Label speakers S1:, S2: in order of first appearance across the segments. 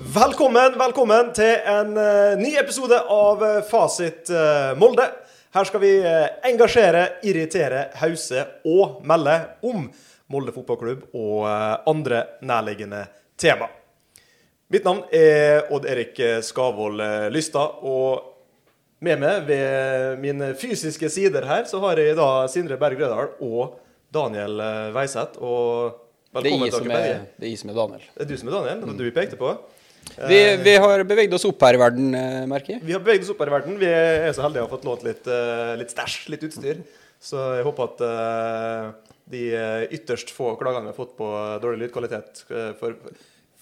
S1: Velkommen, velkommen til en eh, ny episode av eh, Fasit eh, Molde. Her skal vi eh, engasjere, irritere, hause og melde om Molde fotballklubb og eh, andre nærliggende tema. Mitt navn er Odd-Erik Skavold eh, Lystad, og med meg ved mine fysiske sider her, så har jeg da Sindre Berg Grødal og Daniel eh, Veiseth. Og
S2: Det er
S1: velkommen
S2: jeg
S1: til
S2: som
S1: dere
S2: er,
S1: begge.
S2: det er jeg som er Daniel.
S1: Det er du som er Daniel, det var du jeg pekte på. Eh.
S2: Vi, vi har beveget oss opp her i verden, eh, merker jeg.
S1: Vi har beveget oss opp her i verden. Vi er så heldige å ha fått lånt litt, eh, litt stæsj, litt utstyr. Så jeg håper at eh, de eh, ytterst få klagene vi har fått på dårlig lydkvalitet, eh, for,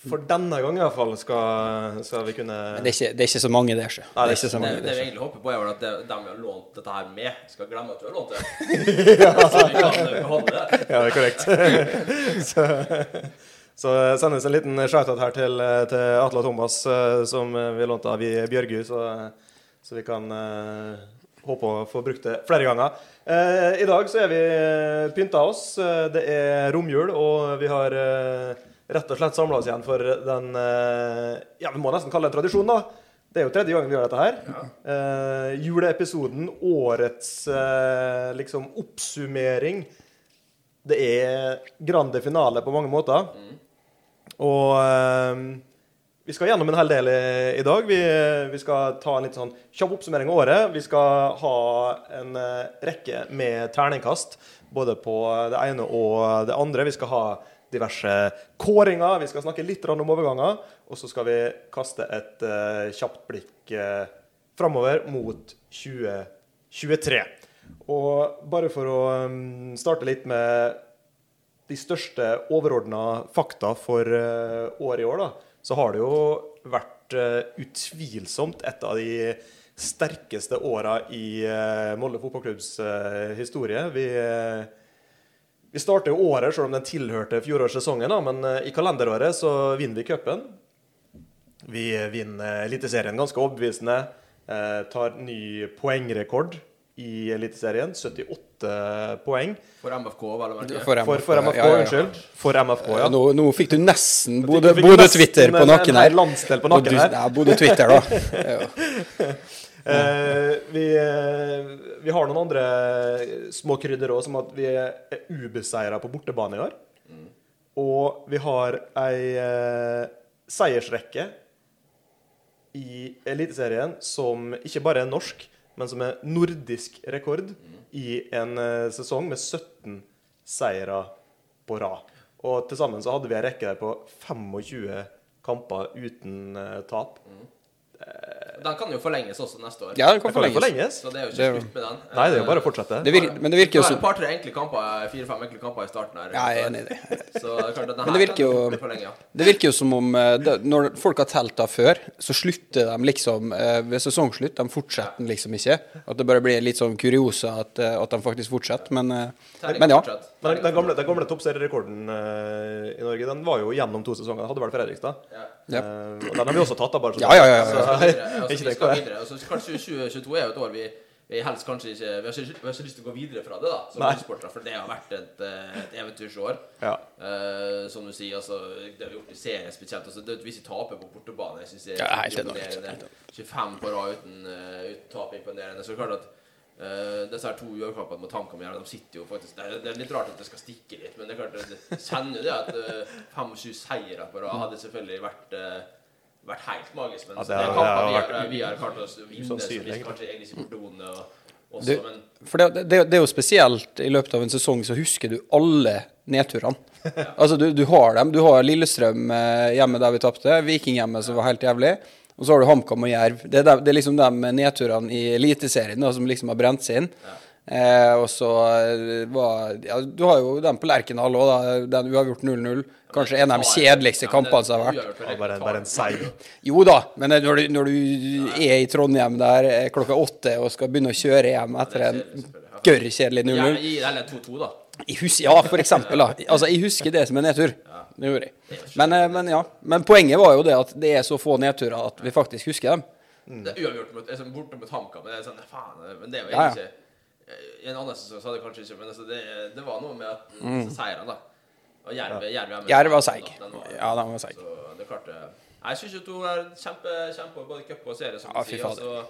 S1: for denne gang i hvert fall, skal, skal vi kunne
S2: Men det er ikke, det er ikke så mange der, sjø. Det er ikke så
S3: Det,
S2: mange
S3: det
S2: der.
S3: vi
S2: sjø.
S3: egentlig håper på, er vel at det, dem vi har lånt dette her med, skal glemme at vi har lånt det. Så vi kan beholde det.
S1: Ja, det er korrekt. så, så sendes en liten shout-out her til, til Atle og Thomas, eh, som vi lånte av i Bjørgu, så, så vi kan eh, håpe å få brukt det flere ganger. Eh, I dag så er vi pynta oss. Eh, Det er romjul, og vi har eh, rett og slett samla oss igjen for den eh, Ja, vi må nesten kalle det en tradisjon, da. Det er jo tredje gangen vi gjør dette her. Eh, juleepisoden, årets eh, liksom oppsummering. Det er grande finale på mange måter. Og eh, vi skal gjennom en hel del i, i dag. Vi, vi skal ta en litt sånn kjapp oppsummering av året. Vi skal ha en eh, rekke med terningkast, både på det ene og det andre. Vi skal ha diverse kåringer, vi skal snakke litt grann om overganger, og så skal vi kaste et eh, kjapt blikk uh, framover mot 2023. Og bare for å eh, starte litt med de største overordna fakta for eh, året i år, da, så har det jo vært eh, utvilsomt et av de sterkeste åra i eh, Molde fotballklubbs eh, historie. Vi, eh, vi starter jo året, selv om den tilhørte fjorårssesongen, da, men eh, i kalenderåret så vinner vi cupen. Vi eh, vinner Eliteserien ganske overbevisende. eh, Tar ny poengrekord i Eliteserien. 78 poeng.
S3: For MFK, vel å merke.
S2: For
S1: For, for MFK,
S2: ja, ja, ja.
S1: unnskyld. For MFK, ja.
S2: Nå, nå fikk du nesten
S1: Fikk-
S2: Bodø
S1: fikk
S2: Bodø
S1: nesten
S2: Twitter på
S1: en- en
S2: nakken
S1: hel
S2: her.
S1: landsdel på nakken
S2: Bodø-
S1: her.
S2: Nei, Bodø Twitter, da. Ja.
S1: Eh, vi, eh, vi har noen andre små krydder òg, som at vi er ubeseira på bortebane i år. Og vi har ei eh, seiersrekke i Eliteserien som ikke bare er norsk, men som er nordisk rekord i en eh, sesong med 17 seire på rad. Og til sammen så hadde vi en rekke der på 25 kamper uten eh, tap.
S3: Den kan jo forlenges også neste år.
S2: Ja, den
S1: Det kan
S2: kan
S1: jo
S2: forlenges.
S1: forlenges.
S3: Så det er jo
S2: Det er
S3: ikke
S2: jo-
S3: slutt med den. Eh,
S1: Nei, det er jo bare å fortsette.
S2: Det vir, men det virker jo
S3: Det var
S2: som
S3: et par-tre enkle kamper, eh, fire-fem enkle kamper i starten her.
S2: Ja, jeg er enig i det.
S3: Så kanskje
S2: Men
S3: denne
S2: det
S3: her
S2: virker
S3: kan
S2: jo-
S3: bli forlenget.
S2: Det virker jo som om eh, det- når folk har telt da før, så slutter de liksom eh, ved sesongslutt. De fortsetter liksom ikke. At det bare blir litt sånn kuriosa at, eh, at de faktisk fortsetter. Men, eh,
S3: Terning
S2: men ja.
S3: fortsatt.
S1: Men den, den gamle, den gamle toppserierekorden eh, i Norge den var jo gjennom to sesonger. Den hadde vel Fredrikstad.
S3: Ja.
S2: Ja.
S1: Eh, og den har vi også tatt, da. bare så-
S2: Ja, ja, ja, ja, ja.
S1: Så, ikke
S3: Vi skal videre, altså, vi
S1: tenk på
S3: skal
S1: det.
S3: videre. Og så kanskje 2022 er jo et år vi, vi helst kanskje ikke Vi har ikke, vi har ikke lyst til å gå videre fra det, da, som
S1: Nei.
S3: fotballsportere, for det har vært et, eh, et eventyrsår.
S1: Ja.
S3: Eh, som du sier, altså, det har vi gjort i serien spesielt. Altså, det, hvis vi taper på bortebane, jeg synes det er
S2: Ja, helt enig, helt
S3: imponerende. 25 på rad uten, eh, uten tap er imponerende. Så det er klart at eh, disse her to uavkampene mot HamKam gjerne, de sitter jo faktisk det er, det er litt rart at det skal stikke litt, men det er klart at det kjenner jo det at eh, 25 seire på rad hadde selvfølgelig vært eh, vært helt magisk, men
S1: Ja, det
S3: altså,
S1: har-
S3: det er
S1: det har
S3: kamper vi,
S1: vært
S3: har- vi har klart oss å vinne, som
S1: usannsynlig,
S3: vi
S1: egentlig.
S3: kanskje egentlig ikke burde vunnet og, også,
S2: Du-
S3: men
S2: For det, det, det er jo spesielt i løpet av en sesong så husker du alle nedturene. Altså, du, du har dem. Du har Lillestrøm eh, hjemme der vi tapte, Viking hjemme som var helt jævlig, og så har du HamKam og Jerv. Det er, de, det er liksom de nedturene i Eliteserien da, som liksom har brent seg inn. Eh, og så eh, var ja, Du har jo den på Lerkendal òg, da. Den uavgjort 0-0. Kanskje en av de kjedeligste kampene som har vært.
S1: Ja, bare, en- bare en seier.
S2: Jo da, men når du, når du er i Trondheim der eh, klokka åtte og skal begynne å kjøre hjem etter
S3: Ja,
S2: en
S3: det er kjedelig, selvfølgelig.
S2: gørr kjedelig 0-0
S3: Gjerne gi eller 2-2, da.
S2: Jeg hus- Ja, for eksempel, da. Altså, jeg husker det som en nedtur. Det gjorde jeg. Men, eh, men ja. Men poenget var jo det at det er så få nedturer at vi faktisk husker dem.
S1: Mm.
S3: Det er uavgjort mot, liksom, borte mot HamKam. Men det er sånn, faen, men det er jo
S2: Ja, ja.
S3: egentlig ikke I en annen sesong så hadde jeg kanskje ikke Men altså, det, det var noe med at mm. seirene, da. Og Jerv Jerv hjemme-
S2: Jerv var seig.
S3: Den var-
S2: Ja, den var seig.
S3: Så det klarte Nei, Jeg syns jo to er kjempe, kjempe både cup og serie, som
S2: Ja,
S3: du
S2: fy
S3: sier. Og så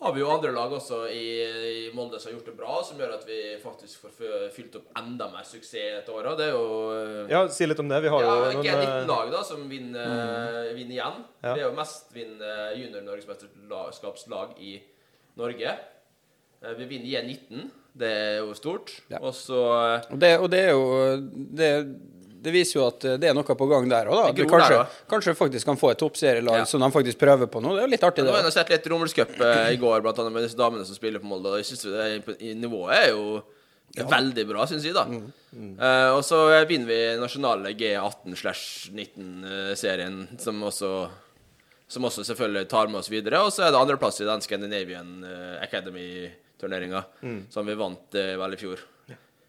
S3: har vi jo andre lag også i, i Molde som har gjort det bra, som gjør at vi faktisk får fø- fylt opp enda mer suksess et år. Og det er jo
S1: Ja, si litt om det. Vi har jo
S3: ja,
S1: noen eh, Mm.
S3: G19-lag da, som vinner, eh, vinner igjen.
S1: Ja.
S3: Det er jo mest vinner junior-norgesmesterskapslag i Norge. Eh, Vi vinner igjen 19. Det er jo stort.
S2: Ja.
S3: Og så eh,
S2: Og det, og det er jo det, det viser jo at eh, det er noe på gang der òg, da. At vi
S3: Det gror
S2: kanskje,
S3: der
S2: kanskje faktisk kan få et toppserielag
S3: Ja.
S2: som de faktisk prøver på nå. Det er jo litt artig, det.
S3: Nå har jeg
S2: også.
S3: nå sett litt Rommelscup eh, i går, blant annet med disse damene som spiller på Molde. Og jeg synes jo det er, impo- i- nivået er jo veldig bra, syns jeg, da.
S2: Mm,
S3: Eh, og så eh, vinner vi nasjonale G18-19-serien, som også som også selvfølgelig tar med oss videre. Og så er det andreplass i den Scandinavian eh, Academy-turneringa,
S2: Mm.
S3: som vi vant eh, vel i fjor.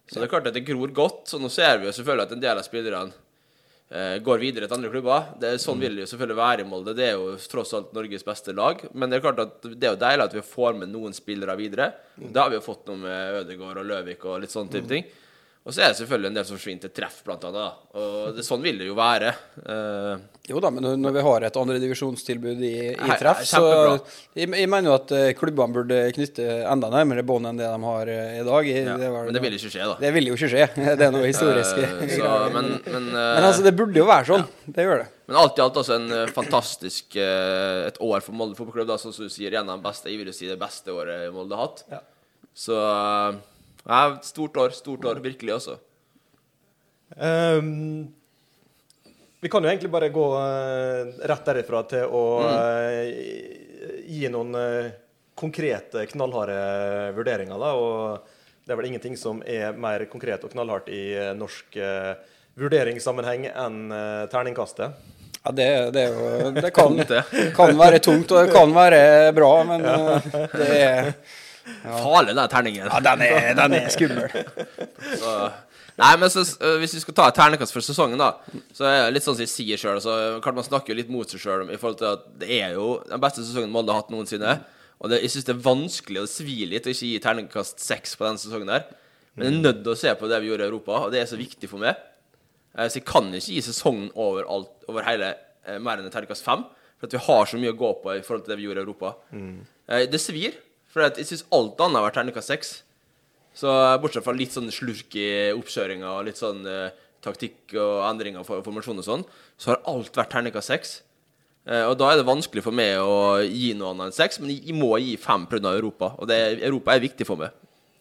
S3: Så det er klart at det gror godt. Og nå ser vi jo selvfølgelig at en del av spillerne eh, går videre til andre klubber. Det er, sånn vil det jo selvfølgelig være i Molde. Det er jo tross alt Norges beste lag. Men det er klart at det er jo deilig at vi får med noen spillere videre.
S2: Mm.
S3: Det har vi jo fått noe med Ødegaard og Løvik og litt sånne type ting. Og så er det selvfølgelig en del som forsvinner til treff, blant annet. Da. Og det, sånn vil det jo være. Eh,
S2: Jo da, men når- når vi har et andredivisjonstilbud i, i
S3: Nei,
S2: treff,
S3: nei,
S2: så
S3: kjempebra.
S2: jeg, jeg mener jo at eh, klubbene burde knytte enda nærmere bånd enn det de har eh, i dag. I,
S3: ja.
S2: det var-
S3: Men det vil ikke skje, da.
S2: det vil jo ikke skje. Det er noe historisk.
S3: Eh, så, men, men, eh,
S2: men altså, det burde jo være sånn. Det gjør det.
S3: men alt i alt altså en eh, fantastisk eh, Et år for Molde fotballklubb, da, som du sier. En av de beste, jeg vil jo si det beste året Molde har hatt.
S1: Ja.
S3: Så eh, ja, stort år. Stort år, virkelig, altså.
S1: Ehm, vi kan jo egentlig bare gå eh, rett derifra til å eh, gi noen eh, konkrete, knallharde vurderinger. Da, og det er vel ingenting som er mer konkret og knallhardt i eh, norsk eh, vurderingssammenheng enn eh, terningkastet.
S2: Ja, det, det er jo Det kan,
S3: Tungt, det.
S2: kan være tungt, og det kan være bra, men eh, det er
S3: Farlig, den terningen.
S2: Ja, den er, den er skummel.
S3: Så, nei, men så, øh, hvis vi skal ta et ternekast for sesongen, da, så er det litt sånn som jeg sier sjøl. Altså, klart man snakker jo litt mot seg sjøl i forhold til at det er jo den beste sesongen Molde har hatt noensinne. Og det, jeg syns det er vanskelig, og det svir litt, å ikke gi terningkast seks på den sesongen der. Men jeg er nødt til å se på det vi gjorde i Europa, og det er så viktig for meg. Eh, Så jeg kan ikke gi sesongen over, alt, over hele eh, mer enn et terningkast fem. For at vi har så mye å gå på i forhold til det vi gjorde i Europa. Eh, Det svir, for at jeg syns alt annet har vært terningkast seks. Så eh, bortsett fra litt sånn slurk i oppkjøringa og litt sånn eh, taktikk og endringer for formasjon og sånn, så har alt vært terningkast seks. Eh, og da er det vanskelig for meg å gi noe annet enn seks, men jeg jeg må gi fem pga. Europa. Og det, Europa er viktig for meg.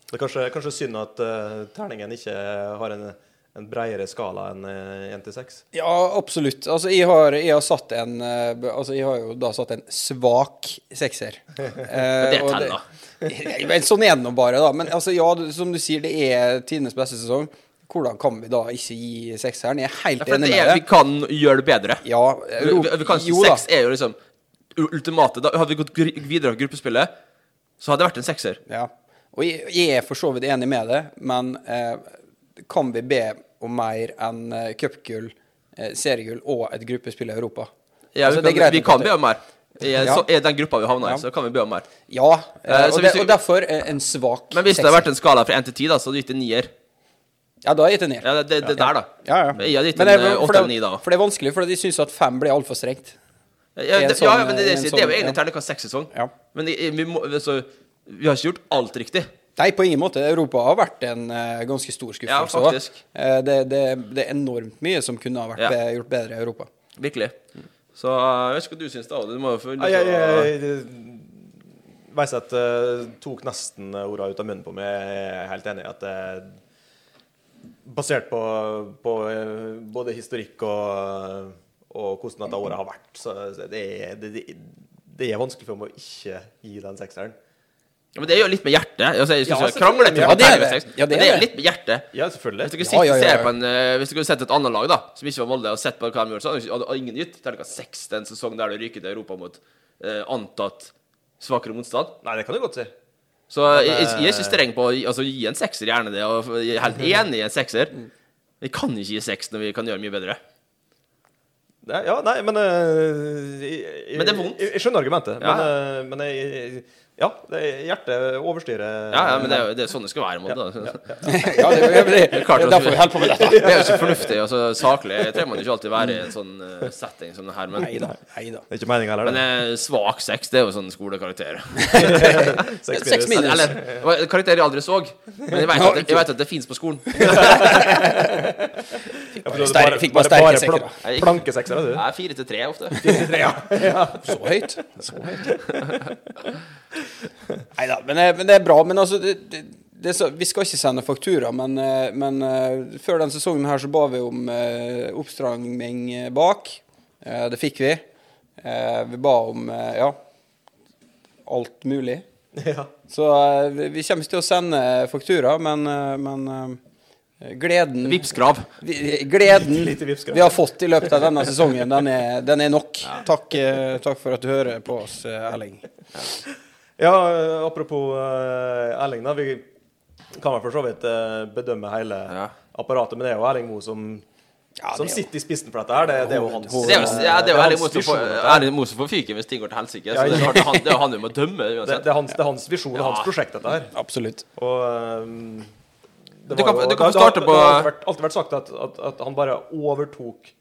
S1: Det er kanskje, kanskje synd at eh, terningen ikke har en, en bredere skala enn eh, 1 til 6.
S2: Ja, absolutt. Altså, jeg har, jeg har satt en eh, b- Altså, jeg har jo da satt en svak sekser. Eh,
S3: Det
S2: og
S3: teller.
S2: Ja, men Sånn er det nå bare, da. Men altså, ja, du- som du sier, det er tidenes beste sesong. Hvordan kan vi da ikke gi sekseren? Jeg er helt
S3: For
S2: enig
S3: det er,
S2: med
S3: vi
S2: deg.
S3: kan gjøre det bedre.
S2: Ja,
S3: Vi, vi, vi kan,
S2: jo da.
S3: seks er jo liksom u- ultimate. Da hadde vi gått gr- videre av gruppespillet, så hadde det vært en sekser.
S2: Ja. Og jeg, jeg er for så vidt enig med det, men eh, kan vi be om mer enn eh, cupgull, eh, seriegull og et gruppespill i Europa?
S3: Ja,
S2: Altså,
S3: vi,
S2: det er greit
S3: kan,
S2: nok
S3: vi
S2: at
S3: kan
S2: det-
S3: be om mer. I, en
S2: Ja.
S3: så, I den gruppa vi havna
S2: Ja.
S3: i, så kan vi be om mer.
S2: Ja, eh,
S3: Eh, så
S2: og, det,
S3: hvis vi-
S2: og derfor eh, en svak
S3: Men hvis det hadde vært en skala fra én til ti, da, så hadde du gitt en nier.
S2: Ja, da har jeg gitt en nier.
S3: Ja, det, det, det der, da.
S2: Ja, ja.
S3: Jeg hadde gitt
S2: Men
S3: en
S2: det er-
S3: eh,
S2: for
S3: åtte
S2: det-
S3: eller ni, da.
S2: For det er vanskelig, for de syns at fem blir altfor strengt.
S3: Ja,
S2: en
S3: det, ja,
S2: sånn,
S3: men det, det,
S2: en
S3: det er jo
S2: sånn,
S3: egentlig
S2: ja.
S3: terningkast seks-sesong.
S2: Ja.
S3: Men i- i- vi, må, så, vi har ikke gjort alt riktig.
S2: Nei, på ingen måte. Europa har vært en eh, ganske stor
S3: Ja,
S2: skuffelse.
S3: faktisk.
S2: også. Eh, det, det, det er enormt mye som kunne ha vært
S3: Ja.
S2: eh, gjort bedre i Europa.
S3: Virkelig. Så jeg vet ikke hva du syns, da. Odd. Du må jo få
S1: Ja, Jeg, jeg, jeg Veiseth eh, tok nesten orda ut av munnen på meg. Jeg er helt enig i at det Basert på, på eh, både historikk og, og hvordan dette året har vært, så så det er det, det, det er vanskelig for meg å ikke gi den sekseren.
S3: Ja, men det gjør litt med hjertet. Altså, jeg
S1: Ja,
S3: synes jeg
S1: selvfølgelig.
S3: krangler til
S2: Ja,
S3: med
S2: det er det.
S3: terningkast seks,
S2: Ja, det
S3: men
S2: er
S3: det er
S2: det.
S3: jo litt med hjertet.
S1: Ja,
S3: Hvis
S1: selvfølgelig.
S3: dere
S2: Ja,
S3: sitter
S2: ja,
S3: og
S2: ja,
S3: ser
S2: ja.
S3: på en eh, Hvis dere hadde sett et annet lag da som ikke var Molde, og sett på hva de gjorde, så hadde de ikke- hadde hadde ingen gitt terningkast seks til en sesong der du ryker til Europa mot eh, antatt svakere motstand.
S1: Nei, det kan du godt si.
S3: Så jeg, jeg, jeg er ikke streng på å gi- altså, gi en sekser, gjerne det. Og jeg er helt enig i en sekser. Vi kan ikke gi seks når vi kan gjøre mye bedre.
S1: Nei, Ja, nei, men eh, jeg, jeg-
S3: Men det er vondt.
S1: Jeg, jeg skjønner argumentet.
S3: Ja.
S1: Men, eh, men jeg, jeg, Ja, det er hjertet overstyrer
S3: Ja, ja, men det er, jo- det er sånn det skal være. i en måte, da.
S2: ja, det, det, det, det
S3: klart
S2: er derfor vi holder på med dette.
S3: Det er jo ikke fornuftig. altså Saklig trenger man jo ikke alltid være i en sånn eh, setting som det her. Men,
S2: Nei da. Nei da.
S1: Det er ikke meninga heller.
S3: men eh, svak sex, det er jo sånn skolekarakter.
S1: det.
S2: Seks minus.
S3: Eller det var en karakter jeg aldri så, men jeg vet at det, jeg vet at det fins på skolen.
S2: Sterk- fikk bare sterke sekker, da.
S1: Plankeseksere, plankeseksere,
S3: Det er fire til tre ofte.
S2: Så høyt? Så høyt. Nei da, men, eh, men det er bra. Men altså, det, det, det er så, vi skal ikke sende faktura, men, eh, men eh, før den sesongen her så ba vi om eh, oppstramming eh, bak. Eh, det fikk vi. Eh, vi ba om eh, ja, alt mulig.
S1: du. Ja.
S2: Så eh, vi, vi kommer ikke til å sende faktura, men, eh, men eh, gleden
S3: Vipskrav.
S2: vi- Gleden
S1: Lite vipskrav.
S2: vi har fått i løpet av denne sesongen, den er, den er nok. Takk, eh, takk for at du hører på oss, eh, Erling.
S1: ja, eh, apropos eh, Erling, da. Vi kan vel for så vidt eh, bedømme hele
S3: Ja.
S1: apparatet, men det er jo Erling Moe som,
S2: Ja, det
S1: som
S2: er jo-
S1: sitter i spissen for dette her. Det, det er jo hans
S3: Det er jo, ja, det er jo
S1: hans
S3: Erling Moe som får-
S1: visjon, dette her.
S3: Erling Moe som får fyken hvis ting går til helsike. Så det er klart, han- det er jo han vi må dømme
S1: det,
S3: uansett.
S1: det, er hans, det er hans visjon, det er hans
S3: Ja.
S1: prosjekt, dette her.
S2: Absolutt.
S1: Og ehm, det
S3: Du
S1: var
S3: kan-
S1: jo-
S3: du kan få
S1: det har-
S3: starte
S1: Det
S3: på-
S1: har alltid vært, alltid vært sagt at, at, at han bare overtok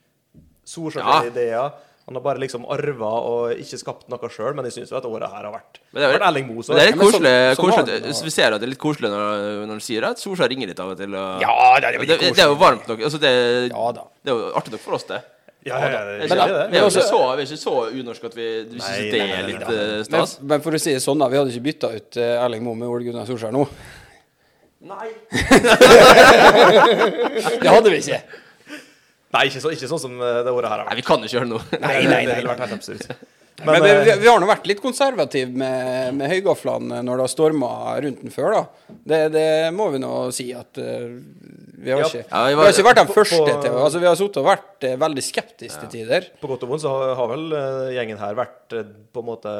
S1: Solskjær
S3: Ja.
S1: ideer. Han har bare liksom arva og ikke skapt noe sjøl, men jeg syns jo at året her har vært
S3: Men det er-
S1: vært Erling Moe. så-
S3: Men det er litt
S2: Ja, men så-
S3: koselig,
S2: så var
S3: koselig
S2: det da.
S3: at- Vi ser at det er litt koselig når, når du sier det, at Solskjær ringer litt av og til. Og,
S2: Ja, det er jo
S3: det, det er jo varmt nok. Altså, det,
S2: Ja da.
S3: det er jo artig nok for oss, det.
S1: Ja, ja, ja, det
S3: Vi
S1: er
S2: Men
S1: kjedelig,
S2: da-
S1: det.
S3: er jo
S2: også-
S3: ikke så, vi er ikke så unorsk at vi, vi
S1: Nei,
S3: syns det
S1: nei,
S3: er
S1: nei,
S3: litt
S1: nei, nei.
S3: eh,
S2: Men,
S3: stas.
S2: men for å si det sånn, da. Vi hadde ikke bytta ut eh, Erling Moe med Ole Gunnar Solskjær nå.
S3: Nei.
S2: Det hadde vi ikke.
S1: Nei, ikke, så, ikke sånn som eh, det året her har
S3: Nei,
S1: vært.
S3: vi kan ikke gjøre noe.
S2: Nei, nei,
S1: Det
S2: nei.
S1: ville vært helt absurd. Men,
S2: Men, vi,
S1: eh,
S2: vi har nå vært litt konservative med, med høygaflene når det har storma rundt den før, da. Det, det må vi nå si at eh, vi, har
S1: Ja.
S2: ikke,
S3: Ja, vi
S2: vi
S3: var-
S2: har ikke vært den
S1: på-
S2: første
S1: på-
S2: til å Altså, vi har sittet og vært eh, veldig skeptiske til tider.
S1: på godt og vondt så har, har vel eh, gjengen her vært eh, på en måte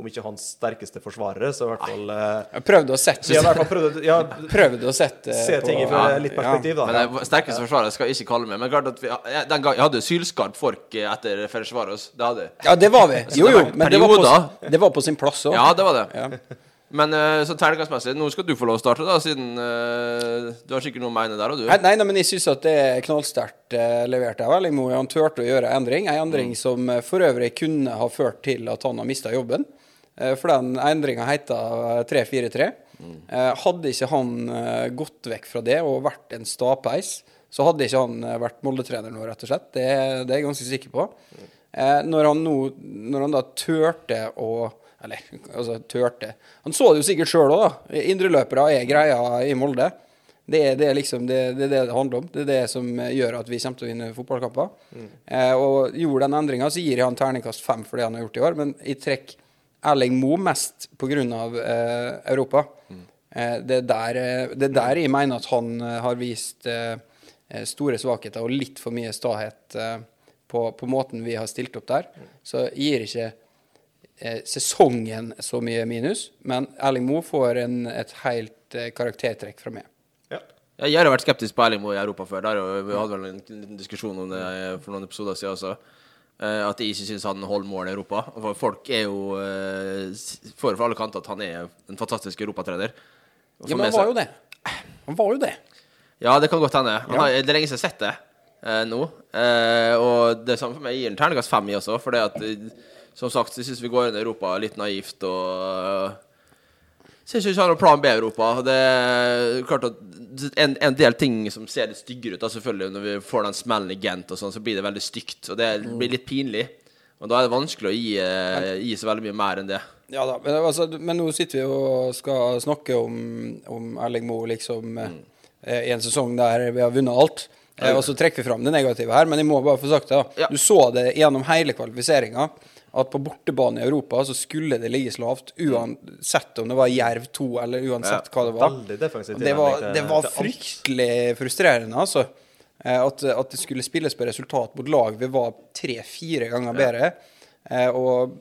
S1: Om ikke hans sterkeste forsvarere, så i hvert fall eh,
S2: Jeg prøvde å sette
S1: De har i hvert fall prøvd å ja,
S2: Prøvde å sette eh,
S1: se
S2: på-
S1: ting fra
S2: Ja,
S1: litt perspektiv, da.
S3: Men det sterkeste forsvaret skal jeg ikke kalle meg. Men klart at vi, jeg, den gang, jeg hadde jo sylskarp fork eh, etter Fersvaros. Det hadde jeg.
S2: Ja, det var vi. Jo,
S3: det
S2: jo.
S3: var
S2: Men det var på,
S3: perioder.
S2: det var på sin plass òg.
S3: Ja, det var det.
S2: Ja.
S3: Men eh, så terningkastmessig, nå skal du få lov å starte, da, siden eh, du har sikkert noe å mene der òg, du.
S2: Nei, nei, men jeg syns at det er knallsterkt eh, levert av Erling Moe. Han turte å gjøre endring, en endring som eh, for øvrig kunne ha ført til at han har mista jobben. Eh, For den endringa heter 3-4-3. Eh, Hadde ikke han eh, gått vekk fra det og vært en stapeis, så hadde ikke han eh, vært Molde-trener nå, rett og slett. Det, det er jeg ganske sikker på. Eh, Når han, nå, når han da turte å Eller altså, turte Han så det jo sikkert sjøl òg, da. Indreløpere er greia i Molde. Det er det, er liksom, det, det er det det handler om. Det er det som eh, gjør at vi kommer til å vinne fotballkamper. Eh, og gjorde den endringa, så gir jeg han terningkast fem for det han har gjort i år. Men jeg trekker Erling Moe mest pga. Eh, Europa. Eh, det, er der, eh, det er der jeg mener at han eh, har vist eh, eh, store svakheter og litt for mye stahet eh, på, på måten vi har stilt opp der. Så jeg gir ikke eh, sesongen så mye minus, men Erling Moe får en, et helt eh, karaktertrekk fra meg.
S1: Ja.
S3: Jeg har jo vært skeptisk på Erling Moe i Europa før. Der, og vi hadde vel en liten diskusjon om det for noen episoder siden også. eh, At jeg ikke syns han holder mål i Europa. For Folk er jo eh, s- får fra alle kanter at han er en fantastisk europatrener. Og for
S2: Ja, men
S3: meg
S2: han
S3: så-
S2: var jo det. Han var jo det.
S3: Ja, det kan godt hende. Han har, det er lenge siden jeg har sett det eh, nå. Eh, og det er samme for meg. Jeg gir en terningkast fem i også, for det at eh, Som sagt, jeg syns vi går inn i Europa litt naivt og Syns ikke har noen plan B i Europa. Det er klart at en, en del ting som ser litt styggere ut, da, selvfølgelig, når vi får den smellen i Gent og sånn, så blir det veldig stygt. Og det blir litt pinlig. Og da er det vanskelig å gi, eh, gi så veldig mye mer enn det.
S2: Ja da, men, altså, men nå sitter vi jo og skal snakke om, om Erling Moe liksom eh, i en sesong der vi har vunnet alt. Eh, og så trekker vi fram det negative her, men jeg må bare få sagt det. da.
S3: Ja.
S2: Du så det gjennom hele kvalifiseringa at på bortebane i Europa så skulle det ligges lavt, uansett om det var Jerv 2 eller uansett hva det var.
S1: Veldig defensivt
S2: Og Det var,
S1: innlegg til-
S2: det var
S1: til alt.
S2: fryktelig frustrerende, altså. Eh, At, at det skulle spilles på resultat mot lag vi var tre-fire ganger bedre. Eh, Og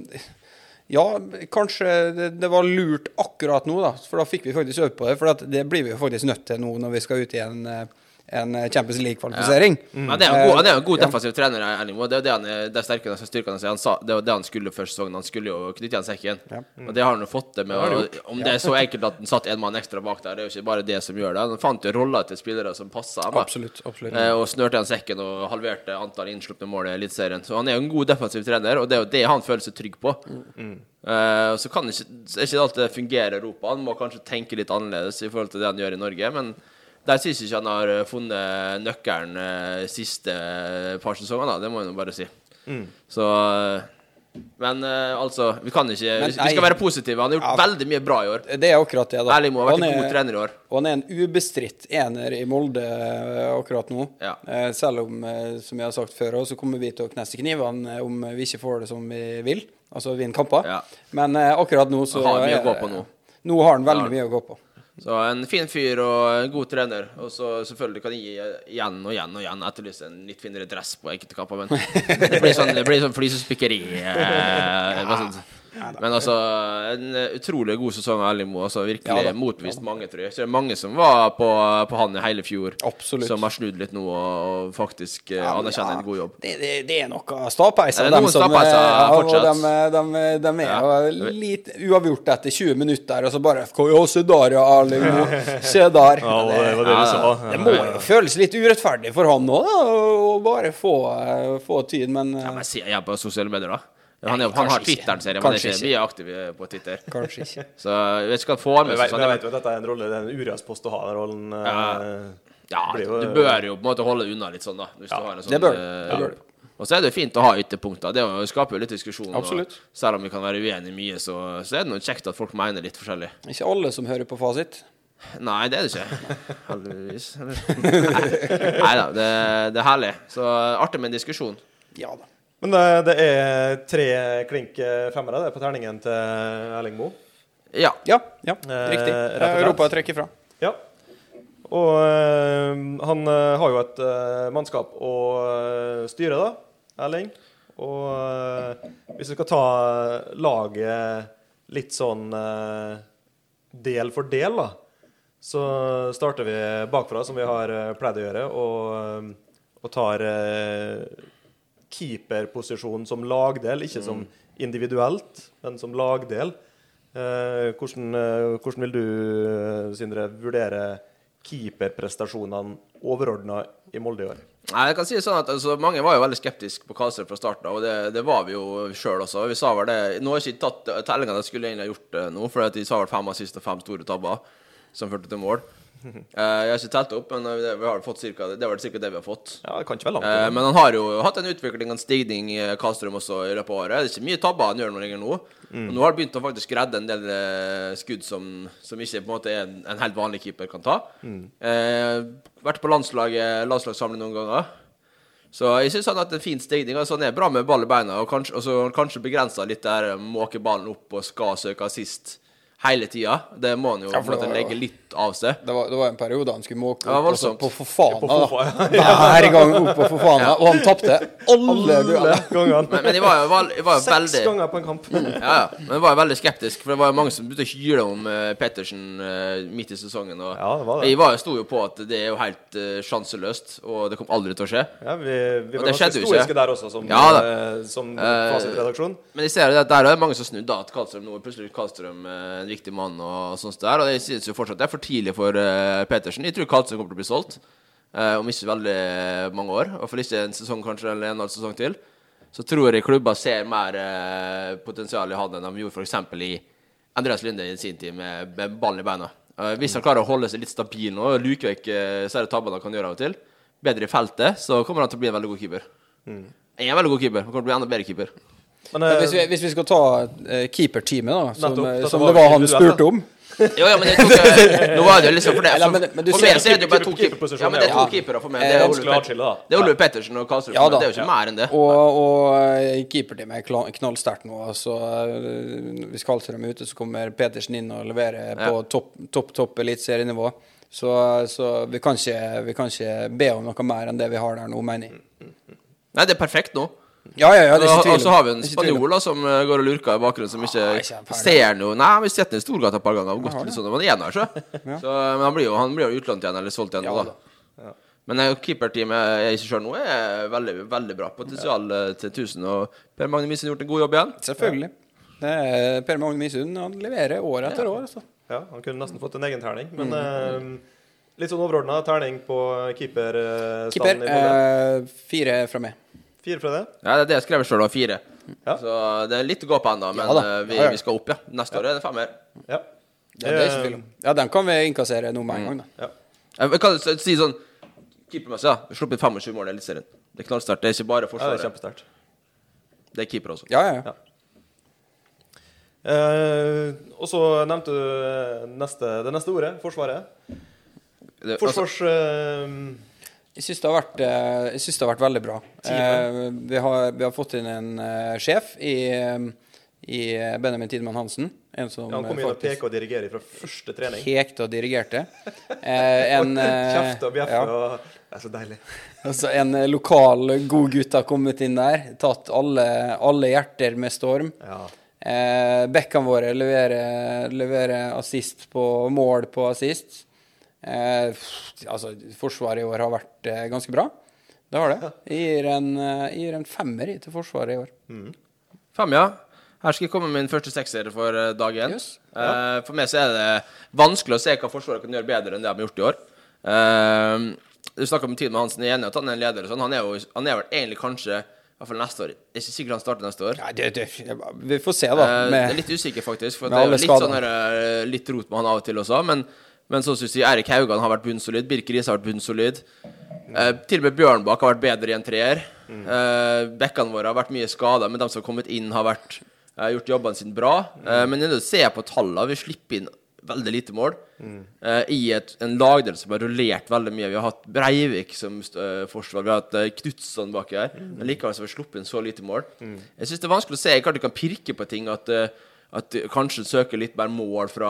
S2: ja, kanskje det, det var lurt akkurat nå, da. For da fikk vi faktisk øvd på det. For at det blir vi jo faktisk nødt til nå når vi skal ut i en, eh, en Champions League-kvalifisering.
S3: Men det er jo en god, han er jo en god defensiv trener, Erling Moe. Det er jo det han er, det er styrken, styrken, hans. han sa, det var det han skulle før sesongen. Han skulle jo knytte igjen sekken. Og det har han jo fått til med å- Om det er så enkelt at han satt en mann ekstra bak der, det er jo ikke bare det som gjør det. Han fant jo roller til spillere som passa. ham, da.
S2: Absolutt. absolutt.
S3: Eh, Og snørte igjen sekken og halverte antall innslupne mål i Eliteserien. Så han er jo en god defensiv trener, og det er jo det han føler seg trygg på. Eh, og så kan ikke, så er ikke alt det fungerer i Europa. Han må kanskje tenke litt annerledes i forhold til det han gjør i Norge, men der syns jeg ikke han har eh, funnet nøkkelen eh, siste eh, par sesonger, da. Det må jeg nå bare si. Så eh, Men eh, altså, vi kan ikke
S2: Men
S3: Vi vi skal
S2: nei.
S3: være positive. Han har gjort
S2: Ja.
S3: veldig mye bra i år.
S2: Det er akkurat det, da.
S3: Erling Moe har vært
S2: Han
S3: en
S2: er-
S3: god trener i år.
S2: Og han er en ubestridt ener i Molde eh, akkurat nå.
S3: Ja.
S2: Eh, Selv om, eh, som jeg har sagt før, også, så kommer vi til å knesse knivene eh, om vi ikke får det som vi vil. Altså vinne kamper.
S3: Ja.
S2: Men eh, akkurat nå så
S3: Han har mye å
S2: er-
S3: gå på nå.
S2: Nå har han veldig
S3: Ja.
S2: mye å gå på.
S3: Så en fin fyr og en god trener. Og så selvfølgelig kan jeg gi igjen og igjen og igjen etterlyse en litt finere dress på enkelte kamper, men det blir sånn, det blir sånn flisespikkeri. Eh, bare sånn. Men altså, en utrolig god sesong av Erling Moe. Altså, virkelig
S2: Ja da.
S3: motbevist mange, tror jeg. Så det er mange som var på, på han i hele fjor,
S2: Absolutt.
S3: som har snudd litt nå og, og faktisk eh,
S2: Ja, men
S3: anerkjenner
S2: ja,
S3: en god jobb.
S2: Det, det, det er noe stapeiser. eh,
S3: Det er noen stapeiser, fortsatt.
S2: og eh, de, de, de er
S3: Ja.
S2: jo litt uavgjort etter 20 minutter, og så bare FK, Ja, se der, ja, Erling. Moe. Se der.
S1: Ja, det
S2: det,
S1: var det du sa.
S2: det må jo føles litt urettferdig for han òg, å bare få, eh, få tid, men eh,
S3: Ja, men se- jeg er på sosiale medier, da. Han, er, han
S2: kanskje
S3: har
S2: ikke.
S3: Twitteren, ser jeg, men det er
S2: Kanskje
S3: ikke, vi er aktive på Twitter.
S2: kanskje ikke.
S3: Så jeg vet ikke hva han får
S1: Vi
S3: med
S1: vet,
S3: seg.
S1: vi
S3: Sånn,
S1: vet jo at dette er en rolle, det er en ugresspost å ha den rollen. eh,
S3: Ja,
S1: blir jo-
S3: du bør jo på en måte holde deg unna litt sånn, da. Hvis du har en sånn,
S2: det bør du.
S3: eh,
S2: Det bør du.
S3: Og så er det jo fint å ha ytterpunkter. Det er jo- skaper jo litt diskusjon.
S2: Absolutt.
S3: Og selv om vi kan være uenige i mye, så, så er det noe kjekt at folk mener litt forskjellig.
S2: Ikke alle som hører på fasit.
S3: Nei, det er det ikke. Heldigvis. Nei da, det, det er herlig. Så artig med en diskusjon.
S2: Ja da.
S1: Men det, det er tre klink eh, femmere det, på terningen til Erling Moe.
S3: Ja.
S2: Ja, ja
S1: Eh,
S2: riktig. Eh,
S1: rett og slett.
S2: Europa trekker fra.
S1: Ja. Og eh, han eh, har jo et eh, mannskap å eh, styre, da, Erling. Og eh, hvis vi skal ta eh, laget litt sånn eh, del for del, da, så starter vi bakfra, som vi har eh, pleid å gjøre, og, eh, og tar eh, keeperposisjonen som lagdel, ikke som individuelt, men som lagdel. Eh, hvordan, eh, hvordan vil du, eh, Sindre, vurdere keeperprestasjonene overordna i Molde i år?
S3: Nei, jeg kan si det sånn at altså, Mange var jo veldig skeptiske på Kaser fra starten av, og det, det var vi jo sjøl også. Vi sa vel det Nå har jeg ikke tatt tellinga de skulle egentlig ha gjort eh, nå, for at de sa vel fem assist og fem store tabber som førte til mål. Eh, jeg har ikke telt opp, men eh, det, vi har fått cirka, det er vel cirka det vi har fått.
S1: Ja, det kan ikke være langt.
S3: Eh,
S1: unna.
S3: men han har jo hatt en utvikling, en stigning, eh, Karlstrøm også i løpet av året. Det er ikke mye tabber han gjør noe lenger nå.
S1: Mm.
S3: Og nå har han begynt å faktisk redde en del eh, skudd som, som ikke på en måte er en, en helt vanlig keeper kan ta.
S1: Mm.
S3: Eh, vært på landslaget, landslagssamling noen ganger. Så jeg syns han har hatt en fin stigning. Altså han er bra med ball i beina, og kanskje, og så kanskje begrensa litt der eh, måke ballen opp og skal søke assist hele tida. Det må han jo
S2: Ja,
S3: på
S2: for
S3: en måte
S2: det var jo-
S3: legge litt av seg.
S2: Det var, det var en periode han skulle måke
S3: Det var
S2: opp og så
S3: voldsomt.
S2: på Fofana.
S1: Ja, på
S2: da. Hver gang opp på Fofana, og han tapte alle duellene.
S1: Alle gangene.
S3: Men, men jeg var jo, vel- jeg var jo
S1: Seks
S3: veldig
S1: ganger på en kamp.
S3: Ja, ja. Men jeg var jo veldig skeptisk, for det var jo mange som begynte å hyle om eh, Pettersen eh, midt i sesongen. Og
S1: Ja, det var det.
S3: Jeg var jo, sto jo på at det er jo helt eh, sjanseløst, og det kom aldri til å skje.
S1: Ja, vi, vi
S3: Og
S1: var
S3: det
S1: ganske
S3: skjedde jo ikke.
S1: historiske der også, som,
S3: Ja,
S1: eh, som
S3: Eh,
S1: fasitredaksjon.
S3: Men jeg ser jo det at der er det mange som har snudd, da. At Karlstrøm nå er plutselig Karlstrøm eh, en viktig mann og sånt der. Og jeg synes jo fortsatt det er for tidlig for eh, Pettersen. Jeg tror Karlstrøm kommer til å bli solgt eh, om ikke veldig mange år. I hvert fall ikke en sesong kanskje, eller en og en halv sesong til. Så tror jeg klubber ser mer eh, potensial i han enn de gjorde f.eks. i Andreas Linde i sin tid, med, med ballen i beina. Eh, hvis han klarer å holde seg litt stabil nå, og luke vekk eh, disse tabbene han kan gjøre av og til, bedre i feltet, så kommer han til å bli en veldig god keeper. Jeg er en veldig god keeper. Han kommer til å bli enda bedre keeper.
S1: Men,
S2: Men
S1: eh,
S2: Hvis vi, hvis vi skal ta eh, keeperteamet, da, som,
S1: Nettopp,
S2: eh,
S1: dette
S2: som
S1: var
S2: det var han
S1: individuelt,
S2: spurte om
S3: Jo, ja, men jeg tok, eh, nå var det jo liksom for det
S2: Eller, men- men du
S3: For
S2: ser-
S3: meg så er det jo bare to keepere.
S1: keeperposisjon
S3: Ja, men det er to
S1: er jo-
S3: keepere for meg.
S2: Eh,
S3: Det er
S1: vanskelig å
S3: Ole,
S1: atskille, da.
S3: Pet- det er Ole Pettersen og Karlsrud.
S2: Ja
S3: for meg.
S2: da.
S3: Det er jo ikke mer enn det.
S2: Og, og eh, keeperteamet er kla- knallsterkt nå. Så eh, hvis Karlstrøm er ute, så kommer Petersen inn og leverer på topp, topp, topp eliteserienivå. Så, så vi, kan ikke, vi kan ikke be om noe mer enn det vi har der nå, mener jeg.
S3: Nei, det er perfekt nå.
S2: Ja, ja, ja, det er ikke
S3: Og
S2: tvil.
S3: og
S2: om-
S3: så har vi en
S2: det er ikke tvil om.
S3: spanjol da, som eh, går og lurker i bakgrunnen, som
S2: Ah, ikke en
S3: ikke
S2: perle.
S3: ser noe Nei, vi har sett ham i Storgata et par ganger. og Gått litt sånn, men han er her, så. så. Men han blir jo, han blir jo utlånt igjen, eller solgt igjen
S2: Ja
S3: nå,
S2: da.
S3: da. Men eh, keeperteamet jeg ikke selv nå er veldig, veldig bra. Potensial eh, til 1000. Og Per Magne Misen har gjort en god jobb igjen.
S2: Selvfølgelig. Det er per Magne Misund han leverer år etter år. Altså.
S1: Ja, han kunne nesten fått en egen terning, men eh, litt sånn overordna terning på keeperstanden.
S2: Keeper,
S1: i Molde.
S2: eh, fire fra meg.
S1: Fire fra det.
S3: Ja, det er det jeg skrev sjøl, da. Fire.
S1: Ja.
S3: Så det er litt å gå på ennå, men
S2: Ja da.
S3: eh, vi,
S2: Ja, ja.
S3: vi skal opp, ja. Neste år er det femmer.
S1: Ja.
S2: Ja, det er ikke tvil om. Ja, den kan vi innkassere nå
S3: Mm.
S2: med en gang, da.
S1: Ja.
S3: Jeg jeg kan s- si sånn Keepermessig, da. Sluppet 25 mål i Eliteserien. Det er knallsterkt. Det er ikke bare
S1: Eh, Ja, det er
S3: forsvaret. det,
S1: kjempesterkt.
S3: er keeper også.
S2: Ja, ja.
S1: Ja. Eh, og så nevnte du eh, neste, det neste ordet, Forsvaret.
S3: Det, altså,
S1: Forsvars... eh,
S2: Jeg syns det, har vært, eh, jeg synes det har vært veldig bra. Eh, vi, har, vi har fått inn en eh, sjef i, eh, i Benjamin Tidemann Hansen. En som
S1: ja, han kom
S2: eh,
S1: inn og
S2: faktisk
S1: peka og dirigerte fra første trening.
S2: pekte og dirigerte. Eh, en, eh,
S1: Kjefte og bjeffe
S2: ja.
S1: og Det er så deilig.
S2: Altså, en eh, lokal god gutt har kommet inn der, tatt alle, alle hjerter med storm.
S1: Ja.
S2: Eh, Bekkene våre leverer, leverer assist på mål på assist. Eh, pff, altså, forsvaret i år har vært eh, ganske bra. Det har det. Jeg gir en, eh, jeg gir en femmer i til forsvaret i år.
S3: Fem, ja. Her skal jeg komme med min første sekser for eh, dag én.
S2: Yes.
S3: Eh, for meg så er det vanskelig å se hva Forsvaret kan gjøre bedre enn det de har gjort i år. Eh, du snakka om Tidmann Hansen. Jeg er enig i at han er en leder. og sånn. Han er, jo, han er vel egentlig kanskje i hvert fall neste år. Jeg er ikke sikker han starter neste år.
S2: Nei, det, det, vi får se, da.
S3: Eh, det er
S2: Med,
S3: litt usikker, faktisk. For
S2: med
S3: det er jo
S2: alle
S3: litt, sånn
S2: skadene.
S3: her, eh, litt rot med han av og til også. Men, men sånn som du sier, Eirik Haugan har vært bunnsolid. Birk Riise har vært bunnsolid. Eh, til og med Bjørnbakk har vært bedre i en treer. Eh, bekkene våre har vært mye skada, men de som har kommet inn, har vært, eh, gjort jobbene sine bra. Eh,
S2: Mm.
S3: men når du ser på tallene, vi slipper inn veldig lite mål. Eh, I et, en lagdel som har rullert veldig mye. Vi har hatt Breivik som eh, forsvar, vi har hatt eh, Knutson baki her.
S2: Mm.
S3: Men likevel så har vi sluppet inn så lite mål. Jeg syns det er vanskelig å se. Jeg klart du kan pirke på ting. at eh, at du kanskje søker litt mer mål fra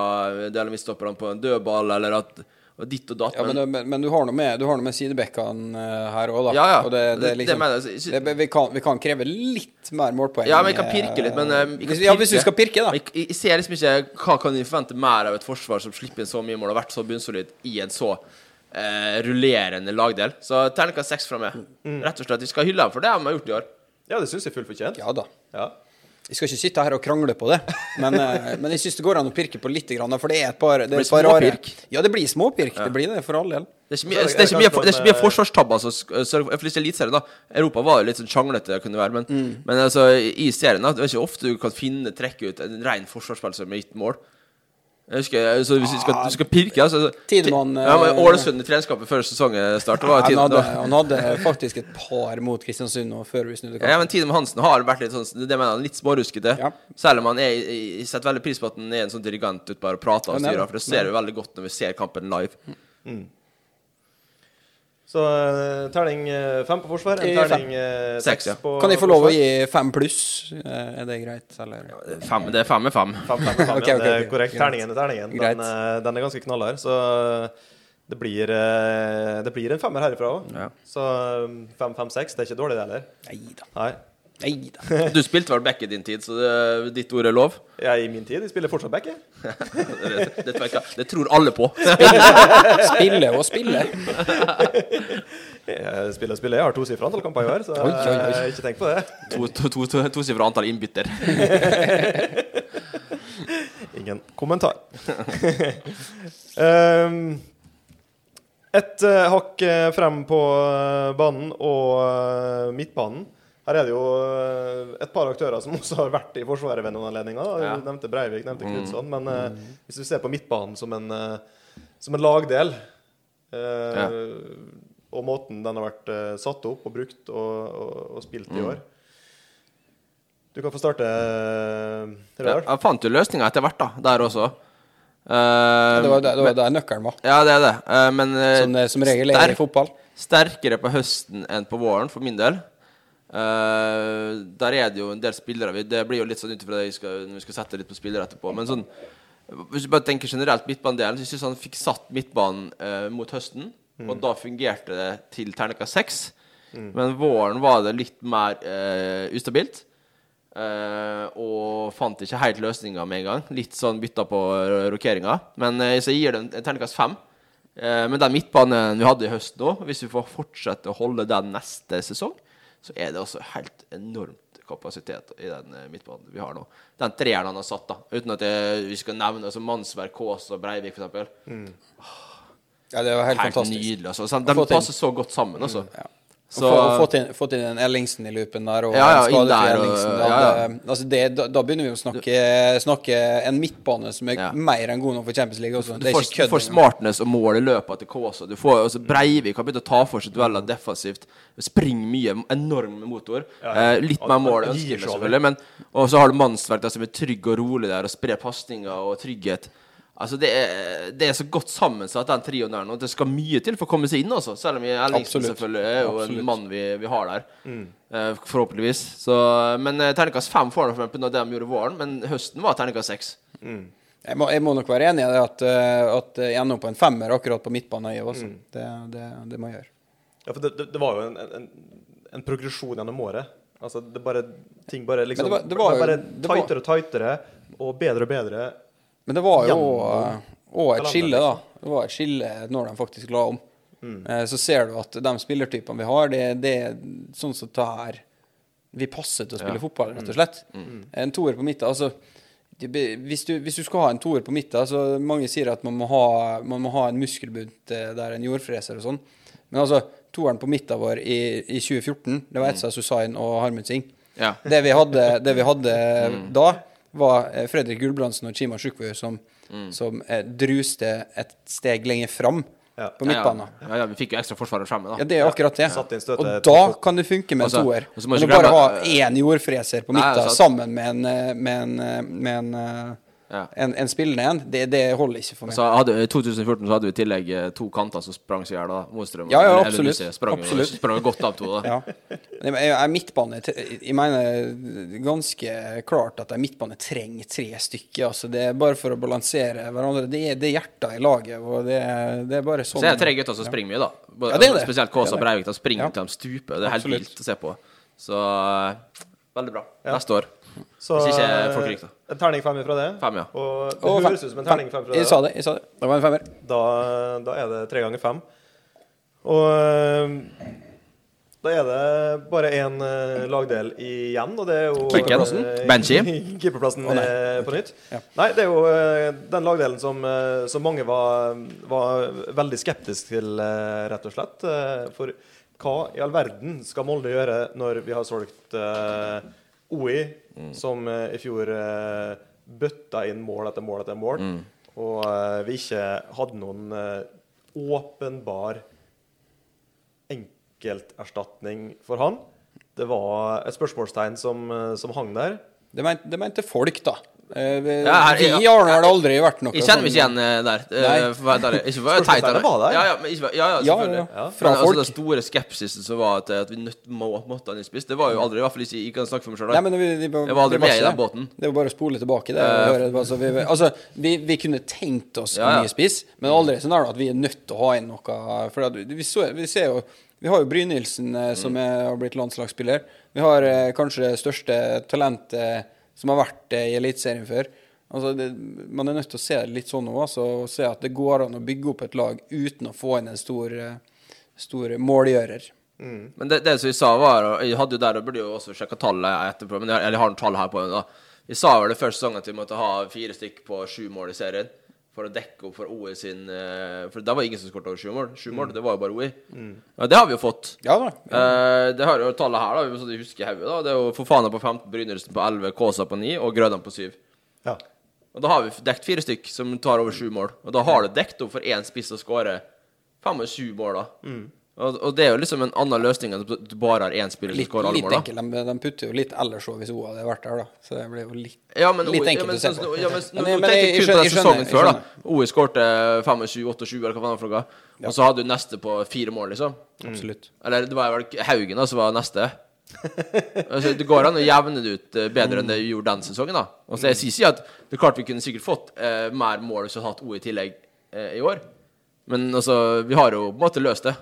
S3: deler midtstopperne på en dødball, eller at og ditt og datt.
S2: ja, men, det- men, men du har noe med, du har noe med sidebekkene eh, her òg, da.
S3: Ja, ja.
S2: Og det, det,
S3: Det-
S2: er
S3: det
S2: liksom,
S3: mener jeg.
S2: det, vi, kan, vi kan kreve litt mer målpoeng.
S3: Ja, men jeg kan
S2: eh,
S3: pirke litt, men eh, jeg kan
S2: hvis, ja, hvis vi
S3: pirke.
S2: skal pirke, da.
S3: Men Jeg, jeg ser liksom ikke hva kan vi forvente mer av et forsvar som slipper inn så mye mål og har vært så bunnsolid i en så eh, rullerende lagdel. Så terningkast seks fra meg.
S2: Mm.
S3: Rett og slett. Vi skal hylle dem for det de har gjort i år.
S1: ja, det syns jeg er fullt fortjent.
S2: Ja da.
S1: Ja.
S2: Vi skal ikke sitte her og krangle på det, men, eh, men jeg syns det går an å pirke på litt, grann, for det er et par, det er
S3: blir
S2: et par rare
S3: småpirk.
S2: Ja, det blir småpirk. Det blir det, for all del.
S3: Det er ikke
S1: Så
S3: mye,
S1: er
S3: det
S1: det-
S3: er ikke
S1: er det
S3: mye,
S1: kanskje
S3: det er ikke mye
S1: noe med-
S3: forsvarstabber som sk- sørger for Iallfall ikke Eliteserien, da. Europa var jo litt sånn sjanglete, kunne være. Men, men altså, i serien da, det er ikke ofte du kan finne trekke ut en ren forsvarsspiller som har gitt mål. Jeg husker, så hvis vi skal, du skal pirke altså,
S2: Tidemann,
S3: Ja, men
S2: eh,
S3: Ålesund i treningskampen før sesongen startet var
S2: Han
S3: Tidemann-
S2: hadde,
S3: det var-
S2: han hadde faktisk et par mot Kristiansund nå, før vi snudde
S3: Ja,
S2: kampen.
S3: men Tidemann Hansen har vært litt sånn Det mener han litt småruskete.
S2: Ja.
S3: Selv om han er jeg setter veldig pris på at han er en sånn dirigent ute bare og prater og
S2: Han er
S3: styrer,
S2: det.
S3: for det ser vi veldig godt når vi ser kampen live.
S1: Så eh, terning eh, fem på forsvar, en
S2: I fem.
S1: terning eh,
S3: Seks,
S1: seks
S3: ja.
S1: på
S2: Kan jeg få lov å
S1: forsvar.
S2: gi fem pluss? Eh, Er det greit, eller?
S3: Fem, det er fem med fem.
S1: Fem, fem, fem,
S2: Ok,
S1: ja,
S2: ok,
S1: det er
S2: ok.
S1: korrekt.
S2: Greit.
S1: Terningen er terningen.
S2: Greit.
S1: Den, eh, den er ganske knallhard, så det blir, eh, det blir en femmer herifra òg.
S3: Ja.
S1: Så eh, fem, fem, seks, det er ikke dårlig, det heller.
S2: Nei da.
S1: Nei.
S2: Nei da.
S3: Du spilte vel back i din tid, så det, ditt ord er lov?
S1: Jeg i min tid jeg spiller fortsatt back, jeg.
S3: Det, det, tror jeg ikke- det tror alle på.
S2: Spille og spille.
S1: Jeg spiller og spiller. Jeg har tosifra antall kamper i år, så
S2: Oi, oi, oi.
S1: eh, ikke tenk på det.
S3: To- to- to- to- Tosifra antall innbytter.
S1: Ingen kommentar. um, et eh, hakk eh, frem på eh, banen og eh, midtbanen. Her er det jo eh, et par aktører som også har vært i Forsvaret ved noen anledninger.
S3: Ja. Mm.
S1: Du Nevnte Breivik, nevnte Knutson. Men eh, hvis du ser på midtbanen som en, eh, som en lagdel, eh,
S3: Ja.
S1: og måten den har vært eh, satt opp og brukt og, og, og spilt
S3: Mm.
S1: i år Du kan få starte, uh,
S3: Ja, Jeg fant jo løsninga etter hvert, da, der også. Eh,
S2: Det var der, det var der nøkkelen var.
S3: Ja, det er det. Eh, men eh,
S2: Som, det, som regel er det i
S3: sterk-
S2: fotball.
S3: sterkere på høsten enn på våren, for min del. Eh, der er det jo en del spillere vi- Det blir jo litt sånn ut ifra det jeg skal, når vi skal sette litt på spillere etterpå. Men sånn Hvis du bare tenker generelt midtbanedelen, så syns han fikk satt midtbanen eh, mot høsten. Og da fungerte det til terningkast seks. Men våren var det litt mer eh, ustabilt. Eh, og fant ikke helt eh, løsninga med en gang. Litt sånn bytta på rokeringa. Men eh, så jeg gir det en en terningkast fem. Eh, Men den midtbanen vi hadde i høst nå, hvis vi får fortsette å holde den neste sesong, så er det også helt enormt kapasitet i den eh, midtbanen vi har nå. Den treeren han har satt, da, uten at jeg, vi skal nevne altså Mannsverk, Kaas og Breivik, for eksempel.
S2: Ja, det var helt,
S3: Helt,
S2: Mm. fantastisk.
S3: nydelig. Altså. Sånn,
S2: Å få
S3: De
S2: til-
S3: passer så godt sammen, altså.
S2: Så, få, Mm, fått, inn, fått inn en Ellingsen i loopen der, og
S3: Ja, ja,
S2: en skadefri
S3: inn der, og-
S2: Ellingsen. Det
S3: ja, ja.
S2: hadde- Altså det, da, da begynner vi å snakke, snakke en midtbane som er
S3: Ja.
S2: mer enn god nok for Champions League. Også.
S3: Du
S2: Det er
S3: får,
S2: ikke
S3: du
S2: kødd.
S3: får
S2: engang.
S3: smartness og mål i løpet til Kaasa. Du får, altså Breivik har begynt å ta for seg dueller defensivt. Springer mye. Enorm motor. Eh, litt mer mål
S1: Han
S3: ønsker
S1: gir
S3: jeg
S1: seg
S3: meg,
S1: over.
S3: selvfølgelig. Men, og så har du mannsverk der som er trygg og rolig der og sprer pasninger og trygghet. Altså det er, det er så godt sammensatt, den trioen der nå. at Det skal mye til for å komme seg inn, altså. Selv om Ellingsen
S2: Absolutt.
S3: selvfølgelig er jo
S2: Absolutt. Mm.
S3: en mann vi, vi har der. Eh, forhåpentligvis. Så, men eh, terningkast fem får han for eksempel når de gjorde våren, men høsten var terningkast seks.
S2: Jeg, må, jeg må nok være enig i det at, eh, at jeg ender opp på en femmer akkurat på midtbanen. Jeg, også.
S3: Mm.
S2: Det, det, det må jeg gjøre.
S1: Ja, for det, det, det var jo en, en, en progresjon gjennom året. Altså, det bare, ting bare liksom
S2: det var- det var jo-
S1: ble bare
S2: det var-
S1: tightere og tightere, og bedre og bedre.
S2: Men det var jo
S1: Gjennom
S2: òg et
S1: landet,
S2: skille, da. Det var et skille når de faktisk la om. Eh, Så ser du at de spillertypene vi har, det, det er sånn som det her Vi passer til å spille fotball, rett og slett. En toer på midten, altså det be- hvis du, hvis du skal ha en toer på midten så Mange sier at man må ha, man må ha en muskelbunt eh, der, en jordfreser og sånn. Men altså, toeren på midten vår i, i 2014, det var Etsa Susain og Harmund Singh.
S3: Ja.
S2: Det vi hadde, det vi hadde
S3: Mm.
S2: da, var eh, Fredrik Gulbrandsen og Chima Sjukvur som,
S3: Mm.
S2: som eh, druste et steg lenger fram
S1: Ja.
S2: på midtbanen.
S3: Ja, ja, ja, vi fikk jo ekstra forsvaret fremme, da.
S2: Ja, det er akkurat det.
S1: Satt inn støtet
S2: Og
S1: på
S2: da
S1: topp.
S2: kan det funke med en
S3: Altså,
S2: toer.
S3: og så må
S2: Men
S3: jeg
S2: du
S3: ikke
S2: bare ha
S3: glemme at, eh,
S2: én jordfreser på
S3: Nei,
S2: midten
S3: altså,
S2: sammen med en, eh, med en, eh, med en, eh,
S3: Ja. Altså,
S2: en, en spillende en, det, det holder ikke for meg.
S3: Så hadde, I 2014 så hadde vi i tillegg eh, to kanter som sprang seg i hjel. da. Mostrøm og
S2: Ja, ja,
S3: eller- eller
S2: absolutt.
S3: Lucia Sprang, jo-
S2: Absolutt.
S3: sprang jo godt av to. da
S2: Ja. Men Jeg, jeg, midtbane, tre- jeg mener ganske klart at en midtbane trenger tre stykker. Altså det er bare for å balansere hverandre. Det er, det er hjertet i laget. Og det, er- det er bare sånn
S3: Så er det tre gutter som springer mye, da. Både,
S2: Ja, det er det.
S3: Spesielt Kaas
S2: Det er
S3: og
S2: det.
S3: Breivik. De springer
S2: Ja.
S3: til de stuper. Det er helt
S2: Absolutt.
S3: vilt å se på. Så eh, veldig bra. Neste år.
S1: Så
S3: Hvis ikke folk ryker,
S1: eh, en terning fem fra det.
S3: Fem, ja.
S1: Og det
S2: Og fem-
S1: høres ut som en terning fem fra det.
S2: Jeg sa det. jeg sa det Det var en femmer.
S1: Da, da er det tre ganger fem. Og eh, da er det bare én lagdel igjen, og det er jo
S3: Keeperplassen?
S1: eh,
S3: Benji?
S1: Keeperplassen
S2: Å, nei.
S1: eh, på nytt.
S2: Ja.
S1: Nei, det er jo eh, den lagdelen som, eh, som mange var, var veldig skeptiske til, eh, rett og slett. Eh, For hva i all verden skal Molde gjøre når vi har solgt eh, OI,
S2: Mm.
S1: som eh, i fjor eh, bøtta inn mål etter mål etter mål,
S2: Mm.
S1: og eh, vi ikke hadde noen eh, åpenbar enkelterstatning for han? Det var et spørsmålstegn som, eh, som hang der.
S2: Det mente, det mente folk, da. Eh, vi-
S3: Ja, her-
S2: vi har nå vel aldri vært noe
S3: Jeg kjenner meg ikke
S2: sånn-
S3: igjen eh, der.
S2: Nei.
S3: eh, for å være helt ærlig. Ikke for å være teit.
S1: Spørsmålstegnet var der.
S3: Ja, ja, men ikke, ja, ja,
S2: Ja,
S3: selvfølgelig.
S2: ja, ja. Fra
S3: Men, altså,
S2: folk.
S3: den store skepsisen som var til at vi nødt må, måtte ha en innspiss, det var jo aldri I hvert fall ikke jeg kan snakke for meg sjøl.
S2: Nei, men vi, vi, vi,
S3: Jeg var aldri
S2: det
S3: med i
S2: ikke
S3: den
S2: det.
S3: båten.
S2: Det er jo bare å spole tilbake. Det, og høre, altså, vi, vi- altså, vi, vi kunne tenkt oss
S3: Ja, ja.
S2: en ny spiss, men aldri sånn er det at vi er nødt til å ha inn noe. For at, vi, så, vi ser jo Vi har jo Brynildsen, eh, som
S3: Mm.
S2: er, har blitt landslagsspiller. Vi har eh, kanskje det største talentet som har vært eh, i Eliteserien før. Altså, det, man er nødt til å se det litt sånn nå, altså, og se at det går an å bygge opp et lag uten å få inn en stor, eh, stor målgjører.
S3: Men det, det som vi sa var og Jeg hadde jo der og burde jo også sjekka tallet etterpå, men jeg, eller jeg har noen tall her på det. da. Vi sa vel det første sesongen at vi måtte ha fire stykk på sju mål i serien for å dekke opp for OE sin eh, For det var ingen som skåret over sju mål. Sju mål, det var jo bare OE. Ja, det har vi jo fått.
S2: Ja da.
S3: Eh, det har jo tallet her, da. Vi må huske i hodet. da. Det er jo Fofana på 15, Brynildsen på 11, Kaasa på 9 og Grødan på 7.
S1: Ja.
S3: Og da har vi dekt fire stykk som tar over sju mål. Og da har du dekt opp for én spiss og skårer faen meg sju mål, da.
S2: Mm.
S3: Og, og det er jo liksom en annen løsning enn at du bare har én spiller som
S2: Litt,
S3: skårer alle
S2: litt
S3: mål, da.
S2: enkelt. De, de putter jo litt ellers òg hvis hun hadde vært der, da. Så det blir jo litt
S3: Ja, men,
S2: Litt
S3: O-
S2: enkelt
S3: ja, men,
S2: å se
S3: sånn-
S2: på.
S3: Ja, men, s-
S2: Men
S3: nå
S2: jeg- men
S3: tenkte jeg
S2: jeg
S3: kun på
S2: skjønner-
S3: den
S2: jeg
S3: sesongen
S2: skjønner-
S3: før,
S2: jeg
S3: da. OE skårte 25-28, eller hva faen det var for noe. Og så hadde du neste på fire mål, liksom.
S2: Absolutt.
S3: Eller det var vel Haugen da som var neste. altså, det går an å jevne det ut eh, bedre enn det vi gjorde den sesongen. da Og så Jeg sier ikke at det er klart vi kunne sikkert fått eh, mer mål hvis vi hadde hatt O i tillegg eh, i år. Men altså, vi har jo på en måte løst det.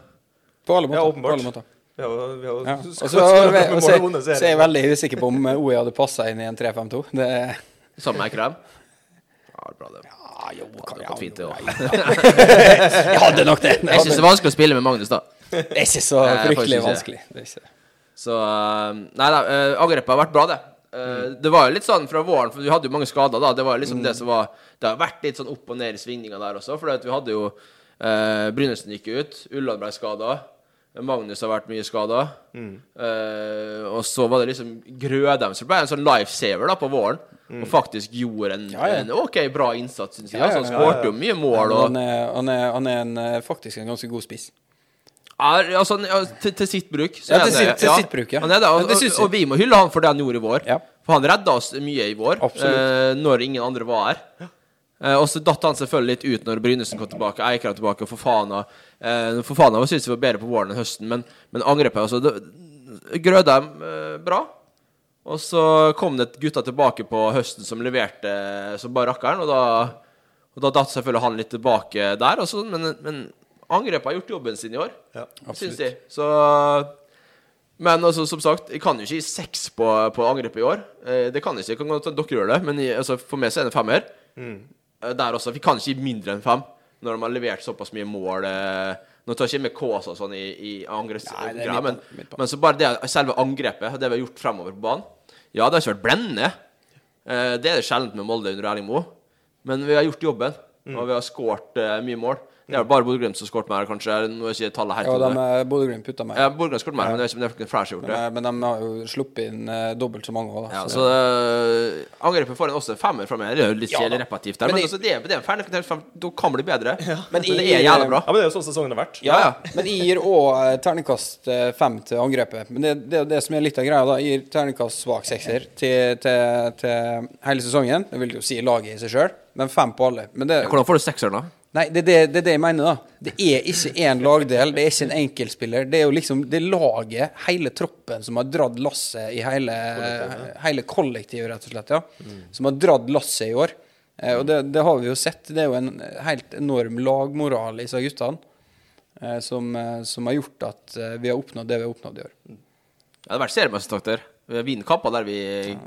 S2: På alle måter.
S1: Ja,
S2: På
S1: åpenbart.
S2: alle måter.
S1: Vi har jo- vi har jo
S2: Ja.
S1: skåret
S2: Og så
S1: skåret med
S2: og
S1: mål
S2: så-
S1: og vunnet
S2: så er jeg
S1: serien.
S2: veldig usikker på om OE hadde passa inn i en 3-5-2. Det-
S3: Sammen med Krem. Ja, bra det.
S2: Ja, Ah, jo, kan
S3: Det har gått fint, det òg.
S2: Jeg hadde nok det.
S3: Jeg syns det er vanskelig å spille med Magnus, da.
S2: det er ikke så
S3: Nei, jeg får
S2: fryktelig
S3: ikke si
S2: vanskelig. Det er ikke det.
S3: Så eh, Nei da, eh, angrepet har vært bra, det. Eh,
S2: Mm.
S3: Det var jo litt sånn fra våren, for vi hadde jo mange skader da. Det var liksom det som var Det har vært litt sånn opp og ned i svingninger der også, for vi hadde jo eh, Brynesen gikk jo ut, Ulland ble skada. Magnus har vært mye skada.
S2: Mm.
S3: og så var det liksom Grødem som ble en sånn lifesaver da på våren. Og faktisk gjorde en,
S2: Mm. Ja, ja.
S3: en OK bra innsats, syns jeg.
S2: Ja, ja,
S3: altså,
S2: ja,
S3: han
S2: ja.
S3: skårte jo mye mål. Og,
S2: Han er, han er, han er en, eh, faktisk en ganske god spiss.
S3: Er, altså, han- ja, til, til sitt bruk. så
S2: Ja,
S3: er
S2: til
S3: han det.
S2: sitt- til sitt bruk, ja.
S3: Han er det, og,
S2: Ja, det synes
S3: og,
S2: jeg.
S3: og vi må hylle han for det han gjorde i vår.
S2: Ja.
S3: For han redda oss mye i vår, eh,
S2: Absolutt.
S3: når ingen andre var her. Eh, og så datt han selvfølgelig litt ut når Brynesen kom tilbake, Eiker kom tilbake, og Fofana eh, Fofana var- synes jeg var bedre på våren enn høsten, men, men angrepet altså, det- Grødem eh, bra. Og så kom det gutta tilbake på høsten som leverte som bare rakkeren, og da, og da datt selvfølgelig han litt tilbake der. Og sånn, men, men angrepet har gjort jobben sin i år,
S1: Ja.
S3: syns de. Så Men altså, som sagt, jeg kan jo ikke gi seks på, på angrepet i år. Eh, Det kan jeg ikke. Jeg kan godt at dere gjør det, men jeg, altså, for meg så er det en femmer.
S2: Mm.
S3: Eh, Der også. Vi kan ikke gi mindre enn fem når de har levert såpass mye mål. eh, Nå tar jeg ikke med Kaas og sånn i, i
S2: Nei, det er
S3: angrepsgreia, men,
S2: midtbanen, midtbanen.
S3: men så bare det, selve angrepet, det vi har gjort fremover på banen Ja, det har ikke vært blendende. Eh, Det er det sjelden med Molde under Erling Moe. Men vi har gjort jobben, og vi har skåret eh, mye mål. Det er vel bare Bodø-Glimt som har skåret mer, kanskje. Nå er ikke tallet helt
S2: Ja, de
S3: inne.
S2: er Bodø-Glimt putta meg.
S3: Ja, Bodø-Glimt har skåret mer, men det er ikke men det er ikke flere som har gjort det.
S2: Men, men de har jo sluppet inn eh, dobbelt så mange òg, da.
S3: Ja,
S2: så-
S3: så eh, Angrepet får en også en femmer fra meg. Det er jo litt
S2: Ja da.
S3: kjedelig repetitivt der,
S2: Men
S3: men,
S2: i-
S3: altså, det, er- det er en ferdig kontakt, fem- Da kan det bli bedre.
S2: Men
S3: Men, det
S2: i-
S3: er jævlig bra.
S1: Ja, men det er jo sånn sesongen har vært.
S2: Ja,
S3: Ja,
S2: men jeg gir òg terningkast eh, fem til angrepet. Men det, det, er jo det som er litt av greia, da. Jeg gir terningkast svak sekser til, til, til hele sesongen. Det vil jo si laget i seg sjøl, men fem på alle. Men det,
S3: Hvordan får du sekseren, da?
S2: nei, det, er det, det er det jeg mener, da. Det er ikke én lagdel, det er ikke en enkeltspiller. Det er jo liksom det er laget, hele troppen, som har dratt lasset i hele Hele kollektivet, rett og slett, ja. Som har dratt lasset i år. Eh, Og det, det har vi jo sett. Det er jo en helt enorm lagmoral i disse guttene eh, som, eh, som har gjort at eh, vi har oppnådd det vi har oppnådd i år.
S3: Ja, det har vært seriemestertakter. Vi har vunnet kamper der vi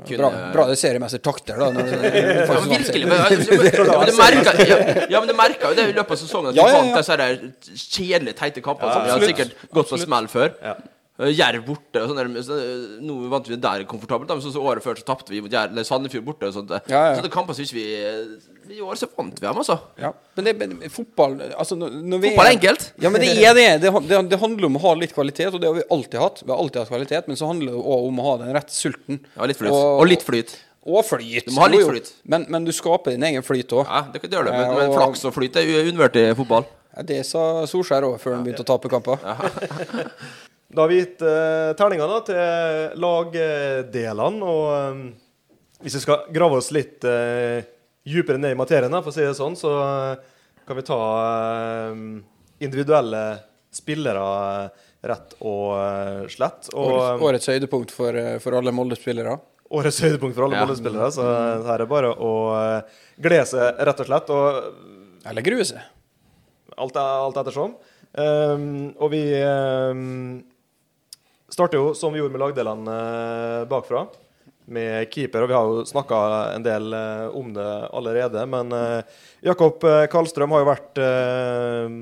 S3: kunne
S2: Bra, bra det er seriemestertakter, da. Når det,
S3: Ja, men virkelig. Men, ja, men du merka ja, ja, men du merket jo det i løpet av sesongen at vi
S2: Ja, ja, ja.
S3: vant disse her kjedelige, teite kampene. som vi har
S1: absolutt.
S3: sikkert gått på smell før.
S1: Ja.
S3: Eh, Jerv borte og sånn. der, så, eh, Nå vant vi der komfortabelt, da, men så, så året før så tapte vi mot Jerv, eller Sandefjord borte og sånt. eh.
S2: Ja, ja.
S3: Så det kamper syns vi eh, I år så vant vi dem, altså.
S2: ja. Men det men fotball altså, når, når vi
S3: Fotball er enkelt.
S2: Ja, men det er det. Det, han- det. det handler om å ha litt kvalitet, og det har vi alltid hatt. Vi har alltid hatt kvalitet, men så handler det òg om å ha den rette sulten.
S3: Ja, litt flyt. Og litt flyt.
S2: Og flyt.
S3: Du må ha litt
S2: Jo, jo.
S3: flyt.
S2: Men, men du skaper din egen flyt òg.
S3: Ja, det, det gjør det, men,
S2: Ja,
S3: men
S2: og-
S3: flaks og flyt er unnvørt i fotball.
S2: Ja, det sa Solskjær òg før han begynte å tape kamper.
S1: Da har vi gitt uh, terninger da, til lagdelene. Og eh, hvis vi skal grave oss litt eh, dypere ned i materien, da, for å si det sånn, så eh, kan vi ta eh, individuelle spillere eh, rett og eh, slett. Og
S2: Årets, årets høydepunkt for, eh, for alle Molde-spillere.
S1: årets høydepunkt for alle
S3: Ja.
S1: bollespillere, så her er bare å eh, glede seg, rett og slett. Og
S2: Eller grue seg.
S1: Alt, er- alt ettersom. Ehm, og vi ehm, starter jo som vi gjorde med lagdelene eh, bakfra, med keeper. Og vi har jo snakka en del eh, om det allerede, men eh, Jakob eh, Karlstrøm har jo vært eh,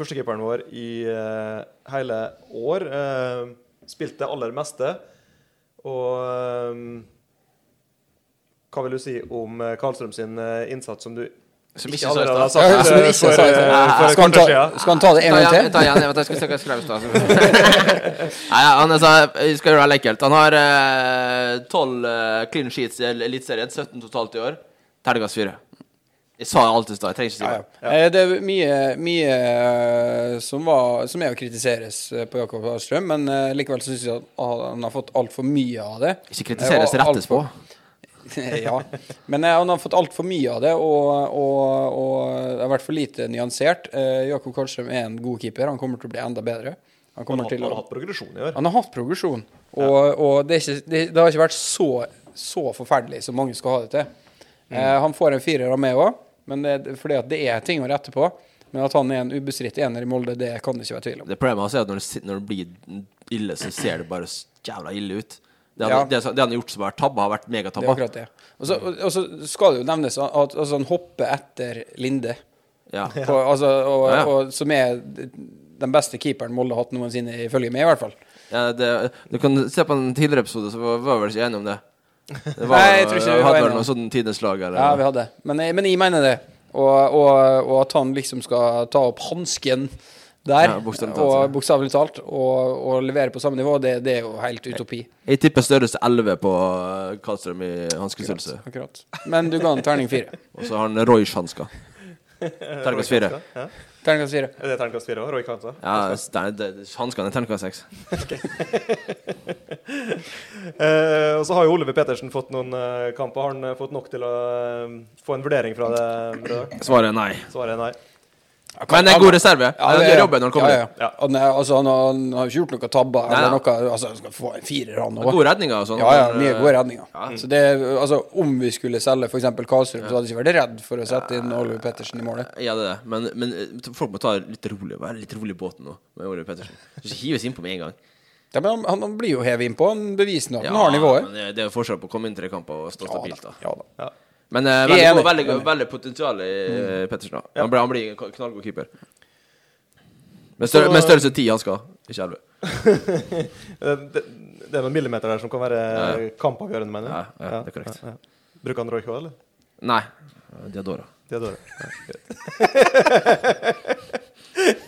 S1: førstekeeperen vår i eh, hele år. eh, spilt det aller meste. Og ehm, hva vil du si om eh, Karlstrøm sin eh, innsats, som du
S3: Som
S1: ikke
S3: ikke så i
S1: allerede har
S3: stad.
S1: sagt
S2: Ja, som
S1: eh,
S2: ikke
S1: for,
S2: sa i stad.
S1: eh, for et
S2: Skal
S1: kvarter
S2: han ta,
S1: siden?
S2: skal han ta det en gang til?
S3: Ta igjen, jeg vet jeg skal jeg skrev i stad. Nei, ja, han er så- jeg skal gjøre det litt ekkelt. Han har tolv eh, clean sheets i Eliteserien, 17 totalt i år. Terningkast fire. Jeg sa alt i stad, jeg trenger ikke si
S2: Ja,
S3: det.
S2: ja. Eh, Det er mye, mye eh, som, var, som er å kritiseres eh, på Jakob Harstrøm, men eh, likevel syns jeg at han har fått altfor mye av det.
S3: Ikke kritiseres,
S2: Eh, og
S3: rettes på.
S2: alt for- ja. Men eh, han har fått altfor mye av det, og, og, og det har vært for lite nyansert. Eh, Jakob Karlstrøm er en god keeper, han kommer til å bli enda bedre.
S1: Han
S2: Han kommer
S1: har,
S2: til
S1: han
S2: å
S1: har hatt progresjon i år.
S2: Han har hatt progresjon, og, og det, er ikke, det, det har ikke vært så, så forferdelig som mange skal ha det til.
S3: Mm.
S2: Eh, han får en firer av meg òg, fordi at det er ting å rette på. Men at han er en ubestridt ener i Molde, det kan det ikke være tvil om.
S3: Det problemet hans er at når det, sit- når det blir ille, så ser det bare s- jævla ille ut. Det han,
S2: Ja.
S3: det, som- det han har gjort som har vært tabba, har vært
S2: Det er
S3: megatabba.
S2: akkurat det. Og så, og, og så skal det jo nevnes at altså, han hopper etter Linde,
S3: Ja.
S2: på, altså, og,
S3: Ja, ja.
S2: Og, som er den beste keeperen Molde har hatt noensinne, ifølge meg i hvert fall.
S3: Ja, det, du kan se på en tidligere episode, så var var vi vel ikke enige om det. det var,
S2: Nei, jeg tror ikke vi var
S3: Hadde
S2: enige
S3: vel
S2: om
S3: noe sånn tidenes lag, eller?
S2: Ja, vi hadde. Men, jeg- men jeg mener det. Og, og, og at han liksom skal ta opp hansken der,
S3: Ja, bokstavelig talt, ja.
S2: og bokstavelig talt, og, og levere på samme nivå, det, det er jo helt utopi.
S3: Jeg tipper størrelse 11 på eh, Karlstrøm i hanskestørrelse.
S2: Akkurat. Men du ga han terning fire.
S3: Og så har han Royce-hansker. Terningkast fire.
S1: Ja.
S2: Terningkast fire.
S1: Er det terningkast fire òg? Roy Kansa?
S3: Ja, s- nei, det- det- hanskene er terningkast seks.
S1: Eh, og så har jo Oliver Pettersen fått noen eh, kamper. Har han eh, fått nok til å eh, få en vurdering fra det? Brødre?
S3: Svaret er nei.
S1: Svaret er nei.
S3: Men en god reserve. Han gjør jobben når han kommer.
S2: Ja,
S3: inn.
S2: ja. Han, er, altså, han, har, han har ikke gjort noe tabber.
S3: Nei,
S2: eller
S3: nei.
S2: noe, altså, han skal få en firer, han òg.
S3: Gode redninger og sånn.
S2: Ja, ja,
S3: men,
S2: mye
S3: eh,
S2: gode redninger.
S3: ja.
S2: Så det, altså, om vi skulle selge f.eks. Karlstrøm, så hadde jeg ikke vært redd for å sette inn Oliver Pettersen i målet.
S3: Ja, det er det. Men, men eh, folk må ta det litt rolig være litt rolig i båten nå med Ole Pettersen. Du skal ikke hives innpå med en gang.
S2: Ja, men han, han blir jo hevet innpå. Han beviser nå at
S3: Ja,
S2: han har nivået.
S3: men det- det er jo forskjell på å komme inn tre kamper og stå stabilt, da.
S2: Ja, da.
S3: Men eh,
S2: Jeg er
S3: veldig, god-
S2: enig.
S3: veldig, god- veldig potensial i eh, Pettersen. da
S1: Ja.
S3: han, blir, han blir en k- knallgod keeper. Med, større, med størrelse 10 han skal, ikke 11.
S1: Eh, Det, det er noen millimeter der som kan være eh, kampavgjørende, mener
S3: Ja,
S1: jeg.
S3: ja, det er korrekt.
S1: ja, ja. Bruker han Roy K, eller?
S3: Nei. Diadora.
S1: Det er dårlig. Ja,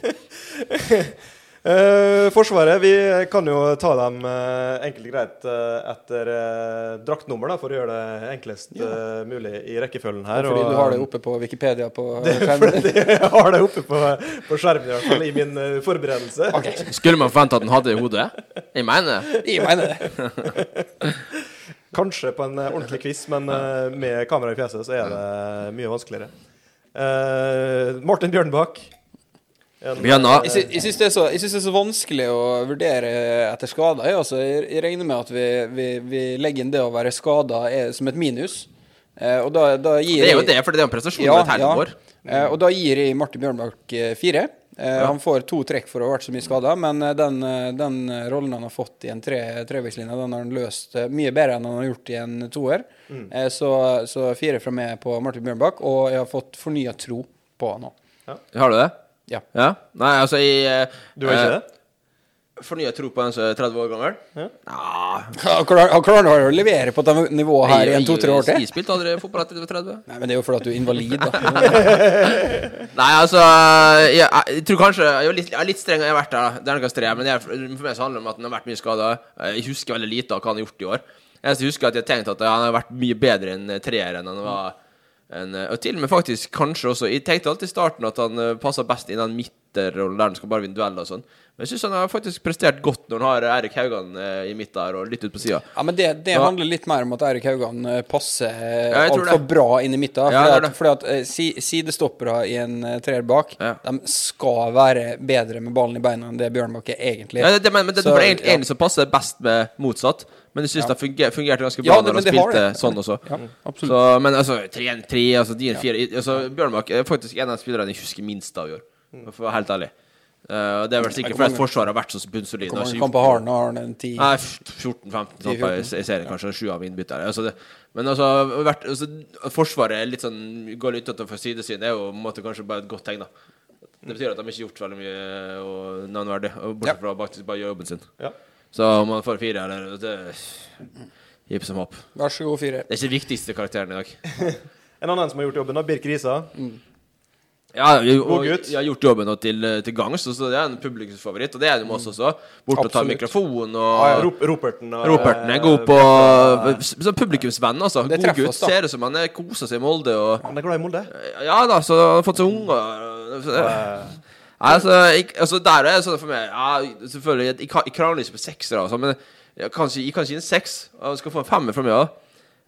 S1: greit. Eh, forsvaret, vi kan jo ta dem eh, enkelt og greit eh, etter eh, draktnummer, da, for å gjøre det enklest eh, mulig i rekkefølgen her.
S2: Fordi
S1: og-
S2: du har det oppe på Wikipedia på skjermen.
S1: Fordi jeg har det oppe på, på skjermen i hvert fall, i min eh, forberedelse.
S3: Skulle man forvente at han hadde det i hodet? Jeg mener det.
S2: Jeg mener det.
S1: Kanskje på en eh, ordentlig quiz, men eh, med kamera i fjeset så er det mye vanskeligere. Eh, Martin Bjørnbakk. En,
S3: Bjørnar.
S2: Jeg sy- jeg syns det, er så- jeg syns det er så vanskelig å vurdere etter skader. Jeg, altså, jeg, jeg regner med at vi, vi, vi legger inn det å være skada som et minus. Eh, og da, da gir
S3: Det er jo
S2: jeg-
S3: det, for det er jo en prestasjon ja, med tegnet vår.
S2: Eh, og da gir jeg Martin Bjørnbakk eh, fire. Eh, Han får to trekk for å ha vært så mye skada, men eh, den, eh, den eh, rollen han har fått i en tre, treveislinje, den har han løst eh, mye bedre enn han har gjort i en toer.
S3: Mm.
S2: Eh, så, så fire fra meg på Martin Bjørnbakk, og jeg har fått fornya tro på han òg.
S3: Har du det?
S2: Ja.
S3: ja? Nei, altså jeg eh,
S1: Du har ikke
S3: eh,
S1: det?
S3: Fornya tro på en som er 30 år gammel? Ja.
S2: Han klarer han klarer å levere på dette nivået her i en to-tre år til?
S3: Jeg spilte aldri fotball etter jeg var 30.
S2: Nei, men det er jo fordi at du er invalid, da.
S3: Nei, altså Jeg, jeg tror kanskje Jeg er litt, jeg er litt streng, jeg har vært der, da. Det er nok tre, men jeg, for meg så handler det om at han har vært mye skada. Jeg husker veldig lite av hva han har gjort i år. Jeg husker at jeg tenkte at han har vært mye bedre enn eh, treer enn han var en, Og til og med faktisk kanskje også Jeg tenkte alltid i starten at han eh, passet best i den midterrollen der han skal bare vinne dueller og sånn. Men jeg syns han har faktisk prestert godt når han har Erik Haugan eh, i midt der og litt ut på sida.
S2: Ja, men det, det
S3: Ja.
S2: handler litt mer om at Eirik Haugan eh, passer eh,
S3: Ja, jeg tror
S2: altfor
S3: det.
S2: bra inn i midten.
S3: Ja,
S2: fordi
S3: det er
S2: at,
S3: det.
S2: fordi at eh, si, sidestoppere i en eh, treer bak,
S3: Ja.
S2: de skal være bedre med ballen i beina enn det Bjørnbakke egentlig
S3: Ja, det, det, men, men det,
S2: Så,
S3: for egentlig,
S2: ja.
S3: egentlig så passer det best med motsatt. Men jeg syns det funger, fungerte ganske bra
S2: Ja, det-
S3: når
S2: men
S3: han
S2: det har
S3: spilte
S2: det.
S3: sånn også.
S2: Ja, absolutt.
S3: så, men altså, 3-1-3, altså din 4 altså, Bjørnbakk er faktisk en av de spillerne jeg husker minst av i år, for å være helt ærlig. Eh, og det er vel sikkert
S2: Hvor
S3: fordi
S2: mange-
S3: Forsvaret har vært så bunnsolid.
S2: Hvor mange
S3: og
S2: kamper
S3: gjort-
S2: har han? Har han en ti?
S3: Nei, 14-15 kamper i
S2: 10-14.
S3: i serien, kanskje. Sju av innbyttere. Altså det- men altså, vært, altså Forsvaret er litt sånn, går litt utenfor sidesyn. Det er jo på en måte kanskje bare et godt tegn, da. Det betyr at de ikke har gjort veldig mye og navnverdig, og bortsett fra faktisk bare gjør jobben sin.
S1: Ja.
S3: Så om man får fire, eller det Hipp som happ.
S2: Vær så god, fire.
S3: Det er ikke den viktigste karakteren i dag.
S1: En annen som har gjort jobben, da, Birk Risa.
S3: Ja, jeg,
S1: God
S3: og,
S1: gutt.
S3: jeg har gjort jobben nå til, eh, til gangs, så det er en publikumsfavoritt. Og det er det med oss også. Bort og ta
S2: Absolutt.
S3: mikrofonen
S1: Ja,
S3: og
S1: Rop Roperten. eh, og-
S3: Roperten er god på Som publikumsvenn, altså.
S2: Det
S3: God
S2: treffer
S3: gutt.
S2: oss, da.
S3: Ser ut som han er- koser seg i Molde og eh,
S1: Han er glad i Molde. Eh,
S3: Ja da, så han har fått seg unger. Så- Nei, altså, jeg, altså Der er det sånn for meg ja, Selvfølgelig, jeg, jeg, kan- jeg krangler ikke på seksere, altså, men jeg kan ikke, jeg kan ikke gi en seks. og Han skal få en femmer fra meg òg.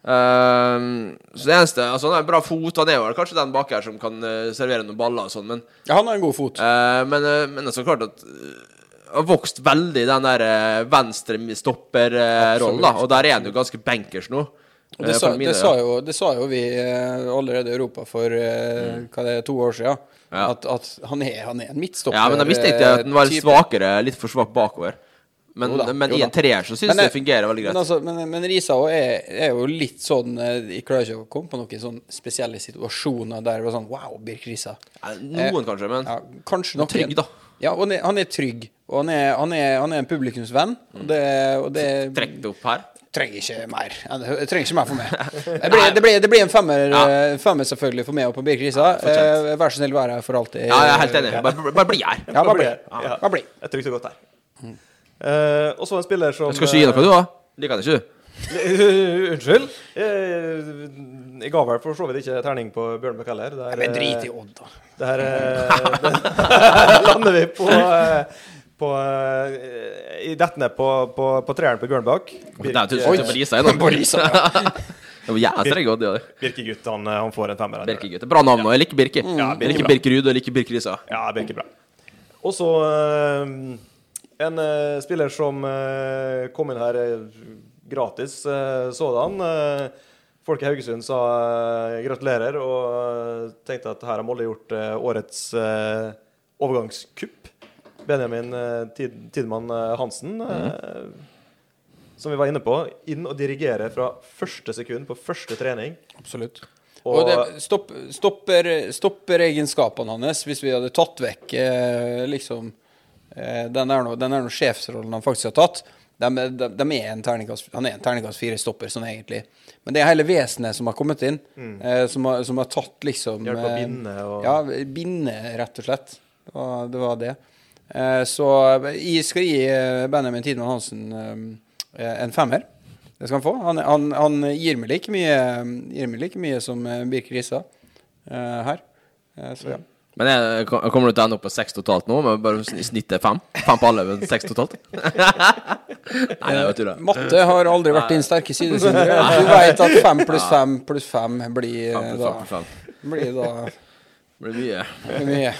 S3: så det eneste altså, Han har en bra fot. Han er vel kanskje den bak her som kan eh, servere noen baller og sånn, men
S2: Ja, han har en god fot.
S3: Eh, men, eh, men altså, klart at eh, har vokst veldig i den der eh, venstrestopper-rollen, da. Og der er han jo ganske bankers nå.
S2: Og
S3: eh,
S2: det, sa,
S3: for mine
S2: det, sa
S3: øyne.
S2: jo, det sa jo vi eh, allerede i Europa for eh, hva det er, to år siden.
S3: Mm. Ja.
S2: At, at han, er, han er en midtstopper.
S3: Ja, men da mistenkte jeg at den var
S2: eh, type.
S3: svakere, litt for svak bakover. Men,
S2: Jo da,
S3: men
S2: jo
S3: i
S2: da.
S3: en treer så syns
S2: Men
S3: jeg det
S2: det-
S3: fungerer veldig
S2: Men,
S3: greit.
S2: altså, men, men Risa også er, er jo litt sånn eh, Jeg klarer ikke å komme på noen sånn spesielle situasjoner der det var sånn Wow, Birk Risa.
S3: Nei, Eh, Noen, kanskje, men
S2: eh, Ja, kanskje noen.
S3: Trygg, da.
S2: Ja, og han er, han er trygg. Og han er, han er, han er en publikumsvenn. Og det, og det
S3: trekk det opp her.
S2: trenger ikke mer. Ja, det- Jeg trenger ikke mer for meg. Det blir, det blir, det blir en femmer,
S3: Ja.
S2: eh, femmer selvfølgelig for meg og på Birk Risa.
S3: fortjent.
S2: Eh, Vær så snill, vær her for alltid.
S3: Ja, jeg er helt enig. Bare, bare bli her.
S2: Ja, bare bli.
S1: Ja.
S2: Bare bli.
S1: Jeg trykte godt der. Eh, og så en spiller som
S3: Jeg skal
S2: eh,
S3: ikke gi noe, du òg? Liker det ikke, du?
S1: Unnskyld? Eh, jeg ga vel for så vidt ikke terning på Bjørnbakk heller. Det er,
S2: Men drit
S1: eh,
S2: i Odd, da.
S1: Det her eh, det- lander vi på, eh, på eh, I dette ned på, på, på treeren på Bjørnbakk.
S3: Det er jo
S1: Birk-
S3: til- til Lisa, jeg, da.
S2: På Risa, ja.
S3: Det var jævlig treg, Odd, ja.
S1: Birkegutt han, eh, han får en femmer. her.
S3: Birkegutt. Bra navn, og jeg liker Birke.
S2: Mm.
S1: Birke
S3: jeg liker
S1: bra.
S3: Birkerud, og jeg liker Birkerisa.
S1: Ja, Birke bra. Og så eh, en eh, spiller som eh, kom inn her eh, gratis eh, sådan. Eh, folk i Haugesund sa eh, gratulerer og eh, tenkte at her har Molde gjort eh, årets eh, overgangskupp. Benjamin eh, Tid Tidmann eh, Hansen, eh, som vi var inne på, inn og dirigere fra første sekund på første trening.
S2: Absolutt. Og,
S1: Og-
S2: det stopp, stopper, stopper egenskapene hans hvis vi hadde tatt vekk eh, liksom eh, Den er nå- den er nå sjefsrollen han faktisk har tatt. De, de, de er en terningkast, han er en terningkast fire-stopper, sånn egentlig. Men det er hele vesenet som har kommet inn, eh, som, har, som har tatt liksom
S1: Mm. Hjelp å
S2: eh,
S1: binde og-
S2: Ja, binde, rett og slett. Det var det. Var det. Eh, så jeg skal gi eh, Benjamin Tidemann Hansen eh, en femmer. Det skal han få. Han, han, han gir, meg like mye, gir meg like mye som eh, Birker Rissa eh, her. Eh, så ja.
S3: Men jeg, kom- kommer du til å ende opp på seks totalt nå? Men bare sn- snittet fem? Fem på alle, men seks totalt? Nei, det vet du det.
S2: Matte har aldri vært din sterke side, Sindre. Du veit at fem pluss fem pluss fem blir
S3: Fem
S2: eh,
S3: pluss
S2: da,
S3: fem pluss fem.
S2: blir da
S3: Det blir mye.
S2: mye.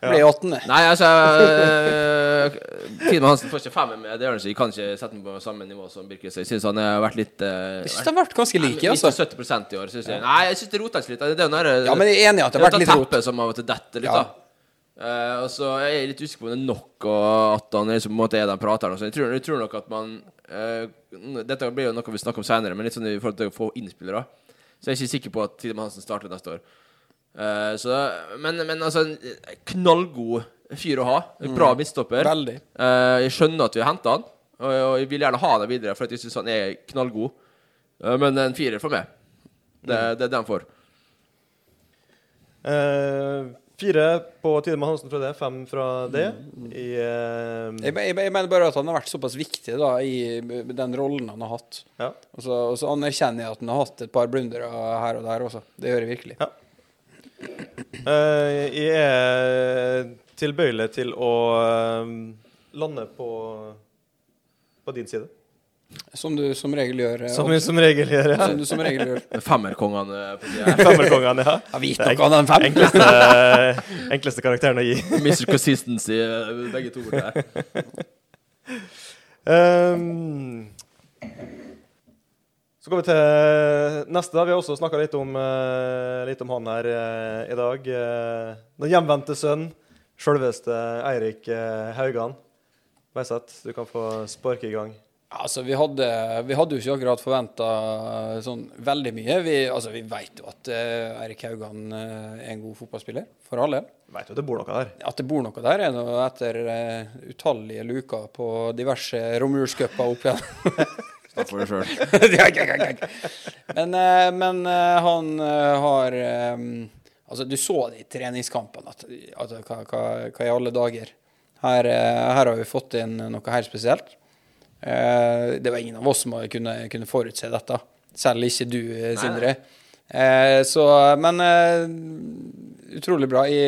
S2: Blir 18. det.
S3: Nei, altså øh, Tidmann Hansen får ikke femmer med det gjør han ikke. Jeg kan ikke sette den på samme nivå som Birke. Så jeg syns han har vært litt øh,
S2: Jeg syns det har vært ganske like,
S3: vært-
S2: altså.
S3: litt 70 i år, syns jeg. Nei, jeg syns det roter seg litt. Det er jo den der- eh,
S2: Ja, men jeg er enig i at det har vært litt rot.
S3: teppet som av og til detter litt,
S2: Ja.
S3: da. Eh, og så er jeg litt usikker på om det er nok, og at han liksom, på en måte er den prateren. og sånn. Jeg tror, jeg tror nok at man eh, n- Dette blir jo noe vi snakker om senere, men litt sånn i forhold til å få innspillere. Så jeg er ikke sikker på at Tidemann Hansen starter neste år. Eh, så, men, men altså, en knallgod fyr å ha. Bra midtstopper.
S2: Veldig.
S3: Eh, jeg skjønner at vi har henta han, og, og jeg vil gjerne ha han videre, for at jeg syns han er knallgod. Eh, men en firer for meg. Det,
S2: Mm.
S3: det er det han får.
S1: Eh, fire på Tidemann Hansen fra det, fem fra det. I eh,
S2: Jeg, jeg, jeg mener bare at han har vært såpass viktig da, i den rollen han har hatt.
S1: Ja.
S2: Og så, og så anerkjenner jeg at han har hatt et par blundere her og der også. Det gjør jeg virkelig.
S1: Ja. Eh, jeg er tilbøyelig til å eh, lande på på din side.
S2: Som du som regel gjør. eh,
S1: Som,
S2: Odd.
S1: som regel gjør jeg.
S2: som du som regel gjør.
S3: Femmerkongene eh, på siden her.
S1: Femmerkongene, ja.
S2: Jeg vet
S1: Det er
S2: noe om den fem.
S1: Enkleste, enkleste karakteren å gi.
S3: Mr. Consistency, eh, begge to borte her.
S1: Ehm, så går vi til neste. da. Vi har også snakka litt, om, eh, litt om han her eh, i dag. Eh, den hjemvendte sønn, sjølveste Eirik eh, Haugan. Beiseth, du kan få sparke i gang.
S2: Altså, vi hadde, vi hadde jo ikke akkurat forventa sånn veldig mye. Vi, altså, vi veit jo at eh, Eirik Haugan eh, er en god fotballspiller, for all del.
S1: Veit jo at det bor noe der.
S2: At det bor noe der, er nå etter eh, utallige luker på diverse romjulscuper opp igjen.
S3: Snakk for deg sjøl.
S2: men, eh, men eh, han eh, har eh, Altså, du så det i treningskampene. At, at, hva, hva, hva i alle dager? Her, eh, her har vi fått inn noe helt spesielt. Eh, det var ingen av oss som kunne, kunne forutse dette. Selv ikke du, eh, Sindre. Eh, så, men eh, utrolig bra. I,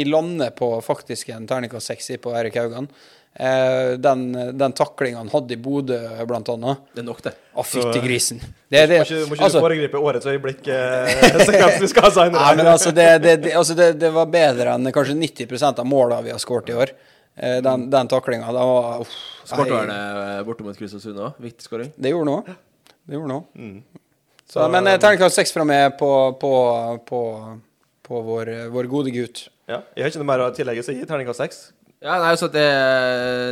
S2: i landet på faktisk en terningkast 60 på Eirik Haugan. Eh, den den taklinga han hadde i Bodø, blant annet.
S3: Det er nok, det.
S2: Å, fytti grisen. Det, det,
S1: Må ikke, må ikke
S2: altså,
S1: du foregripe årets øyeblikk, eh, så kanskje du skal ha
S2: nei, men
S1: seinere.
S2: altså, det, det, det, altså det, det var bedre enn kanskje 90 av måla vi har skåret i år. Eh, Den, den taklinga, det var uff,
S3: Skåret
S2: nei,
S3: han eh, borte mot Kristiansund òg? Viktig skåring.
S2: Det gjorde noe. Det gjorde noe. Så,
S1: Mm. Så-
S2: men eh, terningkast seks fra meg på, på, på, på vår, vår gode gutt.
S1: Ja, jeg har ikke noe mer å tillegge, så jeg gir terningkast seks.
S3: Ja, nei, så det,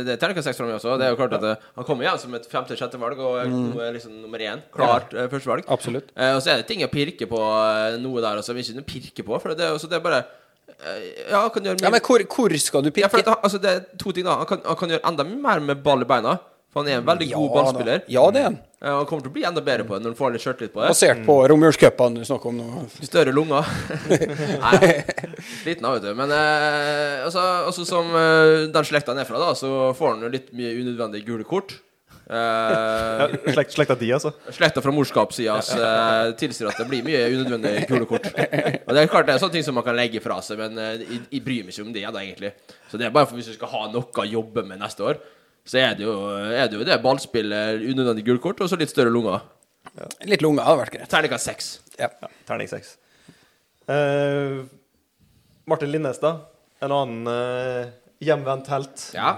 S3: det er terningkast seks for meg også. Det er jo klart at eh, Han kommer igjen som et femte-sjette valg, og er nå er liksom nummer én. Klart eh, første valg.
S2: Mm. Absolutt.
S3: Eh, og så er det ting å pirke på, eh, noe der også, som ikke noe pirke på. For det er, jo- så det er bare eh, Ja, han kan gjøre mye
S2: Ja, men hvor, hvor skal du
S3: Ja, for
S2: pirke?
S3: at han, altså, det er to ting da han kan, han kan gjøre enda mer med ball i beina. For han er en veldig
S2: Ja,
S3: god ballspiller.
S2: da. Ja, det er han.
S3: Eh, og han kommer til å bli enda bedre på det når han får litt sjøltillit på det.
S2: Basert på romjulscupene du snakker om nå.
S3: Større lunger. Nei, liten av, vet du. Men eh, altså, altså som eh, den slekta han er fra, da, så får han jo litt mye unødvendige gule kort. Eh,
S1: Ja, slekt, slekta di, altså.
S3: slekta fra morskapssida eh, tilsier at det blir mye unødvendige gule kort. Og det er klart det er sånne ting som man kan legge fra seg, men eh, jeg, jeg bryr meg ikke om det, da, egentlig. Så det er bare for hvis du skal ha noe å jobbe med neste år, så er det jo, er det, jo det ballspill, eh, unødvendig gule kort og så litt større lunger.
S2: Litt lunger hadde vært greit.
S3: Terningkast seks.
S2: Ja.
S1: Terning seks. Eh, Martin Linnes, da. En annen eh, hjemvendt helt.
S3: Ja.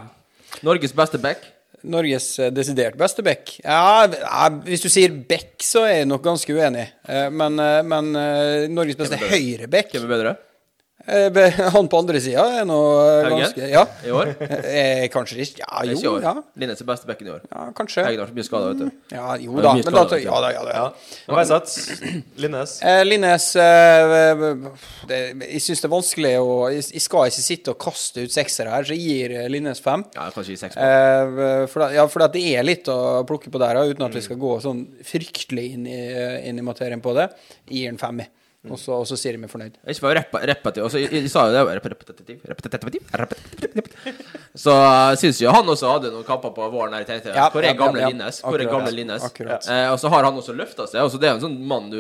S3: Norges beste back.
S2: Norges eh, desidert beste back. Ja, ja, hvis du sier back, så er jeg nok ganske uenig. Eh, Men, eh, men eh, Norges beste
S3: Hvem er
S2: høyre back
S3: Hvem er bedre
S2: Eh, be- Han på andre sida er nå eh,
S3: Haugen?
S2: ganske Ja.
S3: i år?
S2: Eh, Kanskje ikke Ja,
S3: Ikke i
S2: jo,
S3: år.
S2: ja.
S3: Linnes er beste backen i år.
S2: ja kanskje.
S3: Haugen har så mye skader, vet du.
S2: Ja, jo
S3: Det er
S2: da.
S3: mye
S2: Men da
S3: skader,
S2: ja da, ja da. Ja.
S1: Ja. Veiseth. Linnes.
S2: Eh, Linnes eh, det, Jeg syns det er vanskelig å jeg, jeg skal ikke sitte og kaste ut seksere her, så jeg gir eh, Linnes fem.
S3: Ja, kanskje i seks.
S2: Eh, for, da, ja, for at det er litt å plukke på der, ja, uten at vi skal gå sånn fryktelig inn i, eh, inn i materien på det. Jeg gir den fem, jeg. Og så, og så sier jeg meg fornøyd.
S3: Jeg ikke var repa, repeti- altså, jeg, jeg sa jo det var rep- repetitiv, repetitiv, repetitiv. Så jeg synes jo han også hadde noen kamper på våren her i TT.
S2: Ja,
S3: Hvor er
S2: ja,
S3: gamle
S2: ja, ja.
S3: Linnes? Hvor er
S2: Akkurat,
S3: gamle Linnes?
S2: akkurat.
S3: Eh, og så har han også løftet seg. Altså, det er en sånn mann du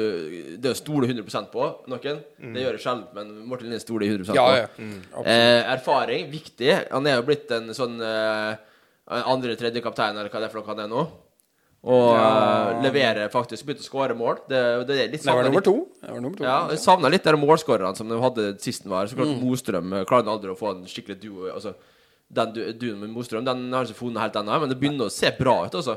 S3: Det å stole 100 på noen. Det gjør jeg sjelden, men Morten Linnes stoler jeg
S2: Mm.
S3: 100
S2: Ja,
S3: på.
S2: ja.
S3: Eh, erfaring, viktig. Han er jo blitt en sånn eh, andre-tredje kaptein, eller hva det er for noe han er nå. Og eh, leverer faktisk. Begynte å skåre mål. Det, det er litt
S2: Det var
S3: savnet
S2: nummer
S3: litt-
S2: to. Det var nummer to.
S3: ja, jeg savna litt de målskårerne som de hadde sist den var.
S2: Mm.
S3: Så klart Mostrøm eh, klarer aldri å få en skikkelig duo. Altså, den du- duoen med Mostrøm Den har ikke funnet helt ennå, men det begynner å se bra ut. Altså.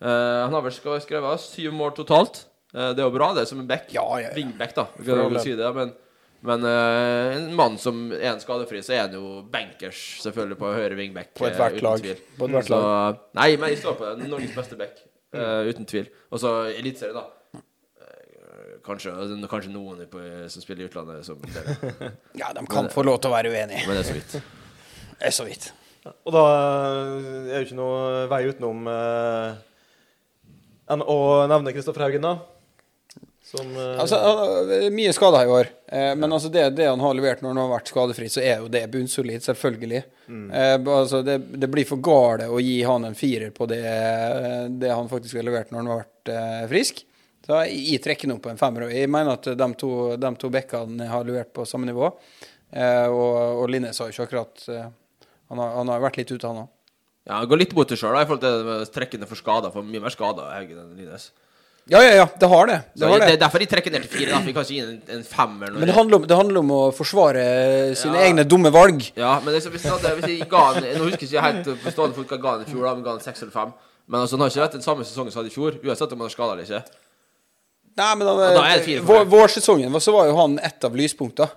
S3: Eh, han har vel sk- skrevet syv mål totalt. Eh, det er jo bra, det, som en back.
S2: Ja, ja, ja.
S3: Wingback, da. Vi Kan jo si det, men men eh, en mann som er en skadefri, så er han jo bankers, selvfølgelig, på høyre wingback.
S2: På
S3: eh,
S2: ethvert
S3: uten
S2: lag.
S3: tvil.
S2: På ethvert
S3: Så,
S2: lag.
S3: nei, men jeg står på det. Norges beste back, eh, uten tvil. Og så Eliteserien, da. Eh, Kanskje, kanskje noen på, som spiller i utlandet, som dere.
S2: Ja, de kan få lov til å være uenige.
S3: Men det er så vidt.
S2: Det er så vidt.
S1: Og da eh, er jo ikke noe vei utenom eh, enn å nevne Kristoffer Haugen, da. Som eh,
S2: Altså, han- mye skader i år, eh, men altså det, det han har levert når han har vært skadefri, så er jo det bunnsolid, selvfølgelig. Eh, b- altså det, det blir for gale å gi han en firer på det, eh, det han faktisk har levert når han har vært eh, frisk. Så jeg, jeg trekker den opp på en femmer. og Jeg mener at de to, de to bekkene har levert på samme nivå. Eh, og, og Linnes har jo ikke akkurat eh, han, har, han har vært litt ute, han òg.
S3: Ja, han går litt mot det sjøl, i forhold til det med trekkene for skader. For mye mer skader Haugen enn Linnes.
S2: Ja, ja, ja. Det har det.
S3: Så
S2: det, har
S3: det
S2: det.
S3: er derfor de trekker ned til fire. Da. Vi kan ikke gi en, en femmer. når
S2: Men det handler, om, det handler om å forsvare sine
S3: Ja.
S2: egne dumme valg.
S3: Ja, men det, er så- hvis, jeg hadde, hvis jeg ga han Nå husker jeg ikke helt på stående fot hva jeg ga han i fjor, da, men jeg ga han seks eller fem. Men altså, han har ikke vært den samme sesongen som han hadde i fjor, uansett om han har skada eller ikke.
S2: Nei, men da,
S3: da er det fire for
S2: vår,
S3: det.
S2: vårsesongen var- så var jo han et av lyspunktene.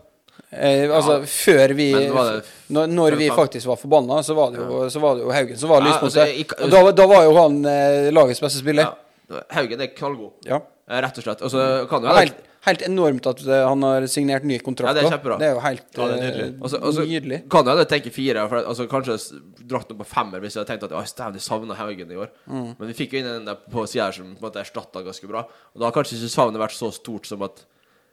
S2: Eh, altså, før vi
S3: men var det-
S2: Når, når vi
S3: før-
S2: faktisk var forbanna, så var det jo, så var det jo Haugen som var
S3: Ja,
S2: lyspunktet.
S3: altså, jeg-
S2: og da, var- da var jo han eh, lagets beste
S3: Ja.
S2: spiller.
S3: Haugen er knallgod,
S2: Ja.
S3: eh, rett og slett. Og så kan jo
S2: Helt, helt enormt at eh, han har signert ny kontrakt.
S3: Ja, det er
S2: da.
S3: kjempebra.
S2: det er jo helt
S1: Ja, det er
S2: eh,
S1: nydelig.
S3: Og så- og så
S2: nydelig.
S3: Kan jeg tenke fire, for altså, kanskje s- dratt den opp på femmer hvis jeg hadde tenkt at «Åh, stævn, jeg savna Haugen i år.
S2: Mm.
S3: Men vi fikk jo inn en der på sida her som på en måte erstatta ganske bra. Og da har kanskje ikke savnet vært så stort som at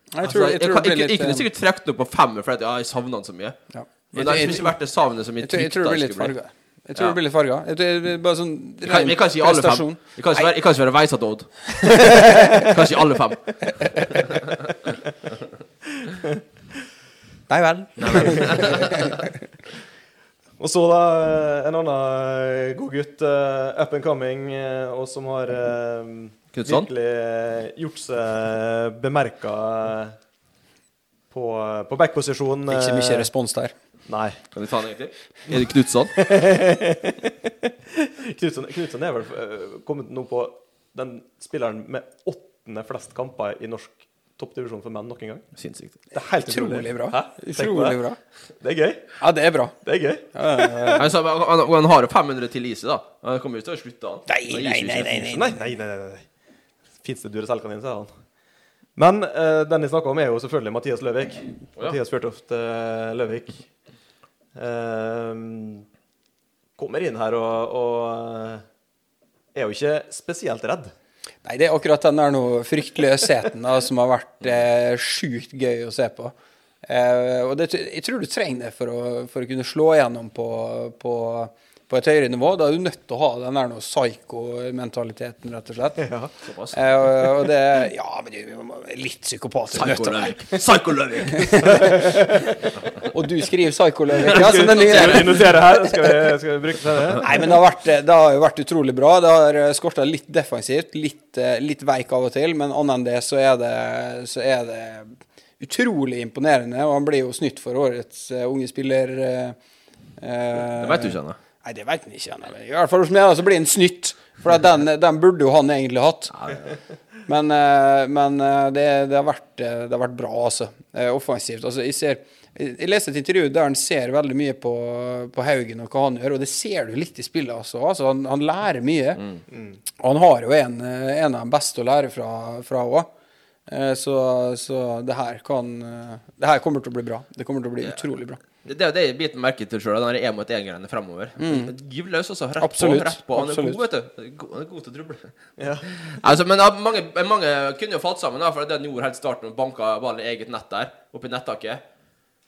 S2: Jeg tror,
S3: altså,
S2: jeg, tror det
S3: kan-
S2: blir
S3: jeg- jeg
S2: litt,
S3: kunne
S2: eh,
S3: sikkert trukket den opp på femmer fordi at, ja, jeg savna han så mye.
S2: ja.
S3: Men
S2: jeg,
S3: det har
S2: jeg,
S3: liksom ikke vært det savnet som jeg
S2: jeg, tror- jeg tror det
S3: frykta det
S2: blir litt
S3: skulle bli.
S2: farga. Jeg tror
S3: Ja.
S2: det blir litt farga. Jeg tror det blir bare sånn
S3: Vi kan, vi kan ikke gi alle fem.
S2: prestasjon.
S3: Vi kan ikke være, jeg kan ikke være Veisa Dodd. Kanskje alle fem.
S2: Nei vel.
S1: Og så da eh, en annen god gutt, eh, up and coming, eh, og som har eh,
S3: Knutson?
S1: virkelig eh, gjort seg bemerka eh, på, eh, på backposisjon.
S2: Ikke
S1: eh,
S2: mye respons der.
S1: Nei.
S3: Kan vi ta den en gang til? Er det Knutson?
S1: Knutson, Knutson er vel eh, kommet nå på den spilleren med åttende flest kamper i norsk toppdivisjon for menn nok en gang.
S3: Sinnssykt.
S1: Det er helt
S2: Utrolig bra.
S1: Hæ? Tenk på
S2: Utrolig
S1: det.
S2: bra.
S1: Det er gøy.
S2: Ja, det er bra.
S1: Det er gøy.
S3: Han, sa- han, han han har jo 500 til Lise, da. Han kommer jo ikke til å slutte, han.
S2: Nei, nei, nei, nei, nei.
S1: Nei, nei, nei. nei, nei. Fins det Duracell-kanin, sa han. Men eh, den jeg snakker om, er jo selvfølgelig Mathias Løvik.
S3: Å, ja.
S1: Mathias Fjørtoft eh, Løvik. Eh, kommer inn her og, og eh, er jo ikke spesielt redd.
S2: Nei, det er akkurat den der noe fryktløsheten da, som har vært eh, sjukt gøy å se på. Eh, og det, jeg tror du trenger det for å, for å kunne slå igjennom på, på, på et høyere nivå. Da er du nødt til å ha den der noe psyko-mentaliteten, rett og slett.
S3: Såpass.
S2: Eh, og, og det Ja, men du er jo litt psykopat. du er nødt til å være.
S3: Psycho-Løvik. Psycho-Løvik.
S2: Og du skriver psyko-løvik. Ja, så den nye
S1: Skal vi notere her? Skal vi, skal vi bruke det?
S2: Nei, men det har, vært, eh, det har jo vært utrolig bra. Det har skorta litt defensivt, litt, eh, litt veik av og til, men annet enn det så er det, så er det utrolig imponerende. Og han blir jo snytt for årets eh, unge spiller.
S3: Det
S2: Det
S3: vet du ikke ennå.
S2: Nei, det vet han ikke ennå. men I hvert fall hos meg da, så blir han snytt, for at den, den burde jo han egentlig hatt. Men, eh, men eh, det, det, har vært, eh, det har vært bra, altså. Eh, Offensivt. Altså, jeg, ser, jeg jeg leste et intervju der han ser veldig mye på, på Haugen og hva han gjør, og det ser du litt i spillet, altså. altså han, han lærer mye. Og han har jo en, eh, en av de beste å lære fra òg. Så, så det her kan eh, Det her kommer til å bli bra. Det kommer til å bli utrolig bra.
S3: Det, det er jo det jeg biter merke til sjøl, den én mot én-greiene fremover. Gyv løs, altså. Rett
S2: Mm. Absolutt.
S3: på. rett på. Han er
S2: Absolutt.
S3: god, vet du. God- Han er god til å druble.
S1: Ja.
S3: Altså, men ja, mange, mange kunne jo falt sammen, da, for det han gjorde helt i starten, og banka ballen i eget nett der, oppi nettaket.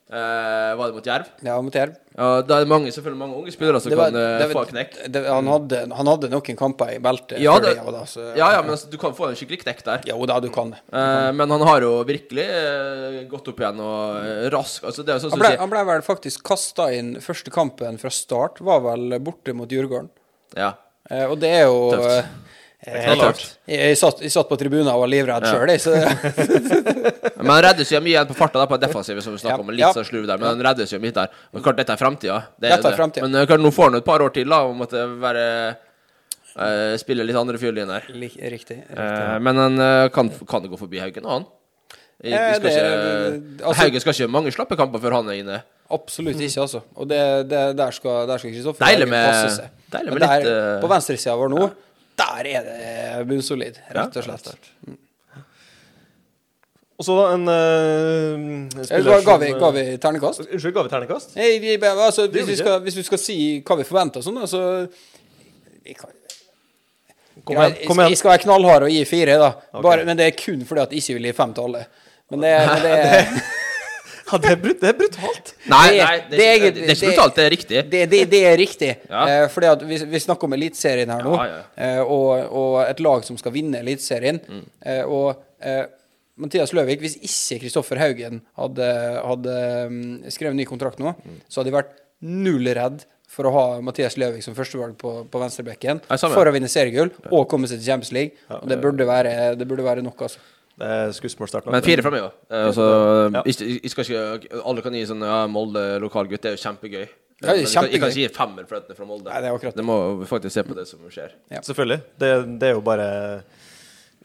S3: Eh, var det mot Jerv?
S2: Ja, mot Jerv.
S3: Ja, da er det mange, selvfølgelig mange unge spillere som
S2: Det var-
S3: kan eh,
S2: det var-
S3: få en knekk.
S2: det, han, hadde, han hadde noen kamper i beltet
S3: Ja,
S2: før
S3: det-
S2: det, og da, så,
S3: Ja, ja, men altså, du kan få en skikkelig knekk der.
S2: Jo da, du kan det.
S3: Eh, men han har jo virkelig eh, gått opp igjen og eh, rask altså, det er jo
S2: Han
S3: sånn som
S2: ble,
S3: du sier.
S2: han ble vel faktisk kasta inn første kampen fra start, var vel borte mot Djurgården.
S3: Ja.
S2: Eh, og det er jo
S3: Tøft.
S2: eh,
S3: Det er tøft.
S2: Jeg, jeg, satt, jeg satt på tribunen og var livredd
S3: Ja.
S2: sjøl, jeg. Så,
S3: Men han reddes jo mye igjen på farta, da, på defensivet, som vi snakket
S2: Ja.
S3: om. Litt
S2: Ja.
S3: sånn slurv der, men han reddes jo mye der. Men klart, dette er framtida. Det
S2: Dette er
S3: det.
S2: fremtiden.
S3: Men eh, klart, nå får han jo et par år til da, og måtte være eh, Spille litt andre fiolinjer.
S2: Lik- riktig.
S3: Eh, men han eh, kan, kan det gå forbi Haugen og han. Vi- vi
S2: Eh,
S3: skal
S2: det-
S3: ikke,
S2: det- altså-
S3: Haugen skal ikke ha mange slappe kamper før han er inne.
S2: Absolutt ikke, altså. Og det, det, der skal der skal Kristoffer
S3: Deilig
S2: Haugen
S3: med-
S2: passe seg.
S3: deilig
S2: Men
S3: med litt,
S2: der,
S3: eh,
S2: På venstresida vår nå, der er det bunnsolid, rett og slett.
S1: Og så da en eh,
S2: Eh,
S1: spiller
S2: Ga vi,
S1: som, eh,
S2: ga vi ternekast?
S1: Unnskyld, ga vi terningkast?
S2: Nei, vi, altså,
S1: Det gjorde
S2: hvis, vi
S1: vi
S2: skal, hvis vi skal si hva vi forventer og sånn, da, så vi kan,
S1: Kom
S2: Ja,
S1: igjen. Kom
S2: Jeg
S1: igjen.
S2: skal være knallhard og gi fire, da.
S1: Ok.
S2: Bare, men det er kun fordi at jeg ikke vil gi fem til alle. Men det, men det,
S1: Ja, det er, brut det er brutalt.
S3: Nei,
S2: Det-
S3: nei det,
S2: det er
S3: er ikke,
S2: egentlig-
S3: det er ikke
S2: det-
S3: brutalt, det er riktig.
S2: det, det, det er riktig.
S3: Ja.
S2: Eh, fordi at vi, vi snakker om Eliteserien her nå,
S3: Ja, ja.
S2: eh, og, og et lag som skal vinne Eliteserien. Eh, og eh, Mathias Løvik, hvis ikke Kristoffer Haugen hadde, hadde mm, skrevet ny kontrakt nå, så hadde de vært null redd for å ha Mathias Løvik som førstevalg på, på venstrebekken
S3: Nei, samme.
S2: for å vinne seriegull og komme seg til Champions League. og det burde være, det burde være nok, altså.
S1: Det er skussmålstart. nå.
S3: Men fire fra meg òg. Altså,
S1: Ja.
S3: jeg- jeg- jeg skal ikke- alle kan gi sånn ja, Molde lokalgutt, det er jo kjempegøy.
S2: Ja, det er
S3: Men jeg kan- Jeg kan
S2: kjempegøy.
S3: ikke gi femmer for at den er fra Molde.
S2: Nei, det er akkurat det.
S3: det må faktisk se på det som skjer.
S2: Ja.
S1: Selvfølgelig. Det, det er jo bare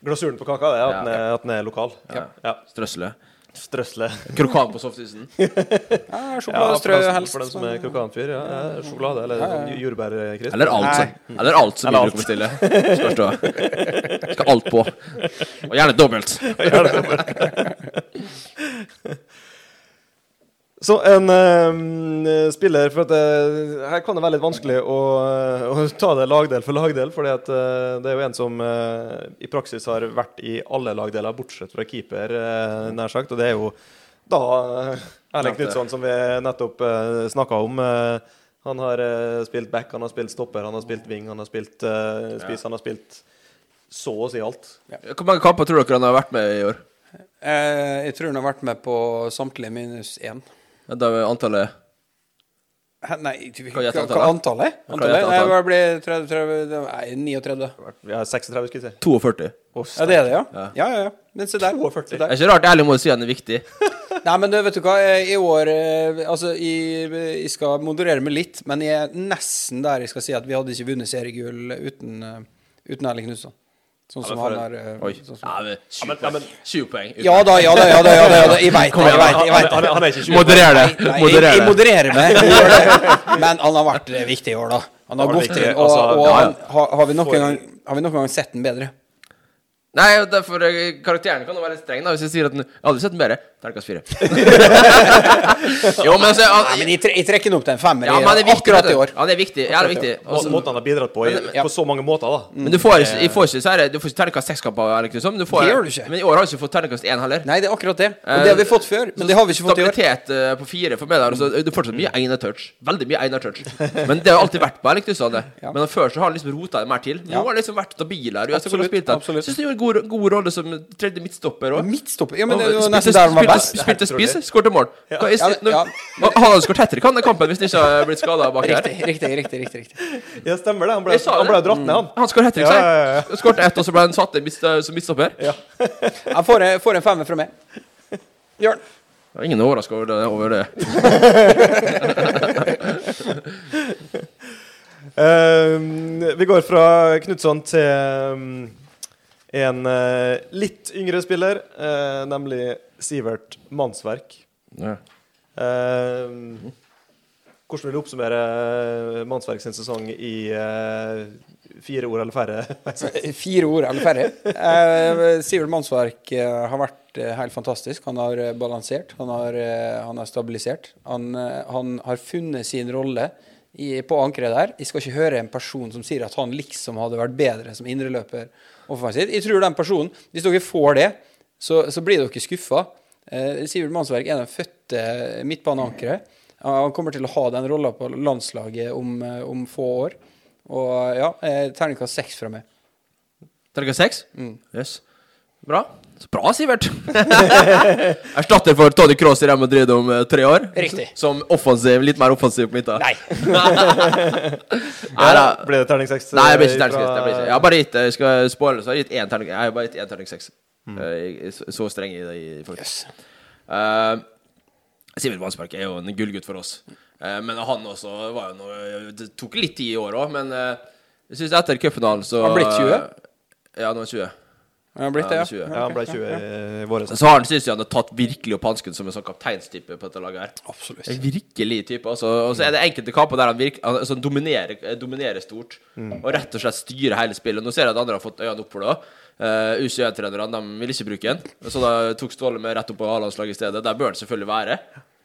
S1: glasuren på kaka, det, at, den, er, at den er lokal.
S3: Ja.
S1: Ja.
S3: Strøsle.
S1: Strøsle.
S3: Krokan på softisen.
S2: Ja,
S1: Ja, for,
S2: sjokoladestrø
S1: den,
S2: helst.
S1: for den som
S2: men-
S1: er krokanfyr. Ja, ja, sjokolade eller sånn jordbærkrisp.
S3: Eller alt, som- eller alt som
S1: Eller
S3: vi bruker å bestille. Skal stå. Skal alt på. Og gjerne dobbelt.
S1: Så en eh, spiller For at eh, her kan det være litt vanskelig å, eh, å ta det lagdel for lagdel, fordi at eh, det er jo en som eh, i praksis har vært i alle lagdeler, bortsett fra keeper, eh, nær sagt. Og det er jo da eh, Erling Knutson, som vi nettopp uh, snakka om. eh, han har eh, spilt back, han har spilt stopper, han har spilt wing, han har spilt eh, spiss, han har spilt så å si alt.
S3: Hvor mange kamper tror dere han har vært med i år?
S2: Eh, jeg tror han har vært med på samtlige minus én.
S3: Ja, Da er antallet
S2: Hæ, Nei, du,
S3: Kan
S2: hva,
S3: jeg gjette
S2: hva antallet?
S3: Kan
S2: antallet?
S3: jeg gjette
S2: Nei,
S3: antallet?
S2: hva blir 30, 30, det- nei, 39?
S1: Vi har 36, skal vi si.
S3: 42.
S2: Ja, det er det, ja?
S3: Ja.
S2: Ja, ja, ja. Men se der. Se
S3: Det er
S2: der.
S3: ikke rart Erling må si han er viktig.
S2: Nei, men du, vet du hva, eh, i år eh, Altså, jeg, jeg skal moderere meg litt, men jeg er nesten der jeg skal si at vi hadde ikke vunnet seriegull uten, eh, uten Erling Knutson. Sånn som
S3: Ja, men for
S2: han har
S3: en-
S2: eh,
S3: Oi.
S2: sånn som-
S3: Ja, men
S4: Ja, men- ja,
S3: 20 poeng.
S4: men-
S3: 20 poeng.
S2: Ja da, ja da, ja da, ja da, ja da. jeg veit det.
S4: Kom
S2: Jeg
S4: igjen,
S2: vet det, jeg
S4: han,
S2: vet
S4: han,
S2: det.
S4: han er ikke 20
S2: Nei,
S4: Moderer det.
S2: nei, jeg,
S4: Moderer
S2: jeg
S4: det.
S2: modererer meg. Jeg gjør det. Men han har vært eh, viktig i år, da. Han har
S4: Han har
S2: gått
S4: vært
S2: inn,
S4: viktig,
S2: og,
S4: altså,
S2: og
S4: ja,
S2: han, har, har, vi
S1: For-
S2: noen gang, har vi noen gang sett den bedre?
S3: Nei, derfor eh, karakteren kan jo være litt streng, da. Hvis jeg sier at den Jeg har aldri sett den bedre. Terningkast fire. jo, men altså
S2: Nei,
S3: han,
S2: men jeg, tre, jeg trekker den opp til en femmer
S3: Ja, men han er
S2: i-
S3: viktig.
S2: akkurat i
S3: vet
S2: år.
S3: du. Han er viktig. Ja, det er viktig.
S1: Og
S3: Også,
S1: måten han har bidratt på i,
S2: Ja.
S1: på så mange måter, da.
S3: men du får ikke, jeg får ikke, så er det, du får ikke terningkast seks kamper. eller ikke sånn, men Du får,
S2: Det gjør du ikke.
S3: Men i år har jeg ikke fått terningkast én heller.
S2: Nei, det er akkurat det. Og det har vi fått før, men det har vi ikke fått i år.
S3: Stabilitet eh, på fire for meg der. Altså, det er fortsatt mye Einar Touch. Veldig mye Einar Touch. Men det har alltid vært på Erik Knutsen.
S2: Ja.
S3: Men før så har han liksom rota det mer til. Nå
S2: Ja.
S3: har han liksom vært stabil her.
S2: Absolutt, absolutt.
S3: Syns han gjorde en god, god rolle som tredje midtstopper òg.
S2: Midtstopper Ja, men det var nesten der han var best.
S3: Spilte spiss, skårte mål. Hva er-
S2: Ja, men- ja.
S3: Nå- Han hadde skåret tettere kan den kampen hvis han ikke hadde blitt skada bak der.
S2: Riktig, riktig, riktig. riktig, riktig.
S1: Ja, stemmer det. Han ble,
S3: Jeg sa det.
S1: han ble dratt ned, han.
S3: Han skåret hat trick,
S1: Ja, ja, ja.
S3: sier Skåret ett, og så ble han satt inn midtst- som midtstopper.
S2: Jeg får, jeg får en femmer fra meg. Bjørn.
S3: Det er Ingen er overraska over det. Over det.
S1: Eh, vi går fra Knutson til mm, en eh, litt yngre spiller, eh, nemlig Sivert Mannsverk.
S3: Ja.
S1: Eh, hvordan vil du oppsummere eh, Mannsverk sin sesong i eh, fire ord eller færre?
S2: Fire ord eller færre. Eh, Sivert Mannsverk eh, har vært eh, helt fantastisk. Han har eh, balansert, han har, eh, han har stabilisert. Han, eh, han har funnet sin rolle i, på ankeret der. Jeg skal ikke høre en person som sier at han liksom hadde vært bedre som indreløper offensivt. Jeg tror den personen, hvis dere får det, så, så blir dere skuffa. Eh, Sivert Mannsverk er den fødte midtbaneankeret. Han kommer til å ha den rolla på landslaget om, eh, om få år. Og ja, eh, terningkast seks fra meg.
S3: Terningkast seks?
S2: Mm.
S3: Yes. Bra. Så Bra, Sivert. Erstatter for Tony Cross i Real Madrid om eh, tre år.
S2: Riktig.
S3: Som offensiv, litt mer offensiv på midten.
S2: Nei.
S3: Nei da.
S1: Ble det terning seks?
S3: Nei, jeg blir
S1: eh,
S3: ikke terning seks. Jeg, blir ikke- jeg har bare gitt eh, Skal jeg spoile, så har jeg gitt én terning Jeg har bare gitt én terning seks. Eh, jeg er så- Så streng i det, i- faktisk. Eh, Sivert Vansberg er jo en gullgutt for oss. Eh, men han også var jo noe Det tok litt tid i år òg, men eh, jeg syns etter cupfinalen så
S2: Han blitt 20?
S3: Ja, nå er han 20.
S2: Han har blitt
S3: Ja,
S2: det,
S3: det er
S2: ja.
S1: Ja, han ble 20 i vår.
S3: Så har han synes jeg han har tatt virkelig opp hansken som en sånn kapteinstype på dette laget her.
S2: Absolutt.
S3: En virkelig type. Altså, og så er det enkelte kamper der han, virk, han altså, han dominerer, eh, dominerer stort og rett og slett styrer hele spillet. Nå ser jeg at andre har fått øynene opp for det Eh, òg. U21-trenerne de vil ikke bruke den, så da tok Ståle med rett opp på A-landslaget i stedet. Der bør den selvfølgelig være.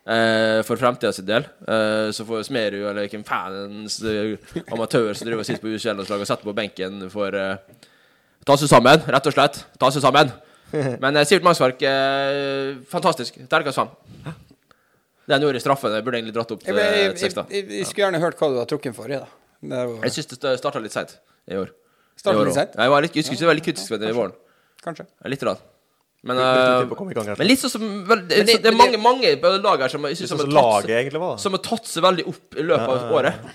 S3: eh, for fremtida sin del. Eh, så får Smerud, eller hvem fans eh, amatører som driver og sitter på U21-landslaget og setter på benken for eh, Ta seg sammen, rett og slett. Ta seg sammen. Men eh, Sivert Mangsverk, eh, fantastisk. Terningkast fem. Den gjorde straffen. Jeg burde egentlig dratt opp
S2: Jeg,
S3: til
S2: ble-
S3: eh,
S2: jeg,
S3: et
S2: jeg,
S3: seks, da.
S2: jeg, jeg skulle gjerne hørt hva du har trukket for i, da. Det var,
S3: Jeg syns det starta litt seint i år. I
S2: Startet
S3: år
S2: litt
S3: også.
S2: sent?
S3: Ja, Jeg var litt, jeg husker, jeg var litt kritisk med det i våren.
S2: kanskje.
S3: Litt rann. Men,
S1: Brukte
S3: eh,
S1: litt tid på å komme i gang, rett og slett.
S3: men litt sånn som vel, det,
S2: Men det-
S3: det er
S2: men
S3: mange,
S2: det- sånn
S3: mange lag her som, jeg synes
S1: Som
S3: som, har tatt
S1: laget
S3: seg-
S1: egentlig var. da.
S3: som har tatt seg veldig opp i løpet av året.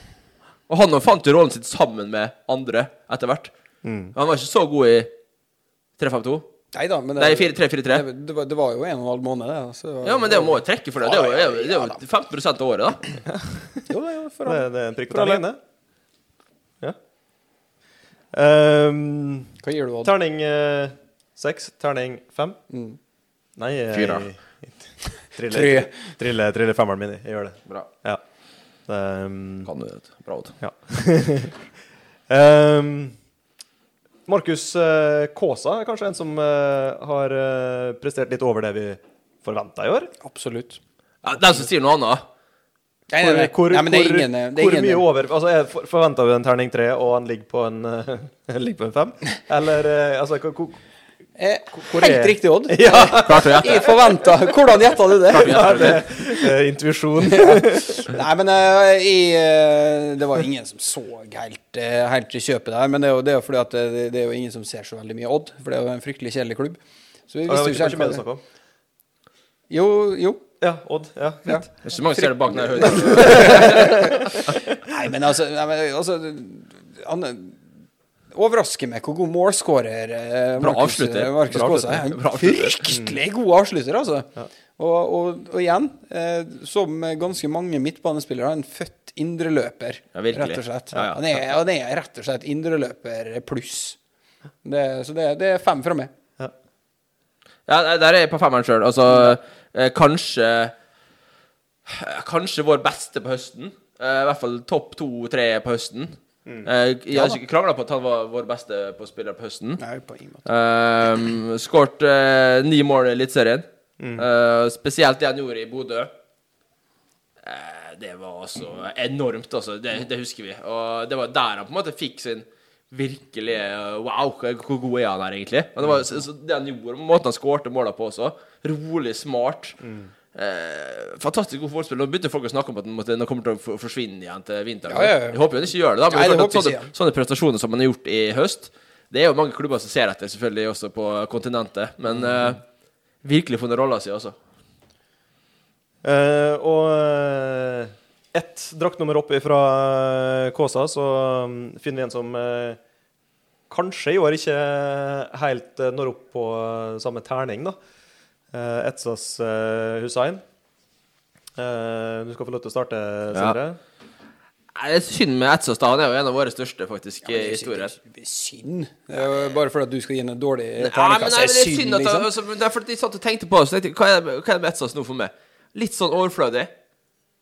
S3: Og han også fant jo rollen sin sammen med andre etter hvert.
S2: Mm.
S3: Han var ikke så god i 3-5-2.
S2: Nei da, men det,
S3: Nei, 4-3-4-3.
S2: det, det, var, det var jo en og en halv måned, det. da, så-
S3: Ja, men det må jo trekke for det. Det er jo, det er jo, det er jo 15 av året, da.
S2: Jo, det er jo for
S1: Det,
S2: alle.
S1: det er en prikk på
S2: Fra
S1: terningen, det. Ja. Ehm,
S2: Hva gir du, Odd?
S1: Terning eh, seks, terning fem.
S2: Mm.
S1: Nei eh,
S3: Fyra.
S1: Trille,
S2: Tre.
S1: trille, trille femmeren min. i. Jeg gjør det.
S3: Bra.
S1: Ja. Det, ehm,
S3: Kan du det. Bra, Odd.
S1: ja. Ehm, Markus eh, Kaasa er kanskje en som eh, har eh, prestert litt over det vi forventa i år.
S2: Absolutt.
S3: Ja, den som sier noe annet
S2: Nei, nei,
S1: Hvor, hvor,
S2: nei. nei, men det er
S1: hvor-
S2: ingen eh, det er
S1: hvor
S2: ingen-
S1: mye over Altså, Forventa vi en terning tre, og han ligger på en, eh, ligger på en fem? Eller eh, altså, hvor- hvor-
S2: Eh,
S1: hvor
S2: Helt
S1: er-
S2: riktig, Odd.
S1: Ja!
S3: Klart å gjette.
S2: Jeg forventa Hvordan gjetta du det?
S1: ja det, eh, intuisjon.
S2: Nei, men eh, i, eh, det var ingen som så helt, eh, helt i kjøpet der. Men det er jo, det er jo fordi at eh, det, det er jo ingen som ser så veldig mye Odd, for det er jo en fryktelig kjedelig klubb. Så vi
S1: Ja, det
S2: visste jo
S1: var
S2: ikke
S1: ikke mer å
S2: helt hva det
S1: snakke om.
S2: Jo, jo.
S1: Ja, Odd. Ja.
S2: Ja.
S3: Det er ikke så mange som ser det bak den her høyden.
S2: Nei, men altså, nei, men, altså Han eh, overrasker meg hvor god målskårer eh,
S3: Bra
S2: Markus-
S3: avslutter.
S2: Markus
S3: Bra
S2: Kaasa er.
S3: avslutter. Bra
S2: En
S3: avslutter.
S2: Fryktelig god avslutter, altså. Og, og, og igjen, eh, som ganske mange midtbanespillere, en født indreløper,
S3: Ja, virkelig.
S2: rett og slett.
S3: Ja, ja.
S2: Han, er, han er rett og slett indreløper pluss. Det, så det, det er fem fra meg.
S3: Ja, nei, der er jeg på femmeren sjøl. Altså, eh, kanskje eh, Kanskje vår beste på høsten. Eh, I hvert fall topp to-tre på høsten. Eh, jeg har ikke krangla på at han var vår beste på spiller på høsten.
S2: Nei, på ingen måte.
S3: Um, Skåret eh, ni mål i Eliteserien.
S2: Mm.
S3: Eh, spesielt det han gjorde i Bodø. Eh, det var altså enormt, altså. Det, det husker vi. Og det var der han på en måte fikk sin virkelige eh, Wow, hvor- hvor god er han her, egentlig? Men det
S2: Mm.
S3: var så, så det han gjorde, måten han skårte måla på også. Rolig, smart.
S2: Mm.
S3: Eh, fantastisk god fotballspiller. Nå begynte folk å snakke om at den, måtte- den kommer til å for- forsvinne igjen til vinteren.
S2: Ja, ja, ja.
S3: Jeg håper jo den ikke gjør det, da. Men
S2: Nei,
S3: det er
S2: det
S3: klart
S2: håper
S3: at
S2: jeg
S3: sånne, sånne prestasjoner som man har gjort i høst Det er jo mange klubber som ser etter, selvfølgelig, også på kontinentet. Men eh, virkelig funnet rolla si, altså.
S1: Eh, og eh, ett draktnummer opp fra Kåsa, så mm, finner vi en som eh, kanskje i år ikke helt eh, når opp på eh, samme terning, da. Eh, Etsas eh, Hussein. Eh, du skal få lov til å starte, Sindre.
S3: Nei, Det er synd med Etsåstad. Han er jo en av våre største, faktisk, i historien.
S2: Synd. Det er jo bare fordi at du skal gi en dårlig
S3: Ja, men
S2: terningkast.
S3: nei,
S2: Det er
S3: men det er
S2: synd,
S3: synd at han,
S2: liksom.
S3: altså, men det er fordi de satt og tenkte på det, så tenkte jeg, hva er det, hva er det med Etsås nå for meg? Litt sånn overflødig.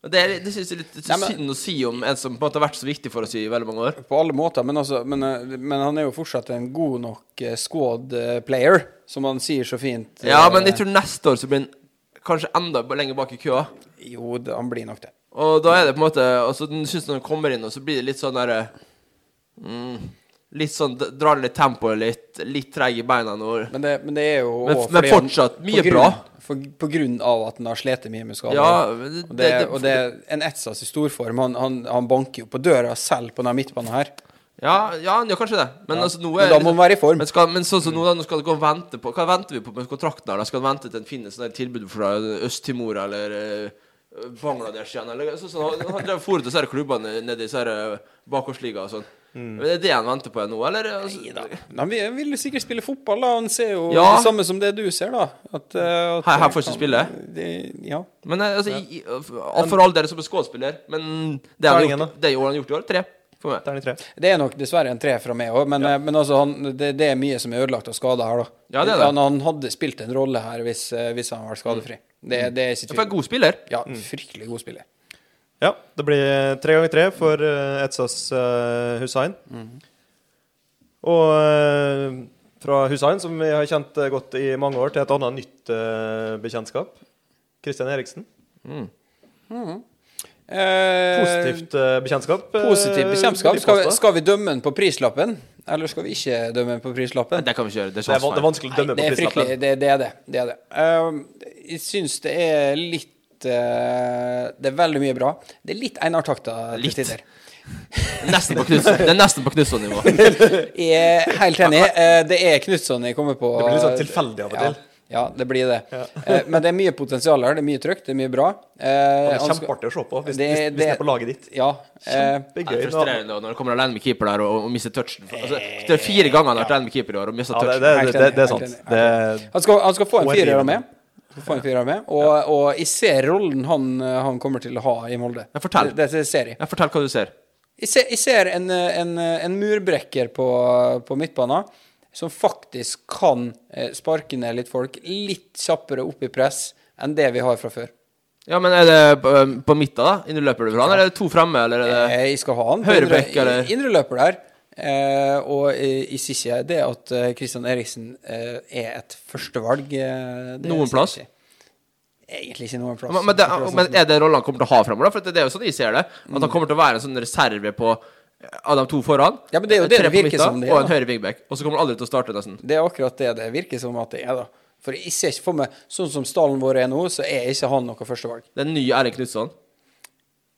S3: Og Det, er- det syns jeg er litt
S2: Nei, men-
S3: synd å si om en som på en måte har vært så viktig for oss i veldig mange år.
S2: På alle måter, men, altså, men, eh, men han er jo fortsatt en god nok eh, squad eh, player, som han sier så fint. eh,
S3: Ja, men jeg tror neste år så blir han kanskje enda lenger bak i køa.
S2: Jo, det- han blir nok det.
S3: Og da er det på en måte altså, den synes når den kommer inn, og så blir det litt sånn derre mm, Litt sånn d- Drar ned tempoet litt, litt treig i beina nå.
S2: Men det, men det er jo
S3: Men-
S2: også
S3: men
S2: fordi han-
S3: fortsatt
S2: på
S3: mye
S2: grunn-
S3: bra.
S2: For, på grunn av at han har slitt mye med skader.
S3: Ja, men det-
S2: og det,
S3: det-
S2: og det er en Etsas i storform. Han, han, han banker jo på døra selv på denne midtbanen her.
S3: Ja, ja, han gjør kanskje det, men altså nå
S2: Men
S3: er
S2: da må han være i form.
S3: Men, skal, men sånn som nå, da, nå skal det gå og vente på Hva venter vi på med kontrakten her? da? Skal han vente til en finnes et tilbud fra Øst-Timor eller eh, Bangladesh igjen, eller sånn som han- Han drev for til disse her klubbene nede i disse her eh, bakgårdsliga og sånn.
S2: Mm.
S3: Men Er det det han venter på nå, eller? Altså,
S2: Men Han vil, vil jo sikkert spille fotball, da. Han ser jo
S3: Ja.
S2: det samme som det du ser, da. At, eh, at
S3: Her- her får ikke
S2: han-
S3: spille.
S2: det- Ja.
S3: Men eh, altså, i, i, for for all del som en skuespiller, men det har han
S1: Terningen,
S3: gjort, det har han gjort i år. Tre for meg.
S1: Terning tre.
S2: Det er nok dessverre en tre fra meg òg, men, eh, men altså, han, det, det er mye som er ødelagt av skader her, da.
S3: Ja, det er det.
S2: Han, han hadde spilt en rolle her hvis, eh, hvis han hadde vært skadefri. Det, det er ikke
S3: Mm. For
S2: tvil.
S3: en god Mm. spiller.
S2: Ja, fryktelig god spiller.
S1: Ja, det blir tre ganger tre for eh, Etsas eh, Hussein. Og eh, fra Hussein, som vi har kjent eh, godt i mange år, til et annet nytt eh, bekjentskap. Kristian Eriksen.
S2: Eh,
S1: Positivt eh, bekjentskap. eh,
S2: Positiv
S1: vil
S2: bekjempskap.
S1: de
S2: Skal, vi-
S1: påstå.
S2: skal vi dømme den på prislappen, eller skal vi ikke dømme den på
S3: Nei,
S2: prislappen?
S3: Det kan vi ikke gjøre. Det er
S1: det, er, van- det er
S3: sjansefeil.
S1: vanskelig å
S2: Nei,
S1: dømme
S2: det er
S1: på prislappen.
S2: fryktelig. Det, det er det. det, er det. Eh, jeg syns det er litt eh, Det er veldig mye bra. Det er litt Einar-takter til
S3: Litt.
S2: tider.
S3: Nesten på Knutson- Det er nesten på Knutson-nivå.
S2: Jeg er helt enig. Eh, det er Knutson jeg kommer på.
S1: Det blir litt sånn tilfeldig av og
S2: Ja,
S1: til.
S2: ja det blir det. Eh, men det er mye potensial her. Det er mye trykk, det er mye bra. Eh,
S1: Det er
S2: han skal-
S1: kjempeartig å se på hvis,
S2: Det-
S1: hvis, hvis det
S2: det-
S1: er på laget ditt.
S2: Ja. eh,
S1: Det er
S3: Det er
S1: gøy. nå.
S3: frustrerende når det kommer alene med keeper der og, og mister touchen. Altså, det er fire ganger han har vært alene med keeper i år og mista
S1: Ja, det,
S3: touchen.
S1: det, det,
S2: Helt
S1: det, det
S2: enig,
S1: er sant.
S2: helt enig.
S1: Det er
S2: Han skal, han skal få en
S1: Og en
S2: firer
S1: riven.
S2: av meg. Han skal Få en firer av meg. Og, og jeg ser rollen han, han kommer til å ha i Molde.
S3: Ja, fortell.
S2: Det, det ser jeg.
S3: Ja, fortell hva du ser.
S2: Jeg ser, jeg ser en, en, en murbrekker på, på midtbanen som faktisk kan eh, sparke ned litt folk litt kjappere opp i press enn det vi har fra før.
S3: Ja, men Er det på, på midten, da? Innløper du fra han, eller er det to fremme? Eller er det
S2: Eh, Jeg skal ha han på
S3: Høyrebekk,
S2: indre-
S3: eller?
S2: i- indreløper der. Eh, og jeg, jeg sier ikke det at eh, Christian Eriksen eh, er et førstevalg. Eh, det sier
S3: Noen
S2: jeg
S3: plass?
S2: ikke. Egentlig ikke noen plass.
S3: men, men, det,
S2: sånn.
S3: men er det rollen han kommer til å ha fremover? da? For det, det er jo sånn jeg ser det. At han kommer til å være en sånn reserve på av de to foran.
S2: Ja, men det er jo det det
S3: Tre på
S2: virker
S3: midten,
S2: som det er,
S3: Og en
S2: da.
S3: høyre wingback. Og så kommer han aldri til å starte, nesten.
S2: Det er akkurat det det virker som at det er, da. For jeg ser ikke for meg Sånn som stallen vår er nå, så er ikke han noe førstevalg.
S3: Det er en ny Erling Knutson.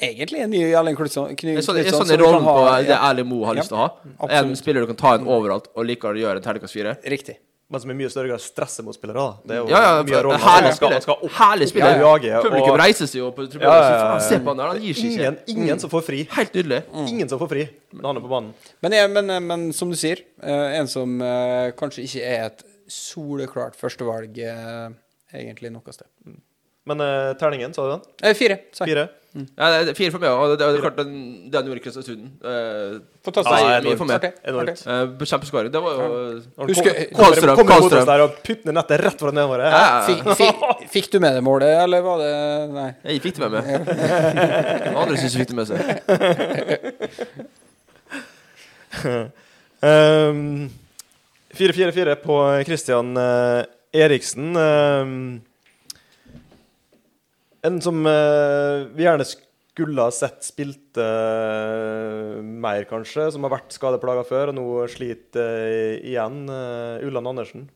S2: Egentlig en ny Erling Knutson.
S3: Det er sånn, det er sånn i rollen på det Erling Moe har lyst til å ha. En
S2: Absolutt.
S3: spiller du kan ta en overalt og likevel gjøre en terningkast fire.
S2: Riktig.
S1: men som i mye større grad stresser motspillere. da. Det er jo
S3: Ja, ja,
S1: mye av rollen.
S3: herlig
S1: Han skal-
S3: spiller.
S1: han skal opp-
S3: herlig spiller.
S1: opp i jaget, og-
S3: Publikum reiser seg jo på tribunen.
S1: Ja,
S3: Ja,
S1: ja, ja, ja.
S3: Se på han der, han gir seg ikke.
S1: Ingen,
S2: Mm.
S1: ingen som får fri.
S3: Helt nydelig.
S1: Ingen som får fri når han er på banen.
S2: Men, jeg, men, men som du sier, eh, en som eh, kanskje ikke er et soleklart førstevalg eh, egentlig noe sted.
S1: Men eh, terningen, sa du den?
S2: Eh, fire. Sorry.
S1: Fire?
S3: Ja, det er fire for meg òg. Det, det, det, er klart, den- det han gjorde i Kristiansund eh,
S2: Fantastisk.
S3: Ja, enormt.
S2: Artig, artig.
S1: Enormt.
S3: eh, Kjempeskåring. Det var jo
S2: Husker-
S1: Kommer
S3: Karlstrøm,
S1: mot
S3: Karlstrøm.
S1: oss der og putter ned nettet rett fra nedover.
S3: ja, ja.
S2: Fikk, fikk, fikk du med deg målet, eller var det Nei.
S3: Jeg fikk det med meg. Noen andre syns jeg fikk det med seg.
S1: Ehm, 4-4-4 på Christian eh, Eriksen. Ehm, en som eh, vi gjerne skulle ha sett spilte eh, mer, kanskje. Som har vært skadeplaga før og nå sliter eh, igjen. eh, Ulland Andersen.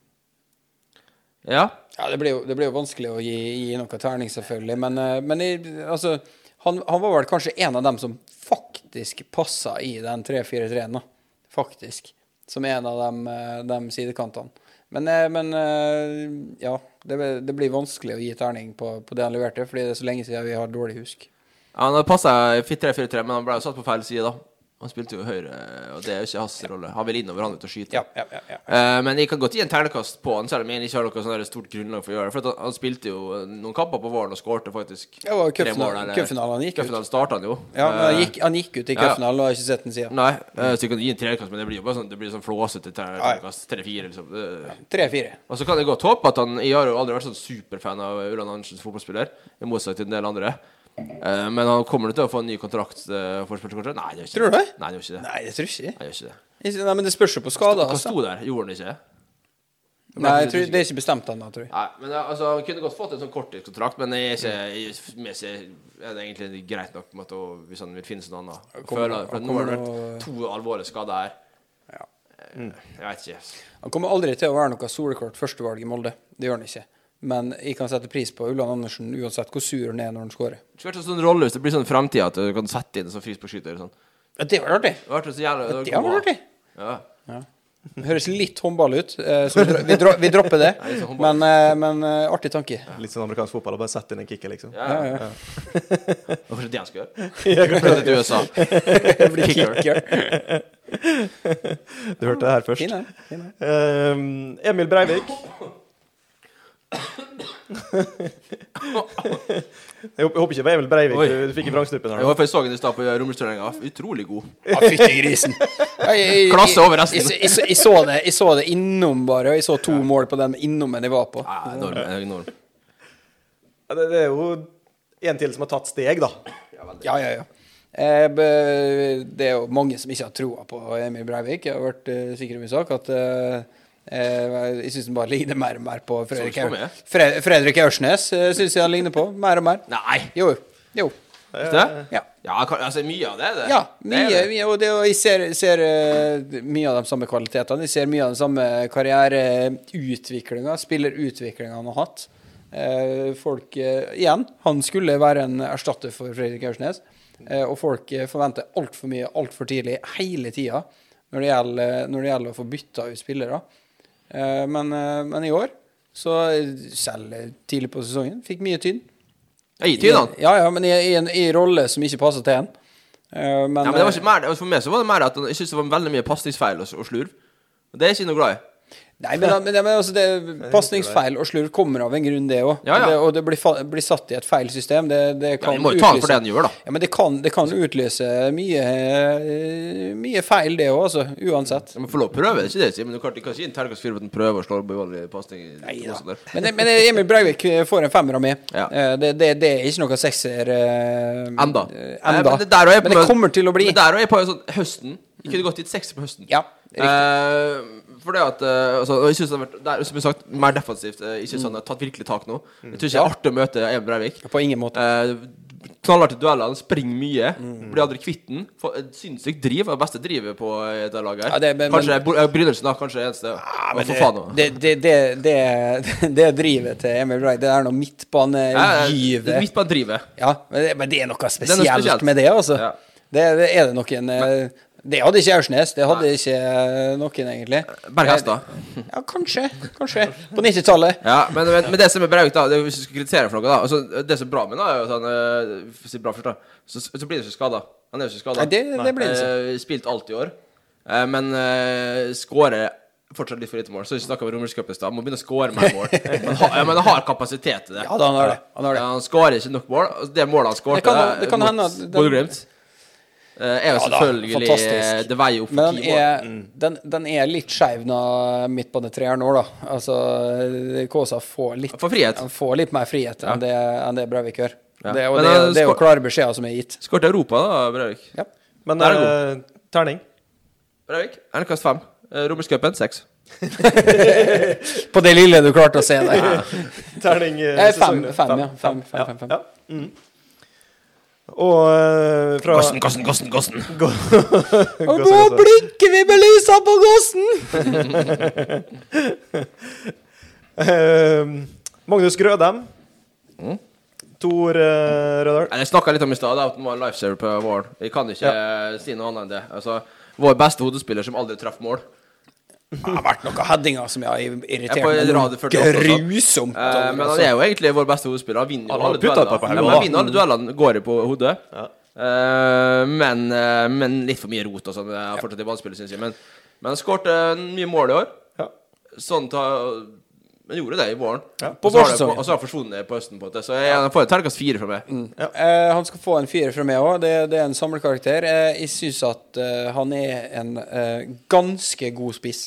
S3: Ja.
S2: Ja, det blir, jo, det blir jo vanskelig å gi, gi noe terning, selvfølgelig, men, eh, men i, altså han, han var vel kanskje en av dem som faktisk passa i den 3-4-3-en, da. Faktisk. Som en av dem, eh, dem sidekantene. Men, eh, men eh, ja. Det, blir- det blir vanskelig å gi terning på, på det han leverte, fordi det er så lenge siden vi har dårlig husk.
S3: Han hadde passa i 3-4-3, men han ble jo satt på feil side, da. Han spilte jo høyre, og det er jo ikke hans rolle. Han vil innover, han ut og skyte.
S2: Ja, ja, ja, ja.
S3: Eh, men jeg kan godt gi en ternekast på han, selv om jeg ikke har noe sånn der stort grunnlag for å gjøre det. For at han, han spilte jo eh, noen kamper på våren og skårte faktisk
S2: Det var jo
S3: tre mål,
S2: cupfinalen
S3: eller-
S2: cupfinalen han gikk ut.
S3: Cupfinalen starta han jo.
S2: Ja, men han
S3: Eh,
S2: gikk, han gikk ut i
S3: ja, ja.
S2: cupfinalen, og har ikke sett den siden.
S3: Nei, eh, så jeg kan gi en ternekast, men det blir jo bare sånn, det blir sånn flåsete ternekast. Tre-fire, liksom. Det,
S2: 3-4.
S3: og så kan jeg godt håpe at han Jeg har jo aldri vært sånn superfan av Ulland Andersen som fotballspiller, i motsetning til en del andre. Eh, men han kommer til å få en ny kontrakt? Uh, forspørselskontrakt? Nei, det gjør ikke
S2: Tror du
S3: det.
S2: det?
S3: Nei, det gjør ikke det. Nei,
S2: Nei, det tror jeg ikke.
S3: det gjør ikke det.
S2: Nei, men det spørs jo på skader.
S3: Hva
S2: Altså.
S3: sto der? Gjorde han ikke det?
S2: Nei, jeg tror, det er ikke bestemt ennå, tror jeg.
S3: Nei, men ja, altså, Han kunne godt fått en sånn korttidskontrakt, men jeg er ikke,
S2: Mm.
S3: jeg, for meg så er det egentlig greit nok på en måte, å- hvis han vil finne seg noe annet. Jeg
S2: Kommer-
S3: Føler, for at nå
S2: kommer
S3: har det
S2: noe-
S3: vært to alvorlige skader her.
S2: Mm.
S3: Eh, Jeg vet ikke.
S2: Han kommer aldri til å være noe solklart førstevalg i Molde. Det gjør han ikke. Men jeg kan sette pris på Ulland Andersen uansett hvor sur han er når han skårer.
S3: Det skulle vært en sånn rolle hvis det blir sånn fremtid at du kan sette inn en sånn frisparkskyter. Sånn.
S2: Ja, det var artig!
S3: Det hadde vært så jævla det
S2: Det var
S3: hadde
S2: artig!
S3: vært bra. Ja.
S2: Det høres litt håndball ut, eh, så vi, dro, vi, dro, vi dropper det.
S3: litt sånn håndball.
S2: Men, eh, men eh, artig tanke.
S1: Litt sånn amerikansk fotball. Og bare sette inn en kicker, liksom.
S3: Ja, ja. Det var kanskje det han skulle gjøre.
S1: Ja, kanskje.
S3: Flytte til USA. Kicker.
S1: Du hørte det her
S2: Fin,
S1: først.
S2: den. Fin, den.
S1: Ehm, Emil Breivik. Jeg håper jeg håper ikke det var Emil Breivik
S3: Oi.
S1: du, du fikk i vrangstrupen. her
S3: Jeg
S1: nå.
S3: var for jeg så han i stad på Romersturneringa. Utrolig god.
S2: Ja, fytti grisen. Jeg- jeg-
S3: Klasse over resten.
S2: Jeg, jeg, jeg, jeg, så det, jeg så det innom, bare. Og jeg så to mål på den innommen jeg var på.
S3: Ja, enorm. enorm.
S1: Ja, Det, det er jo en til som har tatt steg, da.
S2: Ja, ja, ja. Eh, be- Det er jo mange som ikke har troa på Emil Breivik. Jeg har vært eh, sikker i min sak at eh, eh, jeg syns han bare ligner mer og mer på Fredrik,
S3: Sånn som
S2: Aur-
S3: jeg.
S2: Fre Fredrik Aursnes. eh, Syns jeg han ligner på. Mer og mer.
S3: Nei!
S2: Jo, jo.
S3: Vet du det?
S2: Ja.
S3: Ja, kan- altså mye av det er det.
S2: Ja,
S3: Det
S2: mye,
S3: er det.
S2: mye, og det, og jeg ser, ser eh, mye av de samme kvalitetene. Jeg ser mye av den samme karriereutviklinga, spillerutviklinga han har hatt. Eh, folk eh, Igjen, han skulle være en erstatter for Fredrik Aursnes. Eh, og folk eh, forventer altfor mye altfor tidlig hele tida når, det gjelder- eh, når det gjelder å få bytta ut spillere. Eh, men, eh, men i år, så eh, selv tidlig på sesongen, fikk mye tynn.
S3: Jeg gir tynn, han.
S2: Ja, ja, men i, i en i en rolle som ikke passer til en. Eh, men,
S3: Ja, men det var ikke mer, altså, for meg så var det mer at han- jeg synes det var veldig mye pasningsfeil og, og slurv. Og Det er jeg ikke noe glad i.
S2: Nei, men, men, men altså, det, pasningsfeil og slurv kommer av en grunn, det òg.
S3: Ja, ja.
S2: Og, det, og det blir, fa blir satt i et feil system. Det, det
S3: Ja,
S2: kan
S3: vi må jo ta han for
S2: utløse-
S3: det han gjør, da.
S2: Ja, men det kan, det kan utløse mye, eh, mye feil, det òg, altså. Uansett.
S3: Ja, men få lov å prøve, det er ikke det jeg sier. Men du kan, du kan ikke gi en terningkast fire for at han prøver å slå bevoldelig pasning. i-
S2: Nei
S3: og
S2: da.
S3: sånt der.
S2: Men, men Emil Breivik eh, får en femmer av meg.
S3: Ja.
S2: Eh, Det, det, det er ikke noe sekser eh,
S3: Enda.
S2: eh,
S3: Nei,
S2: Enda.
S3: Men det, der og jeg
S2: Men det kommer til å bli.
S3: Men der og jeg på sånn høsten. Jeg kunne gått dit 60 på høsten.
S2: Ja,
S3: Eh, for det at eh, altså, og Jeg synes det har vært der, som jeg har sagt, mer defensivt. eh, Jeg synes
S2: Mm.
S3: han har tatt virkelig tak nå. Jeg tror ikke det er artig å møte Emil Breivik.
S2: På ingen måte.
S3: Eh, Knallhardt i duellene, springer mye.
S2: Mm.
S3: Blir aldri kvitt den. Får et Sinnssykt driv. er Det beste drivet på eh, det laget. her
S2: Ja, det- men-
S3: Kanskje det er Bo- eh, Brynildsen, da. Kanskje det eneste. Ja,
S2: men
S3: for faen nå.
S2: det, det, det, det, det drivet til Emil Breivik, det er noe
S3: Ja, ja, Eh, det
S2: midtbanegyve.
S3: er Midt på drivet.
S2: Ja, men det, men det er noe
S3: er
S2: spesielt,
S3: noe spesielt.
S2: med det, altså.
S3: Ja.
S2: Det, det er det noen eh, Det hadde ikke Aursnes. Det hadde ikke eh, noen, egentlig. Eh,
S3: Berghest, da.
S2: Ja, kanskje. Kanskje. På 90-tallet.
S3: Ja, men, men, men det som er Brauk, da det, er Hvis du skulle kritisere for noe, da altså, Det som er bra med ham, er jo at han eh, for å si bra først, da, så, så blir han ikke eh, skada. Han er jo ikke skada.
S2: Nei, det- det blir han
S3: Spilt alt i år. Eh, men uh, skårer fortsatt litt for lite mål. Så vi snakka om Romerscup i stad. Må begynne å skåre mer mål. Men, ha, ja, men han har kapasitet til det.
S2: Ja da, han har det. Han har det.
S3: Ja, han skårer ikke nok mål. Altså, Det målet han skårte
S2: Det kan- det kan hende at den-
S3: Bodø-Glimt, eh, er jo
S2: Ja da,
S3: selvfølgelig
S2: fantastisk.
S3: Det veier opp for
S2: Men den
S3: ti Mm. mål.
S2: er, den, den er litt skeiv når midtbanetreeren nå, da. Altså, Kåsa får litt,
S3: For frihet.
S2: han får litt mer frihet enn det, enn det Breivik gjør.
S3: Ja.
S2: Det, er jo-
S3: Men
S2: det, er jo-
S3: han
S2: det er jo
S3: skår-
S2: klare beskjeder som er gitt.
S3: Skårte Europa, da, Breivik.
S2: Ja.
S1: Men
S3: Der er
S1: eh, terning.
S3: Breivik, Ernekast fem. Eh, Romerscupen seks.
S2: På det lille du klarte å se der.
S1: Terning eh,
S2: Eh, fem,
S1: sesongen.
S2: fem, ja. Fem, fem, fem, fem.
S1: Ja. Mm. Og eh, fra
S3: Gossen, gossen, gossen, gossen.
S2: Og
S1: Gå,
S2: nå
S1: så- så-
S2: blinker vi med lysa på gossen!
S1: Eh, Magnus Grødem.
S2: Mm.
S1: Tor eh, Rødahl.
S3: Jeg snakka litt om i stad, da, at han var en lifesaver på våren. Vi kan ikke eh, si noe annet enn det. Altså, vår beste hodespiller som aldri traff mål.
S2: Det har vært noen headinger som jeg har
S3: Jeg får
S2: irritert
S3: Radio
S2: meg
S3: 48 også. altså.
S2: grusomt. altså.
S3: Eh, men han er jo egentlig vår beste hodespiller. Han vinner
S1: altså. Han
S3: jo
S1: har
S3: alle
S1: puttet et par på hodet,
S3: duellene. Ja, men
S1: da.
S3: han vinner alle duellene, går i på hodet.
S1: Ja.
S3: Eh, men, eh, men litt for mye rot og sånn. eh, Fortsatt i ballspillet, syns jeg. Men, men han skårte eh, mye mål i år.
S1: Ja.
S3: Sånn ta Han gjorde det i våren.
S1: Ja.
S3: Og så har det-
S2: vårsesongen.
S3: Og så har han forsvunnet på høsten, på en måte. Så jeg, han får et terningkast fire fra meg.
S1: Mm.
S2: Eh, han skal få en firer fra meg òg. Det, det er en samlekarakter. Eh, jeg syns at eh, han er en eh, ganske god spiss.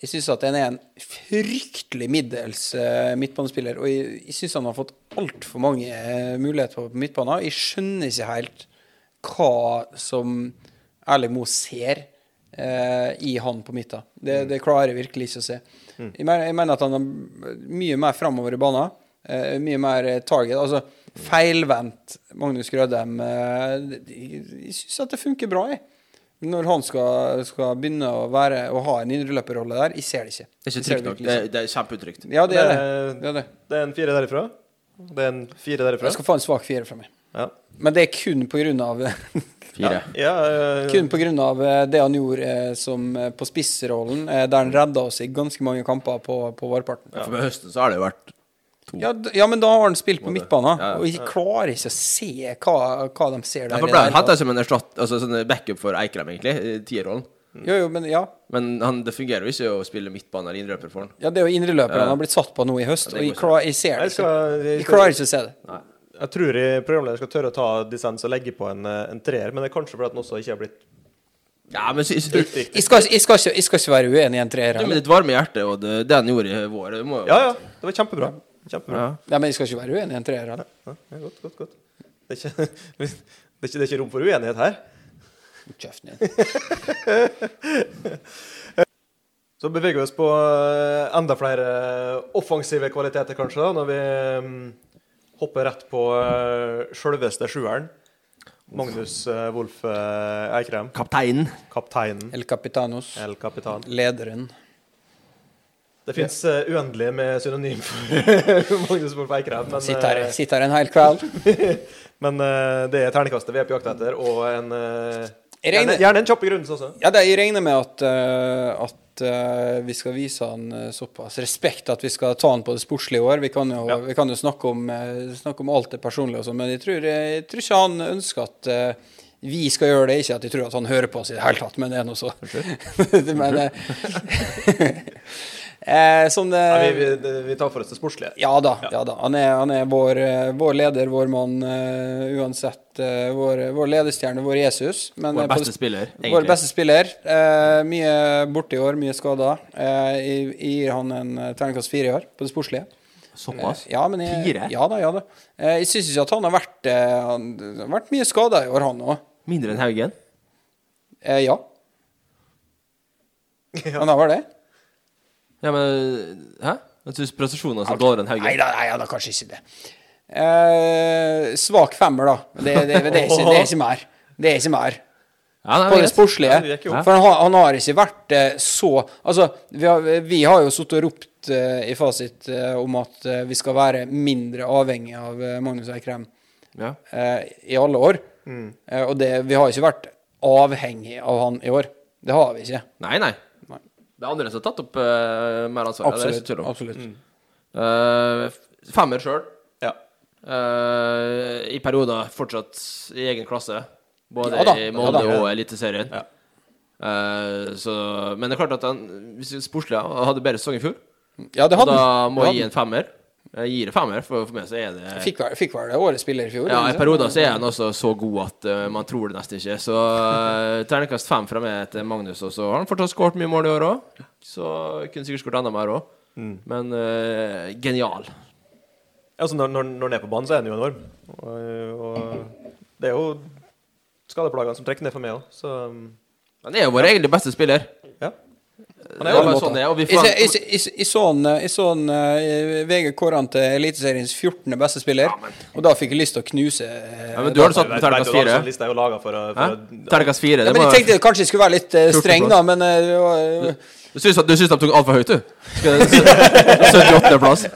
S2: Jeg syns at han er en fryktelig middels eh, midtbanespiller. Og jeg, jeg syns han har fått altfor mange eh, muligheter på midtbanen. Jeg skjønner ikke helt hva som Erling Moe ser eh, i han på midten. Det, det klarer jeg virkelig ikke å se. Jeg, mener, jeg mener at han er mye mer framover i banen. eh, mye mer eh, target. Altså feilvendt Magnus Grødem. eh, jeg jeg syns at det funker bra, jeg. Når han skal, skal begynne å, være, å ha en indreløperrolle der, jeg ser det ikke.
S3: Det er ikke
S2: Jeg ser
S3: trygt nok.
S2: virkelig ikke.
S3: Det, det er kjempeutrygt.
S2: Ja, det er det.
S1: Det-
S2: det, er det.
S1: Det er en fire derifra. Det er en fire derifra.
S2: Jeg skal få en svak firer fra meg.
S1: Ja.
S2: Men det er kun på grunn av,
S3: Fire.
S1: Ja, eh,
S2: kun på grunn av eh, det han gjorde eh, som, eh, på spissrollen, eh, der han redda oss i ganske mange kamper på, på vårparten.
S3: For med høsten så har det jo vært
S2: Ja, d- ja, men da har han spilt på midtbanen,
S3: Ja, ja.
S2: og jeg klarer ikke å se hva, hva de ser der.
S3: Ja, for
S2: i
S3: ble
S2: det
S3: han
S2: hele
S3: henta som en erstatt, altså sånn backup for Eikrem, egentlig, i tierrollen.
S2: tatt. Jo, jo, men ja.
S3: Men han, det fungerer jo ikke å spille midtbane eller innløper for han.
S2: ja, det er jo indreløperen han har blitt satt på nå i høst,
S3: Ja, det
S2: og jeg,
S3: går
S2: klar, jeg ser
S1: jeg,
S2: det ikke.
S1: skal, jeg,
S2: Jeg klarer ikke å se det.
S1: jeg tror jeg programleder skal tørre å ta dissens og legge på en, eh, en treer, men det er kanskje fordi at den også ikke har blitt
S3: Ja, men sy-
S1: brukt
S3: sy-
S1: riktig.
S2: Jeg skal, ikke- jeg, skal ikke, jeg skal ikke være uenig i en treer.
S3: du
S2: heller.
S3: med ditt varme hjerte og det, det han gjorde i vår det må jo-
S1: Ja, ja. Det var kjempebra. Kjempebra.
S3: Ja.
S2: Nei, men jeg skal ikke være uenig i en treer. heller.
S1: Ja. godt, godt, godt. Det er, ikke, det, er ikke, det er ikke rom for uenighet her.
S2: Kjeften din.
S1: Så beveger vi oss på eh, enda flere eh, offensive kvaliteter, kanskje, da, når vi mm, hopper rett på eh, sjølveste sjueren. Magnus eh, Wolff eh, Eikrem,
S3: Kapteinen.
S1: kapteinen
S2: El Capitanos.
S1: El Kapitan.
S2: Lederen.
S1: Det fins eh, uendelig med synonym for Magnus Wolff Eikrem, men,
S2: Sitter her,
S1: eh,
S2: sitter her en hel kveld.
S1: men eh, det er terningkastet vi er på jakt etter, og en eh,
S2: Jeg
S1: gjerne,
S2: regner-
S1: gjerne en kjapp begrunnelse også.
S2: Ja, det, jeg regner med at, eh, at eh, vi skal vise han eh, såpass respekt at vi skal ta han på det sportslige i år. Vi kan jo,
S1: Ja.
S2: vi kan jo snakke, om, eh, snakke om alt det personlige og sånn, men jeg tror, jeg tror ikke han ønsker at eh, vi skal gjøre det. Ikke at jeg tror at han hører på oss i det hele tatt, men det er nå så. men eh, eh, Som det
S1: Nei, vi, vi, vi tar for oss det sportslige.
S2: Ja da. ja da. Han er, han er vår, eh, vår leder, vår mann, eh, uansett. eh, vår, vår ledestjerne, vår Jesus. Men,
S3: Vår
S2: eh, på
S3: beste
S2: det-
S3: spiller, egentlig.
S2: Vår beste spiller. Eh, mye borte i år, mye skada. Eh, jeg- jeg gir han en eh, terningkast fire i år, på det sportslige.
S3: Såpass?
S2: Eh, Ja, men jeg,
S3: Fire?
S2: Ja da, ja da. Eh, jeg syns ikke at han har vært, eh, han, har vært mye skada i år, han òg.
S3: Mindre enn Haugen?
S2: Eh, ja. Han har vært det?
S3: Ja, men Hæ? Jeg syns prestasjonene er dårligere enn
S2: Nei
S3: Haugen.
S2: da, nei da, kanskje ikke det. Eh, svak femmer, da. Det, det, det, er ikke, det er ikke mer. Det er ikke mer.
S3: Ja,
S2: På
S3: nei, men
S2: det
S3: greit.
S2: sportslige.
S1: Ja, det gikk jo
S2: For han har, han har ikke vært eh, så Altså, vi har, vi har jo sittet og ropt eh, i fasit eh, om at eh, vi skal være mindre avhengig av eh, Magnus Eikrem
S3: Ja.
S2: eh, i alle år. Eh, og det, vi har ikke vært avhengig av han i år. Det har vi ikke.
S3: Nei, nei.
S2: Nei.
S3: Det er andre som har tatt opp eh, mer ansvar. ja,
S2: Absolutt.
S3: Det er ikke tvil om.
S2: absolutt.
S3: Eh, f- femmer sjøl.
S1: Ja.
S3: I perioder fortsatt i egen klasse. Både
S2: Ja da,
S3: i
S2: ja
S3: Molde
S2: da.
S3: og Eliteserien. Eh, så, men det er klart at han hvis vi sportslig ja, han hadde bedre sesong i fjor.
S2: Ja, det
S3: Og
S2: hadde
S3: da
S2: han.
S3: må
S2: Det
S3: jeg gi
S2: hadde
S3: en femmer. Jeg gir en femmer, for for meg så er det
S2: han. Fikk vel, fikk vel det årets spiller i fjor?
S3: Ja,
S2: eller
S3: I
S2: noe
S3: perioder
S2: sånt?
S3: så er han også så god at eh, man tror det nesten ikke. Så uh, terningkast fem fra meg til Magnus, og så har han fortsatt skåret mye mål i år òg. Så kunne sikkert skåret enda mer òg.
S2: Mm.
S3: Men eh, genial.
S1: Altså, når, når, når han er på banen, så er han jo enorm. Og, og det er jo skadeplagene som trekker ned for meg òg, så
S3: Han er jo vår egentlig beste spiller.
S1: ja.
S3: Det er jo bare sånn det er. Og vi
S2: Jeg se-
S3: forventer-
S2: jeg se- jeg se- jeg så han, eh, jeg så han eh, VG kåret han til Eliteseriens 14. beste spiller, og da fikk jeg lyst til å knuse eh,
S3: Ja, men du har jo satt på terningkast fire.
S1: Den lista er jo laget for, å-
S3: Hæ?
S1: for å-
S3: Terningkast fire.
S2: ja,
S3: Det
S2: men
S3: må
S2: Jeg tenkte kanskje jeg skulle være litt eh, streng, da, men eh, det var,
S3: Du syns, at- du syns de tok altfor høyt, du? Skal- 78.-plass.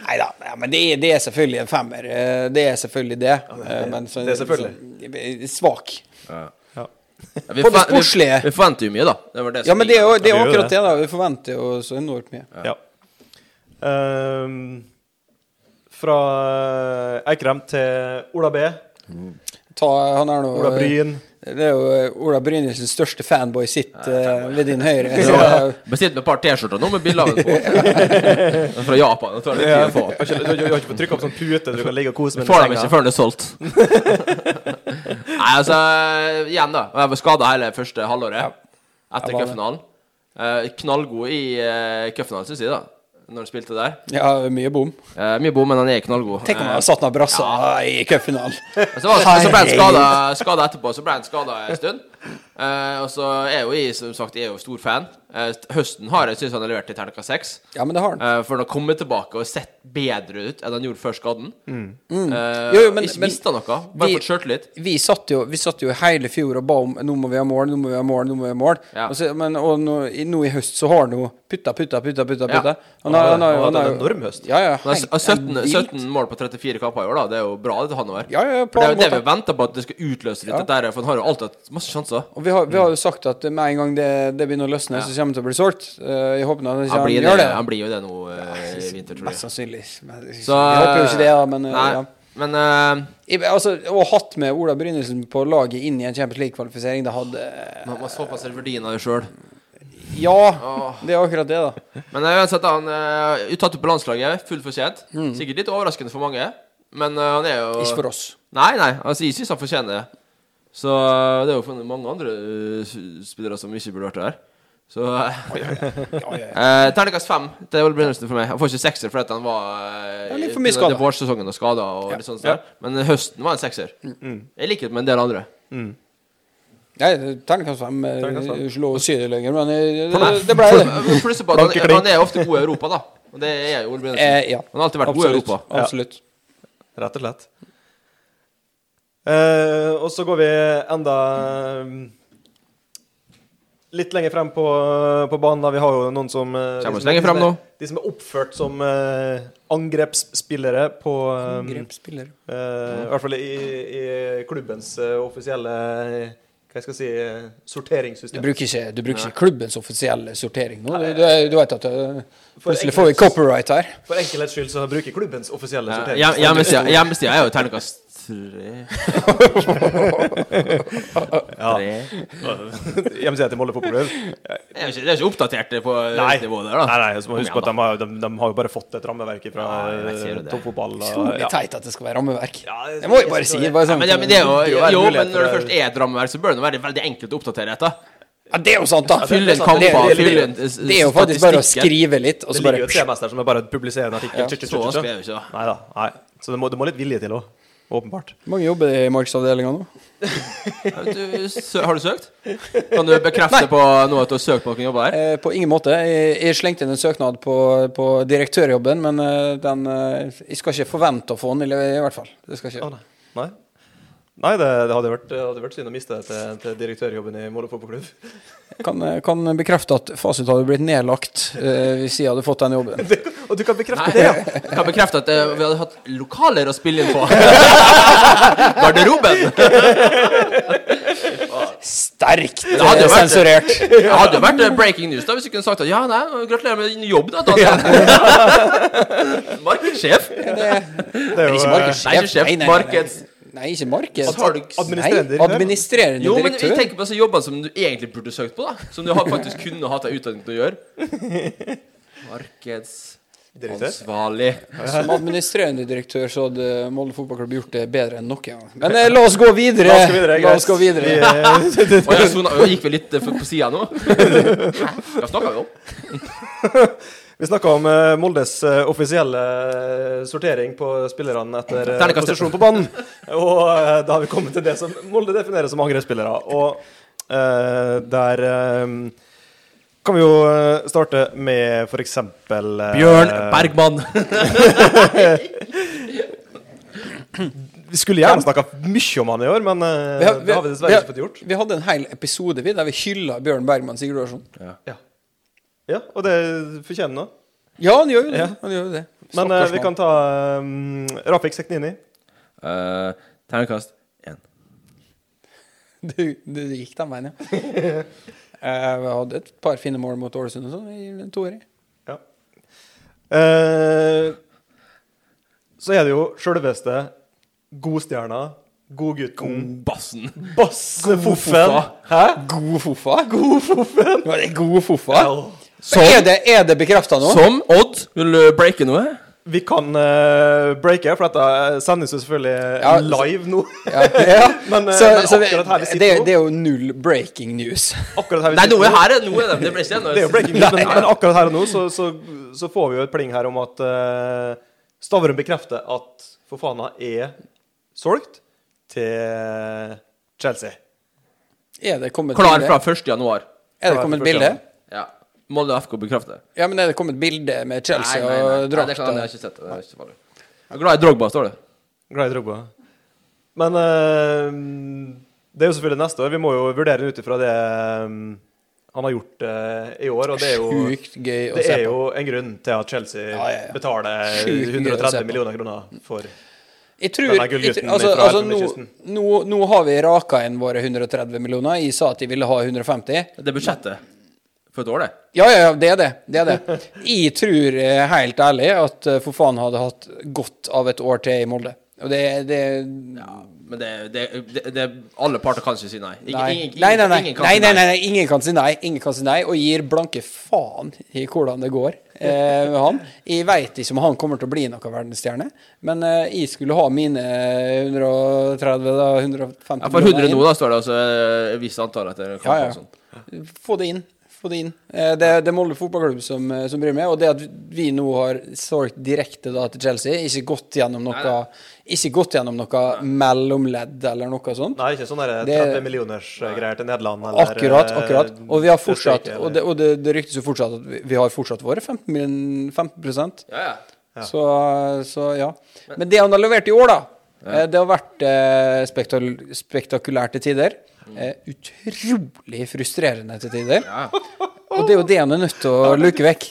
S2: Nei da, ja, men det er, det er selvfølgelig en femmer. eh, Det er selvfølgelig det. eh, men så-
S1: det er selvfølgelig.
S2: så- svak.
S3: Vi,
S2: På det
S3: forven- vi-
S2: sportslige.
S3: vi forventer jo mye, da. Det var det som
S2: Ja, men det er jo det
S1: Ja,
S2: er
S1: vi gjør
S2: akkurat
S1: det.
S2: det, da. Vi forventer jo så enormt mye.
S1: Ja. Ehm, fra Eikrem til Ola B,
S2: Ta, han er nå eh,
S1: Ola Bryn
S2: Det er jo eh, Ola Brynildsens største fanboy sitt eh, ved din høyre.
S3: Ja.
S2: Så,
S3: Bestilt med et par T-skjorter nå med bilde av den på. Den er Fra Japan. Det tar litt tid å få opp.
S1: Du har ikke- du har ikke fått trykket opp sånn pute du kan ligge og kose med under
S3: Får dem ikke
S1: senga.
S3: før den er solgt. Nei, altså Igjen, da. Jeg var skada hele første halvåret
S2: Jeg
S3: etter
S2: var det.
S3: cupfinalen. Eh, knallgod i eh, cupfinalen, syns jeg, da. Når han spilte der.
S2: ja, mye bom.
S3: Eh, mye bom, men han er knallgod.
S2: Tenk om han
S3: Eh,
S2: hadde satt ned brassa i cupfinalen.
S3: Og Så, var, så ble han skada, skada etterpå, så ble han skada en stund. Eh, og så er jo jeg som sagt jeg er jo stor fan. Eh, høsten har jeg syns han har levert i terningkast seks.
S2: Ja, men det har han.
S3: Eh, for han har kommet tilbake og sett bedre ut enn han gjorde før skaden.
S2: Mm.
S3: Eh,
S2: Jo, jo, men-
S3: ikke
S2: men-
S3: mista noe. Bare
S2: vi-
S3: fått sjøltillit.
S2: Vi satt, jo, vi satt jo hele fjor og ba om nå må vi ha mål, nå må vi ha mål, nå må vi ha mål.
S3: Ja.
S2: Og, så, men, og nå, i, nå i høst så har han jo putta, putta, putta, putta.
S3: Ja.
S2: putta.
S1: Han har- han har hatt en
S2: jo-
S1: enorm høst.
S2: Ja, ja,
S3: Han har
S2: helt-
S3: s- 17,
S2: helt vilt.
S3: 17 mål på 34 kamper i år, da. Det er jo bra, det han har.
S2: Ja, ja, ja,
S3: for
S2: på
S3: det er jo det
S2: alle
S3: vi venter på, at det skal utløse litt.
S2: Ja.
S3: dette her, for han har jo alltid hatt masse sjanser.
S2: Og vi har, vi
S3: Mm.
S2: har jo sagt at med en gang det, det begynner å løsne, så kommer det til å bli solgt. Eh, jeg håper nå at han
S3: Han
S2: ikke
S3: blir,
S2: gjør
S3: det,
S2: det.
S3: han blir jo det nå eh, i vinter, tror
S2: Mest
S3: jeg.
S2: sannsynlig. Men,
S3: Så,
S2: jeg håper jo ikke det, da, men eh,
S3: Nei,
S2: ja.
S3: men eh,
S2: Jeg, altså, å ha hatt med Ola Brynildsen på laget inn i en Champions League-kvalifisering, det hadde
S3: Man må såpass er verdien av det sjøl.
S2: Ja, det er akkurat det, da.
S3: Men eh, uansett, han er tatt opp på landslaget, fullt fortjent. Sikkert litt overraskende for mange, men eh, han er jo
S2: Mm. Ikke for oss.
S3: Nei, nei, altså, jeg syns han fortjener det. Så eh, det er jo funnet mange andre eh, s- spillere som ikke burde vært der. Så eh, Terningkast fem til Ole Brynildsen for meg. Han får ikke sekser fordi at han var eh,
S2: Ja, litt for mye
S3: i denne
S2: skadet.
S3: vårsesongen og skada. Og litt sånt der. Men eh, høsten var en sekser.
S1: Mm.
S3: Mm. I likhet med en del andre.
S2: Nei, terningkast fem. eh,
S1: Terningkast fem.
S2: Slå Syria lenger, men eh, det, det ble det.
S3: Men Pluss på at han,
S1: Bankekling.
S3: han er ofte god i Europa, da. Og det er jo Ole Brynildsen.
S2: Eh, ja.
S3: Han har alltid vært god i
S2: Absolutt.
S3: Europa.
S2: Absolutt.
S1: Rett og slett. Eh, og så går vi enda eh, litt lenger frem på, på banen. da Vi har jo noen som eh,
S3: Kommer
S1: de
S3: oss
S1: som er-
S3: lenger frem nå.
S1: De som er oppført som eh, angrepsspillere på eh,
S2: Grepspiller.
S1: Eh, I hvert fall i, i klubbens eh, offisielle eh, hva skal jeg si, eh,
S2: Du
S1: sorteringssystem.
S2: bruker ikke, du bruker ikke klubbens offisielle sortering nå? Du, du, du vet at eh,
S1: For
S2: Plutselig får vi
S1: enkelhets-
S2: copyright her.
S1: For enkelhets skyld så bruker klubbens offisielle
S3: Ja,
S1: sortering.
S3: Eh, hjem- Hjemmesida hjemmesida er jo terningkast tre
S1: Ja. Hjemmesida til Molde Fotballklubb.
S3: Det er jo ikke, det er ikke oppdatert på
S1: Nei.
S3: nivået der,
S1: Nei,
S3: da.
S1: nei, så må
S3: Kom
S1: vi huske på at de
S3: igjen,
S1: har, de, de har jo bare fått et rammeverk fra
S3: Ja, jeg ser jo det.
S1: toppfotball. og-
S2: Utrolig
S1: Ja.
S2: teit at det skal være rammeverk.
S1: Ja, det-
S2: Det må jeg bare si. Bare
S3: Nei,
S2: sånn,
S3: men, ja, men det er
S1: Det
S3: jo,
S1: er jo
S3: jo,
S1: muligheter
S3: men når det
S1: der.
S3: først er et rammeverk, så bør det være veldig enkelt å oppdatere dette.
S2: Ja, det er jo sant, da!
S1: det-
S3: Fylle
S1: det er
S3: en
S1: sant, det-
S3: kamper,
S1: det- det-
S3: fylle en s-
S2: Det er jo faktisk bare å
S3: statistikker.
S2: skrive litt, og
S1: Det
S2: så
S1: ligger jo
S2: bare
S1: et tema der som er bare å publisere en artikkel.
S2: Ja.
S1: Tju, tju, tju,
S3: Så
S1: tju, tju.
S3: vanskelig er det jo ikke, da.
S1: Neida, nei. Så det må, det må litt vilje til òg. Åpenbart.
S2: Mange jobber i markedsavdelinga nå.
S3: Ja, vet du, sø- Har du søkt? Kan du bekrefte på nå at du har søkt på noen jobber her?
S2: Eh, på ingen måte. Jeg, jeg slengte inn en søknad på, på direktørjobben, men eh, den eh, Jeg skal ikke forvente å få den, i i hvert fall. Det skal
S1: Å,
S2: ikke.
S1: nei. Nei, nei det, det hadde vært, det hadde vært synd å miste det til, til direktørjobben i Molde Fotballklubb.
S2: Kan, eh, kan bekrefte at Fasit hadde blitt nedlagt eh, hvis jeg hadde fått den jobben.
S1: Og du kan bekrefte
S3: Nei,
S1: det, ja!
S3: jeg kan bekrefte at eh, vi hadde hatt lokaler å spille inn på. Garderoben!
S2: Sterkt
S3: hadde
S2: eh,
S3: jo vært det.
S2: sensurert.
S3: Det hadde jo vært eh, breaking news da hvis du kunne sagt at ja, nei, gratulerer med din jobb, da. Daniel. Markedssjef.
S2: Det,
S1: Det er jo,
S2: ikke
S1: eh,
S2: markedssjef.
S3: Nei, ikke
S2: Nei, nei, nei,
S3: sjef.
S2: nei.
S3: Markeds...
S2: Nei, ikke marked.
S3: Ad- ad-
S1: administrerende
S2: Nei,
S1: direktør.
S2: administrerende
S3: Jo, men vi
S2: direktør.
S3: tenker på disse jobbene som du egentlig burde søkt på, da. Som du har faktisk kunne hatt deg utdanning til å gjøre.
S1: Direktør.
S3: Markedsansvarlig.
S2: Som administrerende direktør så hadde Molde fotballklubb gjort det bedre enn noen gang. Men eh, la oss gå videre.
S1: La oss gå videre,
S2: La oss gå
S1: greit.
S2: videre.
S3: Og jeg sona, jeg gikk vel litt eh, for- på sida nå? Hva snakka vi om?
S1: Vi snakka om eh, Moldes eh, offisielle eh, sortering på spillerne etter eh,
S3: Terningkast.
S1: posisjon på banen. Og eh, da har vi kommet til det som Molde definerer som angrepsspillere. Og eh, der eh, kan vi jo eh, starte med f.eks. Uh,
S2: Eh,
S3: Bergman.
S1: Vi skulle gjerne snakka mye om han i år, men eh,
S2: Vi har- vi-
S1: det har vi dessverre ikke fått gjort.
S2: Vi hadde en hel episode vi, der vi hylla Bjørn Bergman Sigurdarsson.
S1: Ja. ja, og det fortjener han.
S2: Ja, han gjør jo det.
S1: Ja.
S2: Han gjør jo det.
S1: Men eh,
S2: Stakkars
S1: vi
S2: mann.
S1: kan ta um, Rafik Seknini.
S2: eh,
S3: Uh, Terningkast én.
S2: Du, du gikk den veien, ja. Eh, Vi hadde et par fine mål mot Ålesund og sånn i en toer.
S1: Ja. Eh, så er det jo sjølveste godstjerna, godgutten,
S3: Bassen.
S1: bassefoffen
S3: Foffa.
S1: Hæ?
S2: God fofa. God foffen. Var det god fofa?
S1: Ja.
S2: Men Er det, er det bekrefta nå?
S3: Som Odd. Vil du breake noe?
S1: Vi kan eh, breake, for dette sendes jo selvfølgelig eh,
S2: Ja,
S1: live nå.
S2: Ja. ja.
S1: Men, eh,
S2: så,
S1: men
S2: så vi,
S1: akkurat her vi sitter
S2: det, er-
S1: nå-
S2: det er jo null breaking news.
S1: Akkurat her vi
S3: Nei,
S1: sitter
S3: nå er
S1: nå-
S3: her nå er det, det ble ikke
S1: Det er jo breaking news, men, men akkurat her og nå så, så, så får vi jo et pling her om at eh, Stavrum bekrefter at Fofana er solgt til Chelsea.
S2: Er det kommet
S3: Klar
S2: bilde?
S3: fra 1. januar.
S2: Er det
S1: klar
S2: kommet
S1: fra første
S2: bilde?
S1: gang.
S3: Ja. Molde FK bekrefter.
S2: Ja, men er det kommet bilde med Chelsea og eh.
S3: Nei, det er klart, jeg
S2: drakta?
S3: har ikke sett det. det er ikke farlig. jeg er glad i Drogba, står det.
S1: Glad i Drogba. Men eh, det er jo selvfølgelig neste år. Vi må jo vurdere det ut ifra det eh, han har gjort eh, i år. Og det er jo,
S2: Sjukt gøy å
S1: det
S2: se
S1: er
S2: på.
S1: jo en grunn til at Chelsea
S2: Ja, ja, ja.
S1: betaler
S2: Sjukt mye å se
S1: 130
S2: på.
S1: millioner kroner for
S2: Jeg tror,
S1: Den er
S2: jeg,
S1: gullgutten
S2: tror- altså,
S1: ifra
S2: altså, nå,
S1: Elfenbenskysten.
S2: nå, nå har vi raka inn våre 130 millioner. Jeg sa at jeg ville ha 150.
S3: Det er budsjettet for et år, det.
S2: Ja, ja, ja, det er det. det, er det. Jeg tror eh, helt ærlig at eh, for faen hadde hatt godt av et år til i Molde. Og det, det
S3: Men det, det, det, det Alle parter kan ikke si nei. Ingen,
S2: Nei.
S3: ingen, ingen,
S2: Nei, nei, nei.
S3: ingen
S2: Nei, nei,
S3: kan si
S2: nei, nei. Ingen kan si nei. Ingen kan si nei, og gir blanke faen i hvordan det går eh, med han. Jeg veit ikke om han kommer til å bli noen verdensstjerne, men eh, jeg skulle ha mine 130 da, 150
S3: Ja, for 100
S2: millioner inn.
S3: nå, da, står det altså et visst antall etter kampen.
S2: Ja, ja.
S3: og sånn.
S2: Få det inn. Få det inn. Eh, Det, det er Molde fotballklubb som, eh, som bryr meg, og det at vi nå har solgt direkte da til Chelsea, ikke gått gjennom noe,
S3: Nei,
S2: ikke gått gjennom noe mellomledd eller noe sånt.
S1: Nei, ikke sånn der
S2: Det-
S1: 30 millioners eh, greier til Nederland. eller,
S2: Akkurat,
S1: eh,
S2: akkurat. Og vi har fortsatt,
S1: Østerrike, eller-
S2: og det, og det, det ryktes jo fortsatt at vi, vi har fortsatt våre 15, min- 15
S3: Ja, ja.
S2: så, så ja. Men det han har levert i år, da, eh, det har vært eh, spektal- spektakulært til tider. Eh, utrolig frustrerende til tider.
S3: Ja.
S2: Og det er jo det han er nødt til å luke vekk.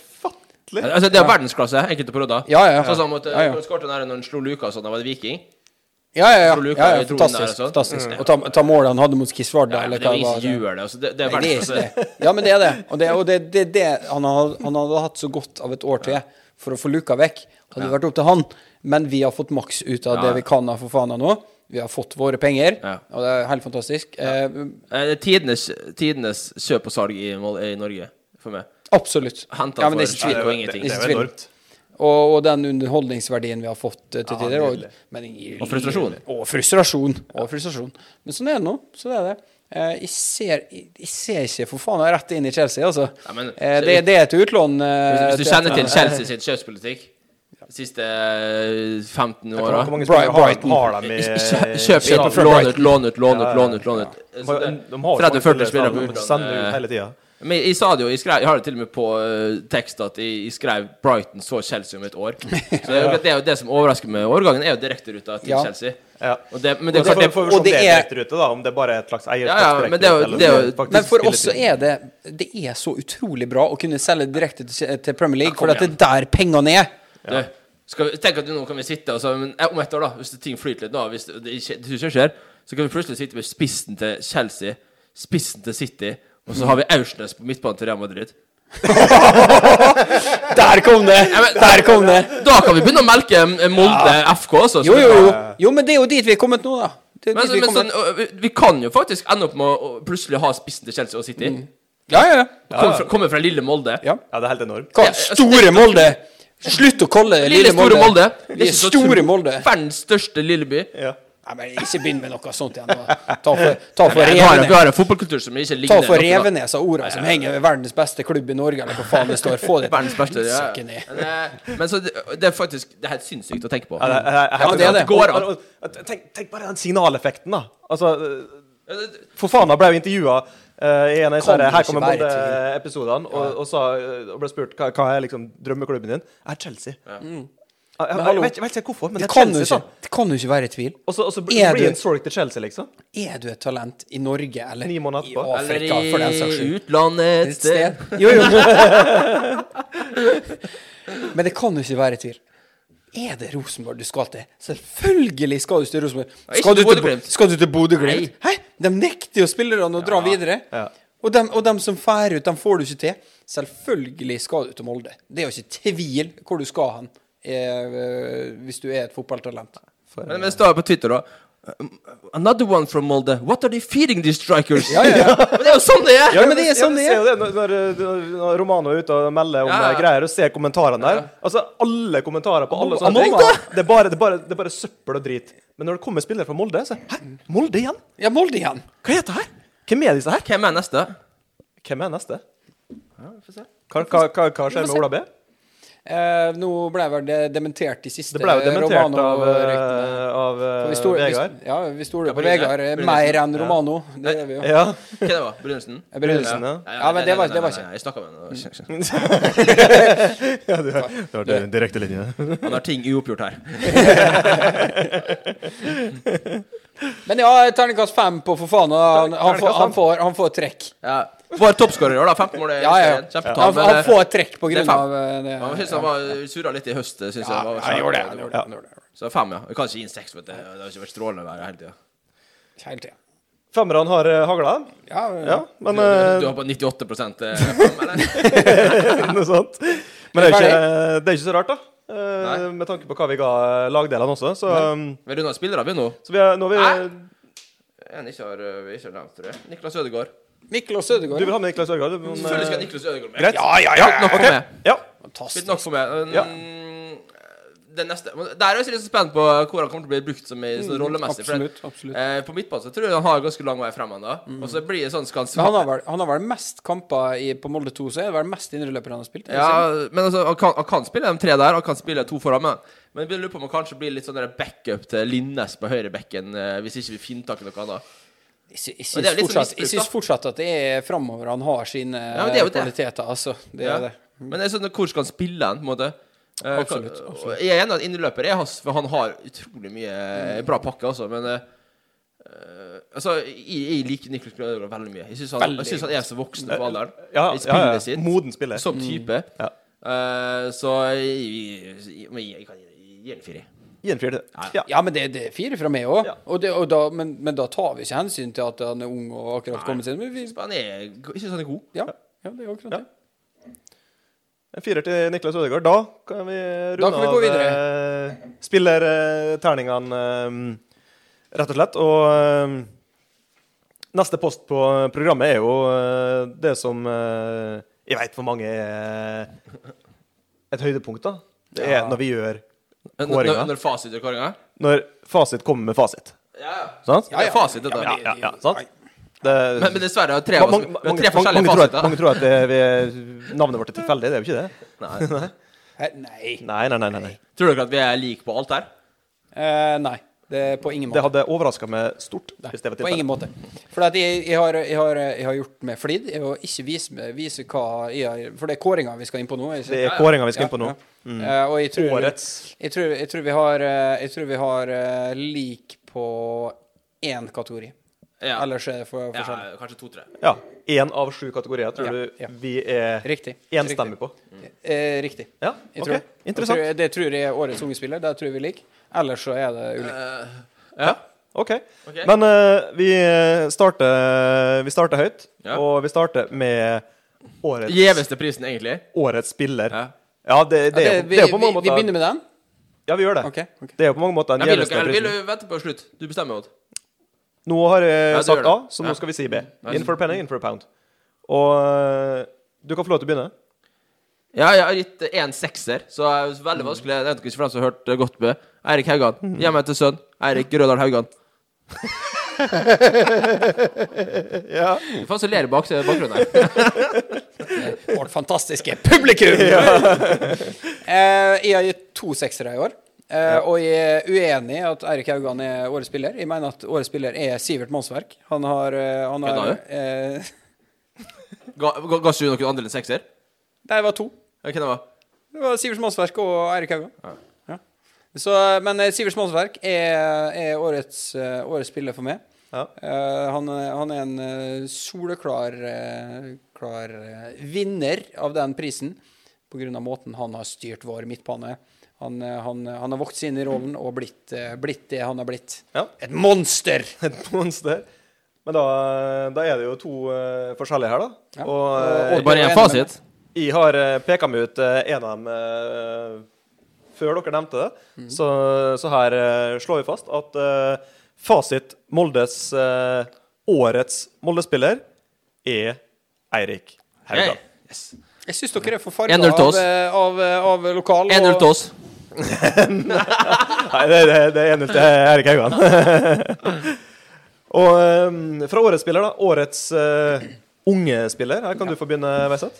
S3: Altså, det er verdensklasse, enkelte perioder.
S2: Ja, ja.
S3: Sånn som at
S2: Ja, ja.
S3: han skåret den der når han slo Luka og sånn, da var det Viking.
S2: Ja, ja, ja.
S3: Tror Luka
S2: ja,
S3: er
S2: ja
S3: i troen der,
S2: fantastisk.
S3: altså.
S2: fantastisk. Og ta, ta målet han hadde mot Kisvarda,
S3: Ja, men
S2: eller
S3: det
S2: hva det
S3: er jo ingen
S2: var.
S3: som gjør det. Altså, det, det er
S2: Nei, det er ikke
S3: verdensklasse.
S2: det. Ja, men det er det. Og det, og det, det, er det han, hadde, han hadde hatt så godt av et år til for å få luka vekk. Hadde det vært opp til han. Men vi har fått maks ut av
S3: Ja,
S2: det
S3: ja.
S2: vi kan av Fofana nå. Vi har fått våre penger,
S3: Ja.
S2: og det er helt fantastisk. Eh,
S3: Eh, det er tidenes, tidenes kjøp og salg i, Mol- i Norge, for meg.
S2: absolutt.
S3: Hentet
S2: Ja, men det er ikke
S3: for
S2: tvil.
S1: Ja,
S3: og
S1: det-
S3: ingenting.
S1: Det, det er
S2: Ikke
S1: jo
S2: tvil.
S1: enormt.
S2: Og, og den underholdningsverdien vi har fått eh, til
S1: Ja,
S2: tider. og,
S1: nydelig.
S2: men, i-
S3: Og frustrasjon.
S2: Og frustrasjon. Og frustrasjon. Men sånn er det nå. Sånn er det. Eh, jeg, ser, jeg, jeg ser ikke for faen jeg rett inn i Chelsea, altså.
S3: Ja, men-
S2: eh, det, det er et utlån. Eh,
S3: Hvis,
S2: til-
S3: hvis du kjenner til Chelsea sin kjøpspolitikk de siste eh, 15
S1: Hvor
S3: åra
S1: hvor mange
S2: Bri-
S1: spillere har,
S2: Brighton.
S1: har de i
S3: Kjøp inn,
S1: i-
S2: fra
S3: lån ut, lån ut, lån
S1: Ja, ja,
S3: ut.
S1: ja.
S3: lån ut, lån ut.
S1: De
S3: Så
S1: har-
S3: det-
S1: de har
S3: 30-40 spillere
S1: som
S3: på
S1: de
S3: hvordan,
S1: sender
S3: eh,
S1: ut hele tida.
S3: Men jeg sa det jo, jeg, skrev, jeg har det til og med på eh, tekst at jeg, jeg skrev 'Brighton så Chelsea om et år'. Så det er jo det, er jo det som overrasker med årgangen, er jo direkteruta til
S2: Ja.
S3: Chelsea.
S1: Ja.
S3: Og det, men
S1: Det,
S3: det,
S1: får,
S3: det,
S1: vi-
S3: det,
S1: får vi
S2: og
S1: se om
S2: det
S1: det er
S2: er-
S1: direkte rute, da. Om det bare er et slags eierskapsdirekte
S3: Ja, ja, men det er jo-
S1: rute, eller
S3: det er
S1: om
S3: jo-
S1: faktisk
S2: Men for
S1: spilletid.
S2: oss så er det Det er så utrolig bra å kunne selge direkte til til Premier League,
S3: Ja, kom
S2: for at det er der pengene er.
S3: Du, skal vi, tenk at nå kan vi sitte og så, men, eh, Om et år, da, hvis det- ting flyter litt, da hvis det, det ikke det ikke skjer, så kan vi plutselig sitte med spissen til Chelsea, spissen til City, og så har vi Aursnes på midtbanen til Real Madrid.
S2: Der kom det! Der kom det!
S3: Da kan vi begynne å melke eh, Molde FK, altså. så
S2: Jo,
S3: vi
S2: jo,
S3: kan-
S2: jo. Jo, men det er jo dit vi er kommet nå, da. Det er
S3: Men,
S2: dit vi
S3: men
S2: er kommet.
S3: sånn, øh, vi, vi kan jo faktisk ende opp med å å plutselig ha spissen til Chelsea og City.
S2: Mm. Ja, ja, ja.
S3: Komme fra, komme fra lille Molde.
S2: Ja.
S1: Ja, det er helt enormt.
S2: Hva?
S3: Ja, altså,
S2: Store Molde! Slutt å kalle det
S3: Lille, store Molde.
S2: Vi er store Molde.
S3: Verdens største lilleby.
S1: Ja.
S2: Nei, men Ikke begynn med noe sånt igjen. da. Ta for, ta for
S3: Vi har, vi
S2: revene.
S3: har en fotballkultur som ikke
S2: Ta
S3: ligner
S2: for
S3: noe, da.
S2: Revenes av ordene som henger ved verdens beste klubb i Norge, eller hva faen det står. Få det til
S3: Verdens beste. Ja.
S2: helsike ned.
S3: Men, eh, men så det, det er faktisk Det er helt sinnssykt å tenke på.
S1: Ja, det, er- er-
S2: Ja, det er det.
S1: går an. Og- og- og- Tenk, tenk bare den signaleffekten, da. Altså, for faen, han ble jo intervjua i en av disse
S2: Kan
S1: her,
S2: du
S1: her
S2: ikke
S1: kommer
S2: være i
S1: Molde-episodene, og, og, sa, eh, og ble spurt hva, hva er liksom drømmeklubben din. Er Chelsea. Jeg, jeg, jeg,
S2: hallo.
S1: vet ikke- jeg vet ikke hvorfor, men
S2: Det
S1: det er
S2: kan jo
S1: Chelsea,
S2: ikke,
S1: sånn.
S2: det kan jo ikke være i tvil.
S1: Og så, og så
S2: Er
S1: blir
S2: du-
S1: det en sorg til Chelsea, liksom.
S2: Er du et talent i Norge eller
S1: Ni måneder
S2: i
S1: etterpå.
S2: Afrika, for den saks
S3: Eller i
S2: skyld?
S3: utlandet
S2: Et
S3: et sted.
S2: sted. Jo, jo. Men det kan jo ikke være i tvil. Er det Rosenborg du skal til? Selvfølgelig skal du til Rosenborg.
S3: ikke
S2: Skal du
S3: til
S2: til, Bo-
S3: Bodø-Glimt.
S2: skal du til Bodø-Glimt? Hæ? De nekter jo spillerne å dra videre.
S1: ja.
S2: Og dem, og dem som fær ut, dem får du ikke til. Selvfølgelig skal du til Molde. Det er jo ikke tvil hvor du skal hen eh, hvis du er et fotballtalent.
S3: Men men det står jo på Twitter, da. Another one from Molde. What are they feeding these strikers?
S2: Ja, ja, ja.
S3: Men det er jo sånn det er!
S2: Ja, men det er sånn det
S1: ser
S2: er.
S1: jo det når, når, når Romano er ute og melder om
S3: Ja, ja.
S1: eh, greier, og ser kommentarene der. Altså, alle kommentarer på alle
S2: Molde-
S1: sånne ting.
S2: Molde?
S1: Det er bare, det er bare, det er bare søppel og drit. Men når det kommer spillere fra Molde, så Hæ? Molde igjen?
S2: Ja, Molde igjen.
S1: Hva er dette her? Hvem er disse her?
S3: Hvem er neste?
S1: Hvem er neste? Hva, hva, hva, hva skjer med Ola B?
S2: Eh, nå ble vel det dementert de siste eh,
S1: Det ble jo dementert av,
S2: Romano-ryktene.
S1: eh, av
S2: For
S1: eh,
S2: Vi stoler
S1: Vegard.
S2: vi- Ja, vi stoler på
S3: Bryne.
S2: Vegard eh,
S3: Brynesen.
S2: mer enn Romano. Det gjør vi jo.
S1: Ja.
S3: Hvem det var? Brynesen?
S2: Eh, Brynesen.
S1: eh, Ja.
S2: Ja, men det var, det var ikke
S3: Jeg snakket med han. og-
S1: ja, du, du har en direkte linje.
S3: Han har ting uoppgjort her.
S2: Men ja, terningkast fem på for faen. og Han, han, får, han, får, han får trekk.
S3: Ja. Var toppskårer i år, da. 15 mål. er
S2: Ja, ja, ja.
S3: Kjempetall.
S2: Han,
S3: men,
S2: han
S3: eh,
S2: får trekk på
S3: det er
S2: grunn
S3: fem.
S2: av eh, det.
S3: Ja, men jeg synes han var surra litt i høst, synes jeg.
S2: Ja,
S3: Var,
S2: han gjorde det. han gjorde det, han gjorde det.
S3: Så fem, ja. Vi kan ikke gi en seks, vet du. Det har ikke vært strålende vær hele tida.
S2: Hele tiden.
S1: Femmerne har eh, hagla,
S2: Ja,
S1: ja, men eh,
S3: Du har på 98 eh, fem, eller?
S1: noe sånt. Men det er jo ikke, det er ikke så rart, da. Eh,
S3: Nei.
S1: Med tanke på hva vi ga lagdelene også. Så, um,
S3: Vi runder spillere, vi nå.
S1: så vi er, nå er vi,
S3: Hæ? En ikke har, eh, vi ikke har nevnt, tror jeg. Niklas Ødegaard.
S2: Mikkel
S1: du vil
S2: og Sødegaard.
S1: ha med Niklas Ødegaard? men,
S3: Selvfølgelig skal
S1: eh,
S3: Niklas Ødegaard med.
S1: Greit.
S2: Ja, ja, ja.
S3: Nok for meg.
S1: Ja.
S3: Litt
S2: Fantastisk.
S3: nok for meg. Um,
S1: Ja.
S3: Den neste men Der er jeg også litt spent på hvor han kommer til å bli brukt som i, sånn rollemessig. for
S2: Mm, absolutt,
S3: at,
S2: absolutt.
S3: Eh, på midtbanen så tror jeg han har ganske lang vei frem ennå. Og så blir det sånn skal han
S2: Men
S3: sva-
S2: han har vel, han har vel mest kamper i, på Molde 2, så er det vel mest indreløper han har spilt?
S3: Ja, men altså, han kan, han kan spille de tre der, han kan spille to foran meg. Men jeg begynner å lure på om han kanskje blir litt sånn der backup til Linnes på høyrebekken, eh, hvis ikke vi finner tak i noe annet.
S2: Jeg sy- jeg
S3: Men det
S2: syns
S3: er jo litt sånn
S2: fortsatt,
S3: misbruk,
S2: jeg syns
S3: da.
S2: fortsatt at det er framover han har sine
S3: men det er jo det.
S2: kvaliteter, altså. Det
S3: Ja.
S2: er det.
S1: Mm.
S3: Men det er sånn, hvor skal han spille hen, på en måte? Eh,
S2: Absolutt,
S3: kan-
S2: absolutt.
S3: og Jeg er enig i at innløper er hans, for han har utrolig mye eh, bra pakke, altså, men eh, eh, Altså, jeg, jeg liker Niklas Grødegaard veldig mye. Jeg syns han,
S2: Veldig
S3: jeg synes han er så voksen på alderen.
S1: Ja,
S3: I
S1: ja,
S3: spillet
S1: ja.
S3: sitt.
S1: Moden spiller.
S3: Som type.
S1: Ja.
S3: Eh, så jeg, jeg, jeg, jeg kan gi gi en firer.
S1: Gi en fjerde. Ja.
S2: Ja, men det, det er fire fra meg òg.
S1: Ja.
S2: Men, men da tar vi ikke hensyn til at han er ung og akkurat kommet seg inn. Men vi,
S3: Men Han er, jeg syns han er god.
S2: ja, ja, det er akkurat det.
S1: En firer til Niklas Ødegaard. Da kan vi runde
S2: Da kan vi gå videre.
S1: av uh, spillerterningene, eh, rett og slett. Og eh, neste post på programmet er jo eh, det som eh, jeg veit for mange er et høydepunkt, da. Det er
S2: Ja.
S1: når vi gjør
S3: Når,
S1: Kåringa.
S3: når- når fasit er kåringa?
S1: Når fasit kommer med fasit.
S3: Ja,
S1: Sant?
S3: Det er fasit, dette.
S1: Ja, ja, ja, sant? Det,
S3: Men, men dessverre, har tre, av
S1: mange,
S3: oss-
S1: mange,
S3: vi
S1: mange,
S3: har tre forskjellige
S1: mange, tror at,
S3: fasiter.
S1: mange tror at det, vi, navnet vårt er tilfeldig. Det er jo ikke det.
S3: Nei.
S2: Hæ, Nei.
S1: Nei, nei, nei. nei, nei.
S3: Tror dere at vi er like på alt her?
S2: Eh, nei. Det er på ingen
S1: Det
S2: måte.
S1: hadde overraska meg stort.
S2: Nei,
S1: Hvis det var
S2: på ingen
S1: tilfellet.
S2: måte. For at jeg, jeg, har, jeg, har, jeg har gjort meg flid i å ikke vise, meg- vise hva jeg har For det er kåringa vi skal inn på nå. er ikke?
S1: Det er kåringa vi skal inn på nå. Mm.
S2: Ja, ja. Eh, og jeg tror,
S1: Årets.
S2: Jeg tror, jeg tror vi har, eh, jeg tror vi har eh, lik på én kategori.
S3: Ja.
S2: Ellers er det for
S3: ja,
S2: forskjellig.
S3: kanskje to-tre.
S1: Ja. Én av sju kategorier tror
S2: Ja,
S1: du
S2: ja.
S1: vi er
S2: Riktig.
S1: enstemmige på.
S2: Eh, riktig.
S1: Ja,
S2: Jeg
S1: OK.
S2: tror.
S1: Interessant.
S2: Jeg tror, det tror jeg er årets unge spiller. Det tror jeg vi liker. Ellers så er det ulikt.
S3: Eh, ja.
S1: OK.
S3: Ok.
S1: Men eh, vi, starter, vi starter høyt,
S3: Ja.
S1: og vi starter med Årets,
S3: Gjeveste prisen, egentlig.
S1: årets spiller.
S3: Ja.
S1: Ja, det, det,
S2: Ja,
S1: er jo-
S2: det-
S1: det er jo på mange
S2: Eh, vi, vi begynner
S1: måter
S2: med den?
S1: Ja, vi gjør det.
S2: Ok. ok.
S1: Det er jo på mange måter
S3: Nei,
S1: den
S3: vil,
S1: gjeveste
S3: dere, vil
S1: prisen.
S3: du vente på slutt? Du bestemmer. Odd.
S1: Nå har jeg
S3: Ja, du gjør
S1: sagt
S3: det.
S1: A, så
S3: Ja.
S1: nå skal vi si B.
S3: Nei,
S1: In for a penny, in for a pound. Og eh, du kan få lov til å begynne.
S3: Ja, jeg har gitt én sekser, så det er veldig vanskelig. Jeg vet ikke for dem som har hørt godt med Eirik Haugan. Hjemmet til sønn. Eirik Grødal Haugan.
S1: Ja.
S3: Hva faen som ler i bak bakgrunnen her?
S2: Vårt fantastiske publikum! Eh, jeg har gitt to seksere i år. Eh, Og jeg er uenig i at Eirik Haugan er årets spiller. Jeg mener at årets spiller er Sivert Mannsverk. Han har, eh, han har
S3: Kødda
S2: eh,
S3: Ga, ga, ga ikke du noen andre enn sekser?
S2: Nei, det var to.
S3: Ja, Hvem det var
S2: Det var Sivert Mannsverk og Eirik Haugan. Ja. Så, men eh, Sivert Mannsverk er, er årets, eh, årets spiller for meg.
S1: Ja.
S2: Eh, han, er- han er en eh, soleklar eh, klar, eh, vinner av den prisen pga. måten han har styrt vår midtbane. Han, eh, han, han har vokst inn i rollen og blitt, eh, blitt det han har blitt.
S1: Ja.
S2: Et monster!
S1: Et monster. Men da, da er det jo to eh, forskjellige her, da.
S2: Ja.
S1: Og,
S2: Og-
S1: eh,
S2: og- Bare
S3: Bare
S2: en
S3: én
S2: fasit.
S3: fasit?
S1: Jeg har eh, peka meg ut eh, en av dem eh, før dere nevnte det.
S2: Mm.
S1: Så, så her eh, slår vi fast at eh, fasit Moldes eh, årets Molde-spiller er Eirik Haugan.
S3: Yes.
S2: Jeg syns dere er for
S3: 1-0
S2: farga
S3: til oss.
S2: av, eh, av, eh, av lokal.
S3: 1-0 til oss.
S1: Nei, det, det, det er 1-0 til Eirik Haugan. Og eh, fra årets spiller, da. Årets eh, unge spiller. Her kan du få begynne, Veiseth.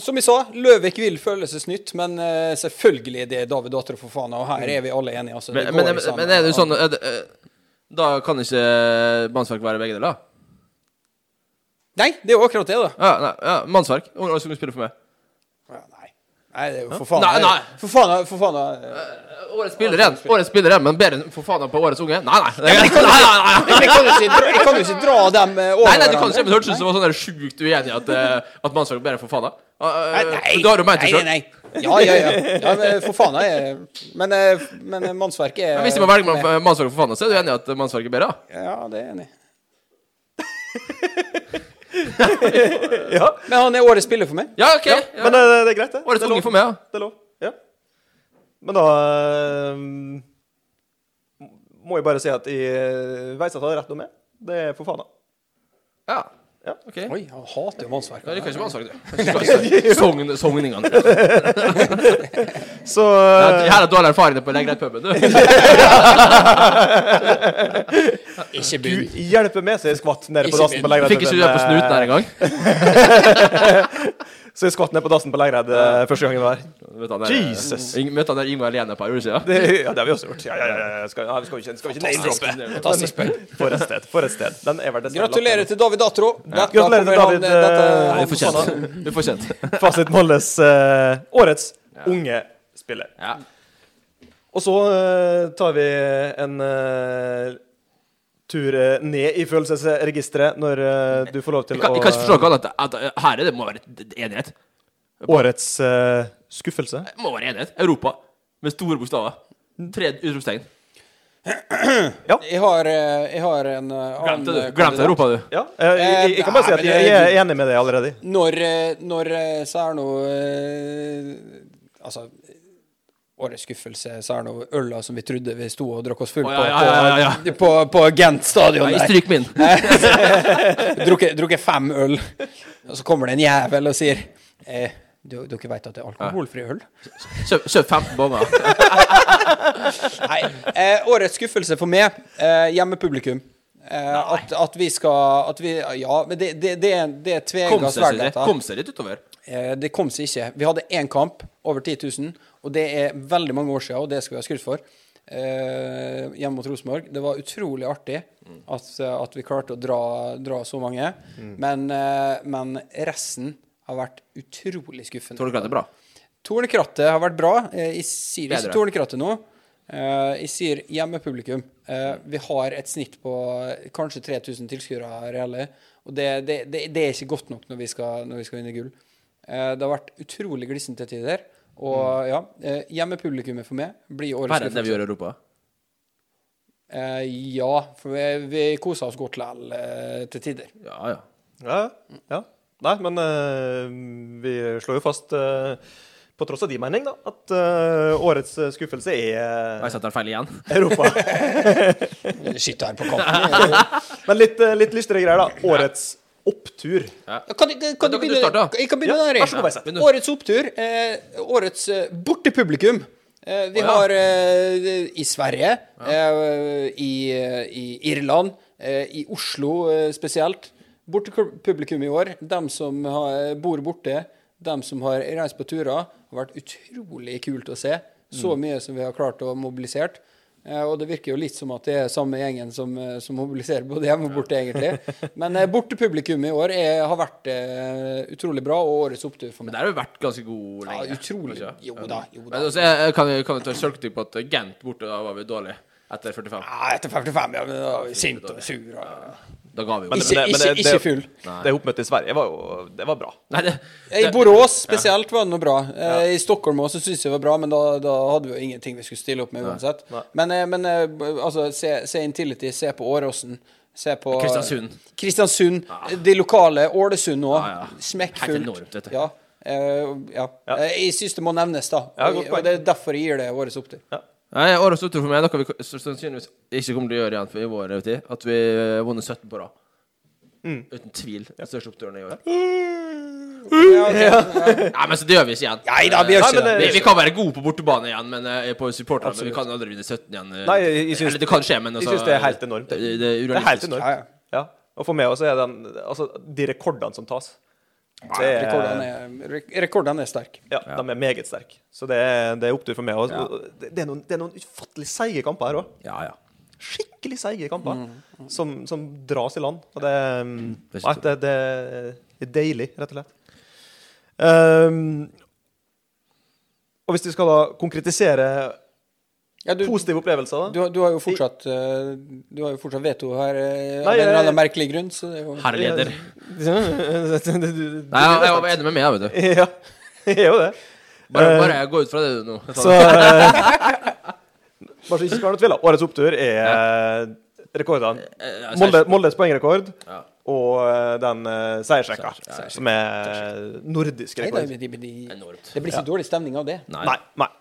S2: Som jeg sa, Løvik vil følelsesnytt, men eh, selvfølgelig det er David Datter for faen. Og her er vi alle enige. Altså,
S3: Men,
S2: det
S3: men,
S2: går
S3: men,
S2: ikke an.
S3: men er det jo sånn er det, eh, Da kan ikke eh, mannsverk være begge deler? da?
S2: Nei, det er jo akkurat det, da.
S3: Ja, nei, ja, mannsverk. Ungdom som spiller for meg.
S2: Ja, nei. nei, det er jo for faen.
S3: Nei, nei.
S2: For faen, for faen eh,
S3: Årets spiller igjen, årets spiller igjen men bedre enn for faen av på årets unge? Nei, nei. Det,
S2: men
S3: nei,
S2: jeg kan jo
S3: nei,
S2: ikke-
S3: nei, nei.
S2: Jeg kan jo ikke, dra- jeg kan jo ikke dra dem eh, over
S3: Nei, nei, du kan
S2: hverandre.
S3: ikke, men Det hørtes ut som du var sånn der sjukt uenig i at, eh, at mannsverk er bedre enn for faen av. Uh,
S2: Nei, nei,
S3: Da har du ment det
S2: nei,
S3: sjøl.
S2: nei. Ja, ja, ja. ja men, for faen, jeg Men, eh, men eh, mannsverket er
S3: Men Hvis du må velge mellom eh, mannsverk og for faen av, så er du enig i at eh, mannsverk er bedre? da?
S2: Ja, det er jeg enig i.
S1: Ja.
S2: Men han er årets spiller for meg.
S3: Ja, OK. Ja.
S1: Men eh, det er greit, det.
S3: Årets
S1: det er
S3: unge
S1: lov.
S3: for meg, da.
S1: Det er lov. Ja. Men da eh, må jeg bare si at jeg veit at jeg hadde rett om meg. Det er for faen, da.
S3: Ja.
S1: Ja.
S3: OK. Ja,
S2: Oi, han hater jo mannsverket.
S3: Du kan ikke mannsverk, du. Sogn- Sogningene. Her
S1: Så eh,
S3: er dårlige erfaringer på å legge rett puben, du.
S2: Ikke
S1: du hjelper meg, så jeg skvatt nede på
S2: Ikke
S1: dassen på Legred.
S3: Fikk ikke du det på snuten her engang?
S1: Så jeg skvatt ned på dassen på Legred eh, første gangen det var her.
S3: Møtte han der-
S1: Jesus.
S3: Ing- Møtte han der Ingvar Lene på julesida?
S1: Det, ja, det har vi også gjort. Ja, ja, ja, ja. Skal, ja, vi skal vi ikke, skal vi ikke
S2: Fantastisk.
S1: name-droppe?
S2: Fantastisk spill.
S1: Men- For et sted. For et sted. Den er vel dessverre
S2: Gratulerer til David Atro. Dette
S1: Gratulerer til
S2: kommer han-
S1: David,
S2: dette-
S1: eh,
S2: han-
S3: Du får kjent. Du får kjent.
S1: lagt. Fasit Molles eh, årets unge spiller.
S3: Ja.
S1: Og så eh, tar vi en eh, tur eh, ned i følelsesregisteret når eh, du får lov til
S3: Jeg kan,
S1: å
S3: jeg kan ikke forstå noe annet at, at her er det må være et- enighet.
S1: Årets eh, skuffelse.
S3: Det må være enighet. Europa med store bokstaver. Tre utropstegn.
S2: Jeg har, eh, jeg har en eh, annen
S3: Glemte du?
S2: kandidat.
S3: Glemte Europa, du.
S1: Ja, jeg, jeg, jeg kan bare si at jeg, jeg er enig med deg allerede.
S2: Når, eh, når eh, så er nå eh, Altså eh, Årets skuffelse, så er nå øla som vi trodde vi sto og drakk oss full
S3: Å,
S2: på,
S3: ja, ja, ja, ja,
S2: på, på, på Gent stadion.
S3: Nei,
S2: der.
S3: stryk min.
S2: drukket, drukket fem øl, og så kommer det en jævel og sier eh, du, Dere vet at det er alkoholfri øl?
S3: Kjøp, kjøp 15 bomber.
S2: Nei. Eh, årets skuffelse for meg, eh, hjemmepublikum. Eh, at, at vi skal at vi, Ja, men det, det, det er, det er
S3: Kom
S2: tvega
S3: seg, sier jeg.
S2: sverd, dette.
S3: Kom seg litt utover.
S2: Eh, Det kom seg ikke. Vi hadde én kamp over 10 000, og det er veldig mange år siden, og det skal vi ha skryt for. Eh, hjemme mot Rosenborg. Det var utrolig artig at, at vi klarte å dra, dra så mange.
S3: Mm.
S2: Men, eh, men resten har vært utrolig skuffende.
S3: Tror du ikke at det er bra?
S2: Tornekrattet har vært bra. Eh, Jeg sier
S3: Bedre.
S2: ikke Tornekrattet nå. Eh, Jeg sier hjemmepublikum. Eh, Vi har et snitt på kanskje 3000 tilskuere reelle. Og det, det, det, det er ikke godt nok når vi skal, når vi skal vinne gull. Eh, Det har vært utrolig glissent til tider. Og ja, eh, hjemmepublikummet for meg blir årets
S3: Verre Mm. enn det vi
S2: skuffelse.
S3: gjør i Europa.
S2: Eh, Ja, for vi, vi koser oss godt likevel eh, til tider.
S3: Ja, ja.
S1: Ja, ja. Nei, men eh, vi slår jo fast, eh, på tross av din mening, da, at eh, årets eh, skuffelse er
S3: Jeg setter den feil igjen.
S1: Europa.
S2: Sitter her på kanten.
S1: Men litt, eh, litt lystere greier, da. Årets opptur.
S2: Kan, du- kan,
S3: kan
S2: du
S3: du
S2: begynne,
S3: starte, da.
S2: jeg kan begynne
S1: Ja,
S2: der. jeg.
S1: vær så god, Beiseth.
S2: Begynn du. Årets opptur. Eh, årets eh, bortepublikum. Eh, vi
S3: Å, ja.
S2: har eh, i Sverige, eh, i, eh, i Irland, eh, i Oslo eh, spesielt. Bortepublikum i år. Dem som har, bor borte, dem som har reist på turer. Det har vært utrolig kult å se. Så mye som vi har klart å mobilisere. Eh, og det virker jo litt som at det er samme gjengen som, eh, som mobiliserer både hjemme og borte, egentlig. Men eh, bortepublikum i år er, har vært eh, utrolig bra, og årets opptur for
S3: Men
S2: meg.
S3: der har vi vært ganske god
S2: Ja,
S3: lenge.
S2: utrolig.
S3: kanskje.
S2: Jo da, jo da.
S3: Men også, jeg, jeg kan, jeg kan jo ta en sjølkritikk på at Gent borte da var vi dårlig etter 45.
S2: Ja, etter 55, ja, men da er vi sint og sur. Og...
S3: Da ga vi jo
S2: Men-
S3: ikke.
S2: Ikke- ikke- ikke full.
S1: Det oppmøtet i Sverige var jo Det var bra.
S3: Nei, det,
S2: I Borås spesielt var det noe bra. Eh, I Stockholm også syns jeg det var bra, men da, da hadde vi jo ingenting vi skulle stille opp med uansett.
S1: Nei.
S2: Men, eh, men eh, b- altså, se, se Intility, se på Åråsen. Se på eh,
S3: Kristiansund.
S2: Kristiansund, De lokale. Ålesund òg.
S3: Ja, ja. Helt
S2: Smekkfullt.
S3: enormt, vet du.
S2: Ja. Eh, ja.
S1: Ja.
S2: Eh, Jeg syns det må nevnes, da.
S1: Ja,
S2: og,
S1: godt poeng.
S2: og det er derfor jeg gir det årets opptur.
S3: Nei, Årets opptur for meg er noe vi k- s- sannsynligvis ikke kommer til å gjøre igjen for i vår levetid. At vi eh, har vunnet 17 på rad. Uten tvil. Den største oppturen i år.
S2: Ja, ok.
S3: Nei, men så det gjør vi ikke igjen.
S2: Nei da, vi gjør
S3: Eh,
S2: ikke
S1: men
S2: det.
S1: det-
S3: vi, vi kan være gode på bortebane igjen, men eh, på supporterne, men
S1: Absolutt.
S3: vi kan aldri vinne 17 igjen. eh.
S1: Nei, jeg- jeg syns-
S3: Eller det kan skje, men
S1: jeg
S3: altså
S1: syns det er helt enormt, det.
S3: Det, det er
S1: Det er helt
S3: urealistisk.
S1: enormt.
S2: Ja, ja.
S1: Ja. Og for meg også er den Altså, de rekordene som tas, det er,
S2: Rekordene er, rek- rekordene er sterke.
S1: ja, de er meget sterke. Så det er, det er opptur for meg også. Og Det, det, er noen, det er noen ufattelig seige kamper her òg.
S3: Ja, ja.
S1: Skikkelig seige kamper
S2: Mm,
S1: Som, som dras i land. Og det, mm,
S3: Det er
S1: nei, det, det er deilig, rett og slett. Ehm, og hvis vi skal da konkretisere
S2: Ja, du,
S1: positive opplevelser, da
S2: Du, har- du har jo fortsatt eh, Du har jo fortsatt veto her eh, av
S1: Nei,
S2: en eller
S1: jeg-
S2: annen merkelig grunn. Så det er jo...
S3: Herre leder. Nei,
S1: Nei,
S3: jeg, jeg var enig med meg, vet du.
S1: Ja, jeg er jo det.
S3: Bare, bare gå ut fra det du nå.
S1: Eh, Så eh, Bare så ikke skal være noe tvil, da. Årets opptur er eh, rekordene.
S3: Eh,
S1: Molde, Moldes poengrekord
S3: Ja.
S1: og eh, den eh, seiersrekka, som er nordisk
S2: Nei,
S1: rekord.
S2: nei, de, de, de,
S3: Enormt.
S2: det blir ikke dårlig stemning av det.
S3: Nei.
S1: Nei. nei.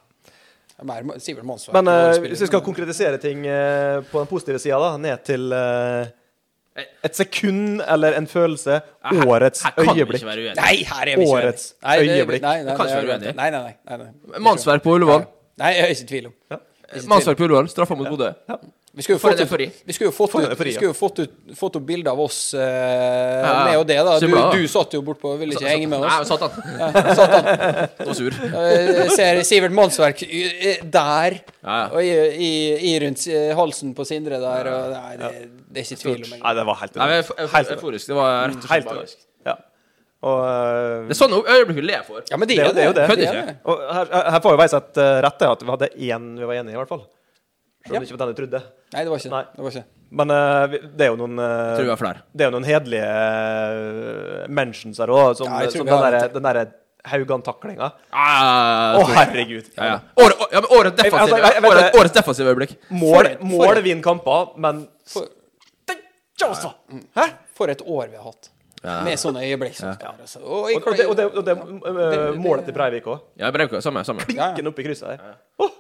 S2: Mer, Sivert Monsvær.
S1: Men eh,
S2: vår spiller,
S1: hvis vi skal
S2: men-
S1: konkretisere ting eh, på den positive sida, da, ned til eh, et sekund eller en følelse
S3: her-
S1: Årets
S3: her kan vi
S1: øyeblikk.
S3: ikke være uenige.
S2: Nei, her er vi ikke uenige.
S1: Årets
S2: Nei, det-
S1: øyeblikk.
S2: Nei, nei,
S3: Du kan ikke
S2: det-
S3: være uenig.
S2: Nei, nei, nei, nei, nei.
S3: Mannsverk på Ullevål.
S2: Nei, jeg er ikke i tvil om.
S3: Mannsverk på Ullevål. Straffa mot Bodø.
S2: Vi skulle jo
S3: For
S2: fått
S3: en
S2: ut,
S3: eufori.
S2: vi skulle jo fått
S1: For en
S2: ut,
S1: eufori,
S2: vi
S1: ja.
S2: skulle jo fått ut, fått ut bilde av oss eh,
S3: ja.
S2: med og det, da.
S3: Så
S2: Du,
S3: bra, da.
S2: du satt jo bortpå og ville ikke henge med
S3: Nei,
S2: oss.
S3: satan.
S2: Ja, satt han.
S3: Og sur.
S2: Eh, ser Sivert Mannsverk eh, der,
S3: Ja, ja.
S2: og i, i, i rundt eh, halsen på Sindre der. Og, nei, det, det er ikke tvil om engang.
S1: Nei, det var helt
S3: Nei, men
S1: enormt.
S3: eufo- eufo-
S1: Helt enormt.
S3: euforisk. Det var rett og slett
S1: Helt
S3: magisk.
S1: enormt. Ja. Og eh,
S3: Det er sånne øyeblikk vi ler for.
S2: Ja, men de
S1: Det er jo- det er jo det.
S2: de
S3: Kødder ikke.
S1: Og her, her får jo Veiseth eh, rett til at vi hadde én vi var enige i, i hvert fall. Selv om
S2: Ja.
S1: det ikke var den du trodde.
S2: Nei, det var ikke
S1: Nei.
S2: det. var ikke.
S1: Men eh, vi- det er jo noen eh,
S3: Jeg tror vi har flere.
S1: Det er jo noen hederlige eh, mentions her òg, som,
S2: Ja, jeg tror
S1: som
S2: vi har
S1: den derre
S2: det.
S1: den der Haugan-taklinga. Å,
S3: Ah, jeg tror-
S1: herregud.
S3: Ja, ja. Året- å- ja, men årets defensive,
S1: Jeg- altså, jeg- jeg vet
S3: årets,
S1: det.
S3: årets defensive øyeblikk.
S1: Mål,
S2: For-
S1: mål
S2: for-
S1: vinner kamper, men
S2: For, Mm,
S1: Steikja også! altså. Hæ?
S2: for et år vi har hatt. Med sånne øyeblikk. som det der, altså. Og,
S1: Og, og det, og det, og det eh, målet til Breivik òg.
S3: Ja, Breivik, samme, samme.
S2: Ja, ja.
S1: Ikke oppe i krysset her. Åh!